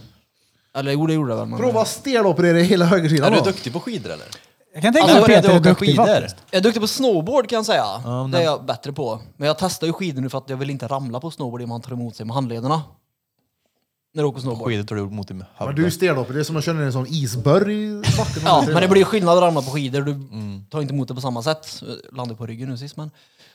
Eller jo, det gjorde jag väl. men-
Prova steloperera hela högersidan
Är du
då.
duktig på skidor eller?
Jag kan tänka mig
Alltså
att
började
Peter
du
är
åka
duktig
skidor?
faktiskt.
Jag är duktig på snowboard kan jag säga.
men
det är
den-
jag bättre på. Men jag testar ju skidor nu för att jag vill inte ramla på snowboard i och man tar emot sig med handlederna. När du åker snowboard.
Skidor tar du mot i
Men du är
huvudet.
stelopererad, det är som att köra ner en sån isbörr i backen.
Ja, men det blir ju skillnad att ramla på skidor. Du
Mm.
tar inte emot det på samma sätt. Jag Landade på ryggen nu sist men.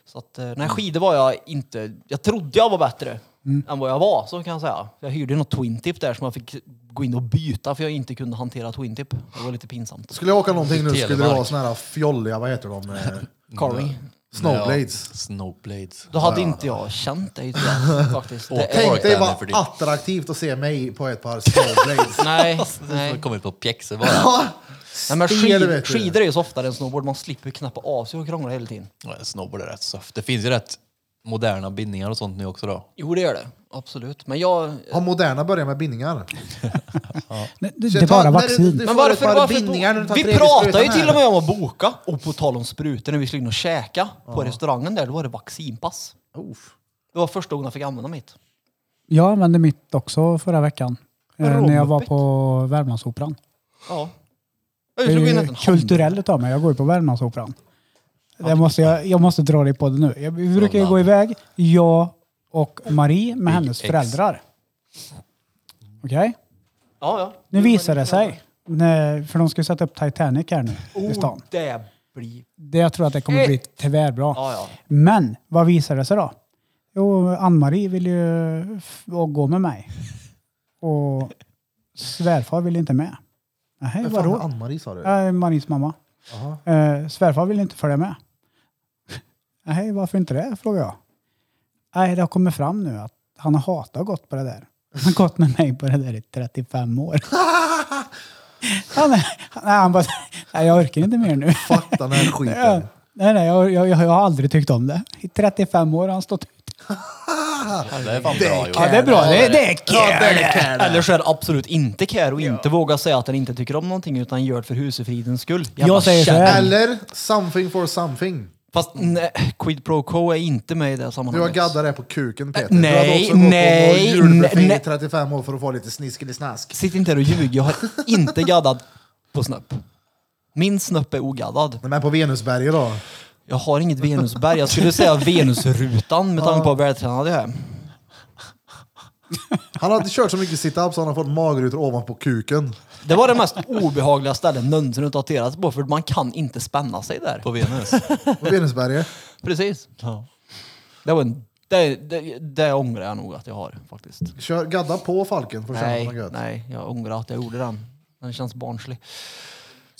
Så att, eh, nej, skidor var jag inte... Jag trodde jag var bättre
Mm.
än vad jag var, så kan jag säga. Jag hyrde något twin tip där som jag fick gå in och byta för jag inte kunde hantera twin tip. Det var lite pinsamt.
Skulle jag åka någonting nu skulle det
Telemark.
vara såna här fjolliga, vad heter de? Eh,
Carving.
Snowblades.
Ja, snowblades.
Då hade inte jag känt dig tyvärr, faktiskt. Det är-
Tänk dig
Orkar jag för
vad
ditt.
attraktivt att se mig på ett par snowblades.
Nej,
Alltså,
Jag
nej.
har kommit på pjäxor bara.
Nej, men
Stel,
skid,
vet du.
skidor är ju så oftare än snowboard. Man slipper ju knappa av sig och krångla hela tiden.
Ja, Snowboard är rätt soft. Det finns ju rätt moderna bindningar och sånt nu också då.
Jo, det gör det. Absolut. Men jag...
Har moderna börjat med bindningar?
Nej, Det, det är bara vaccin.
Men varför, varför Vi pratar
pratar
ju till och med om att boka. Och på tal om sprutor, när vi skulle in och käka på restaurangen där, då var det vaccinpass. Det var första gången jag fick använda mitt.
Jag använde mitt också förra veckan. eh, När jag var
Rompet.
på Värmlandsoperan.
Ja.
Det
Jag slog in
är
en
ju
hand.
kulturell utav Eh, mig. Jag går ju på Värmlandsoperan. Jag måste, jag, jag måste dra dig på det nu. Jag, vi brukar ju gå iväg, jag och Marie med hennes
X.
föräldrar. Okej?
Ja, ja.
Nu visar det sig. Nej, för de ska ju sätta upp Titanic här nu i
Oh,
stan.
det blir...
Det, jag tror att det kommer bli tvärbra.
Ja, ja.
Men vad visar det sig då? Jo, Ann-Marie vill ju f- och gå med mig. Och svärfar vill inte med. Nej,
Vad fan,
vadå?
Ann-Marie sa du?
Äh, Maries mamma. Eh, svärfar vill inte följa med. Nej, varför inte det? Frågar jag. Nej, det har kommit fram nu att han har hatat att gått på det där. Han har gått med mig på det där i 35 år. Han, är- han, nej, han bara, nej, jag orkar inte mer nu.
Fuck den här
Ja.
skiten.
Nej, nej, jag, jag, jag har aldrig tyckt om det. I 35 år har han stått ut.
Det är fan bra gjort.
Ja, det är bra. Det, är- det är
Ja, det
kul.
är kär.
Eller så är det absolut inte care och inte våga säga att den inte tycker om någonting utan gör det för husefridens skull. Jävla
Jag säger så här.
Eller something for something.
Fast nej, Quid Pro Quo är inte med i det
Du har
sammanhanget.
gaddat det på kuken Peter.
Nej,
du hade också gått på
nej,
någon julbuffé
nej.
i 35 år för att få lite sniskelisnask.
Sitt inte här och ljug. Jag har inte gaddat på snöpp. Min snöpp är ogaddad.
Men på Venusberget då?
Jag har inget Venusberg. Jag skulle säga Venusrutan med tanke på hur vältränad jag är.
Han har inte kört så mycket sit-ups så han har fått magrutor ovanpå kuken.
Det var det mest obehagliga stället någonsin att tatueras på för man kan inte spänna sig där.
På Venus.
På Venusberget.
Precis.
Ja.
Det, var en, det, det, det ångrar jag nog att jag har faktiskt.
Kör, gadda på falken för att känna
Nej,
något gött.
nej, jag ångrar att jag gjorde den. Den känns barnslig.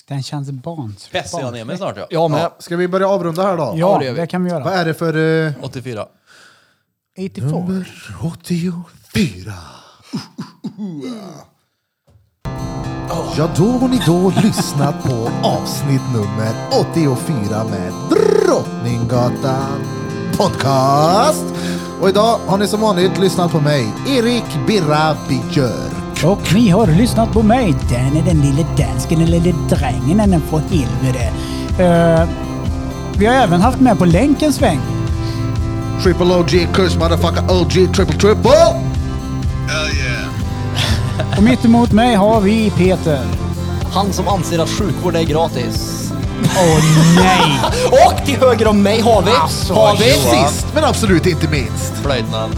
Den känns barns.
Pressar jag ner mig snart ja.
Jag med.
Ska vi börja avrunda här då?
Ja,
det gör vi.
det kan vi
Vad
göra.
är det för... eh,
84.
84.
84. Ja, då har ni då lyssnat på avsnitt nummer 84 med Drottninggatan Podcast. Och idag har ni som vanligt lyssnat på mig, Erik Birra Björk.
Och ni har lyssnat på mig. Den är den lille dansken, den lille drängen, den är på helvete. Eh, vi har även haft med på länken sväng.
Triple OG, curse motherfucker OG, triple triple.
Hell yeah.
Och mitt emot mig har vi Peter.
Han som anser att sjukvård är gratis.
Åh nej!
Och till höger om mig har vi... har vi...
Sist men absolut inte minst,
Flöjtnant.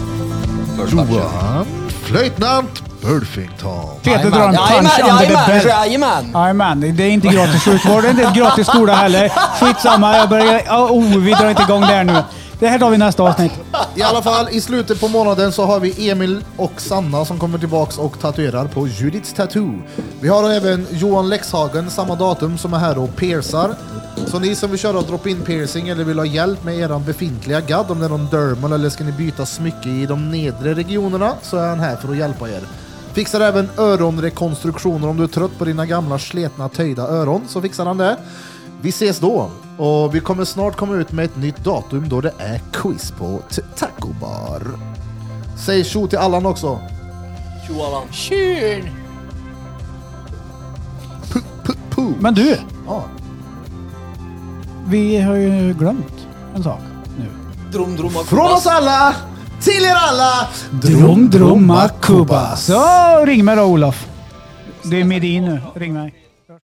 Johan Flöjtnant Burfington.
Peter drar en punch under the
Jajamän,
bed.
jajamän!
Jajamän, det är inte gratis sjukvård, det är inte gratis skola heller. Skitsamma, jag börjar... Åh, Oh, vi drar inte igång där nu. Det här tar vi i nästa avsnitt.
I alla fall, i slutet på månaden så har vi Emil och Sanna som kommer tillbaks och tatuerar på Judiths Tattoo. Vi har även Johan Lexhagen samma datum som är här och piercar. Så ni som vill köra drop-in piercing eller vill ha hjälp med eran befintliga gadd, om det är någon dermal eller ska ni byta smycke i de nedre regionerna så är han här för att hjälpa er. Fixar även öronrekonstruktioner om du är trött på dina gamla sletna töjda öron så fixar han det. Vi ses då och vi kommer snart komma ut med ett nytt datum då det är quiz på t- Taco Bar. Säg tjo till Allan också. Tjo Allan. Tjur!
Men du,
Ja,
vi har ju glömt en sak nu.
Från oss alla till er alla!
Drum, drumma, kubba. Så, ring mig då Olof. Det är med dig nu. Ring mig.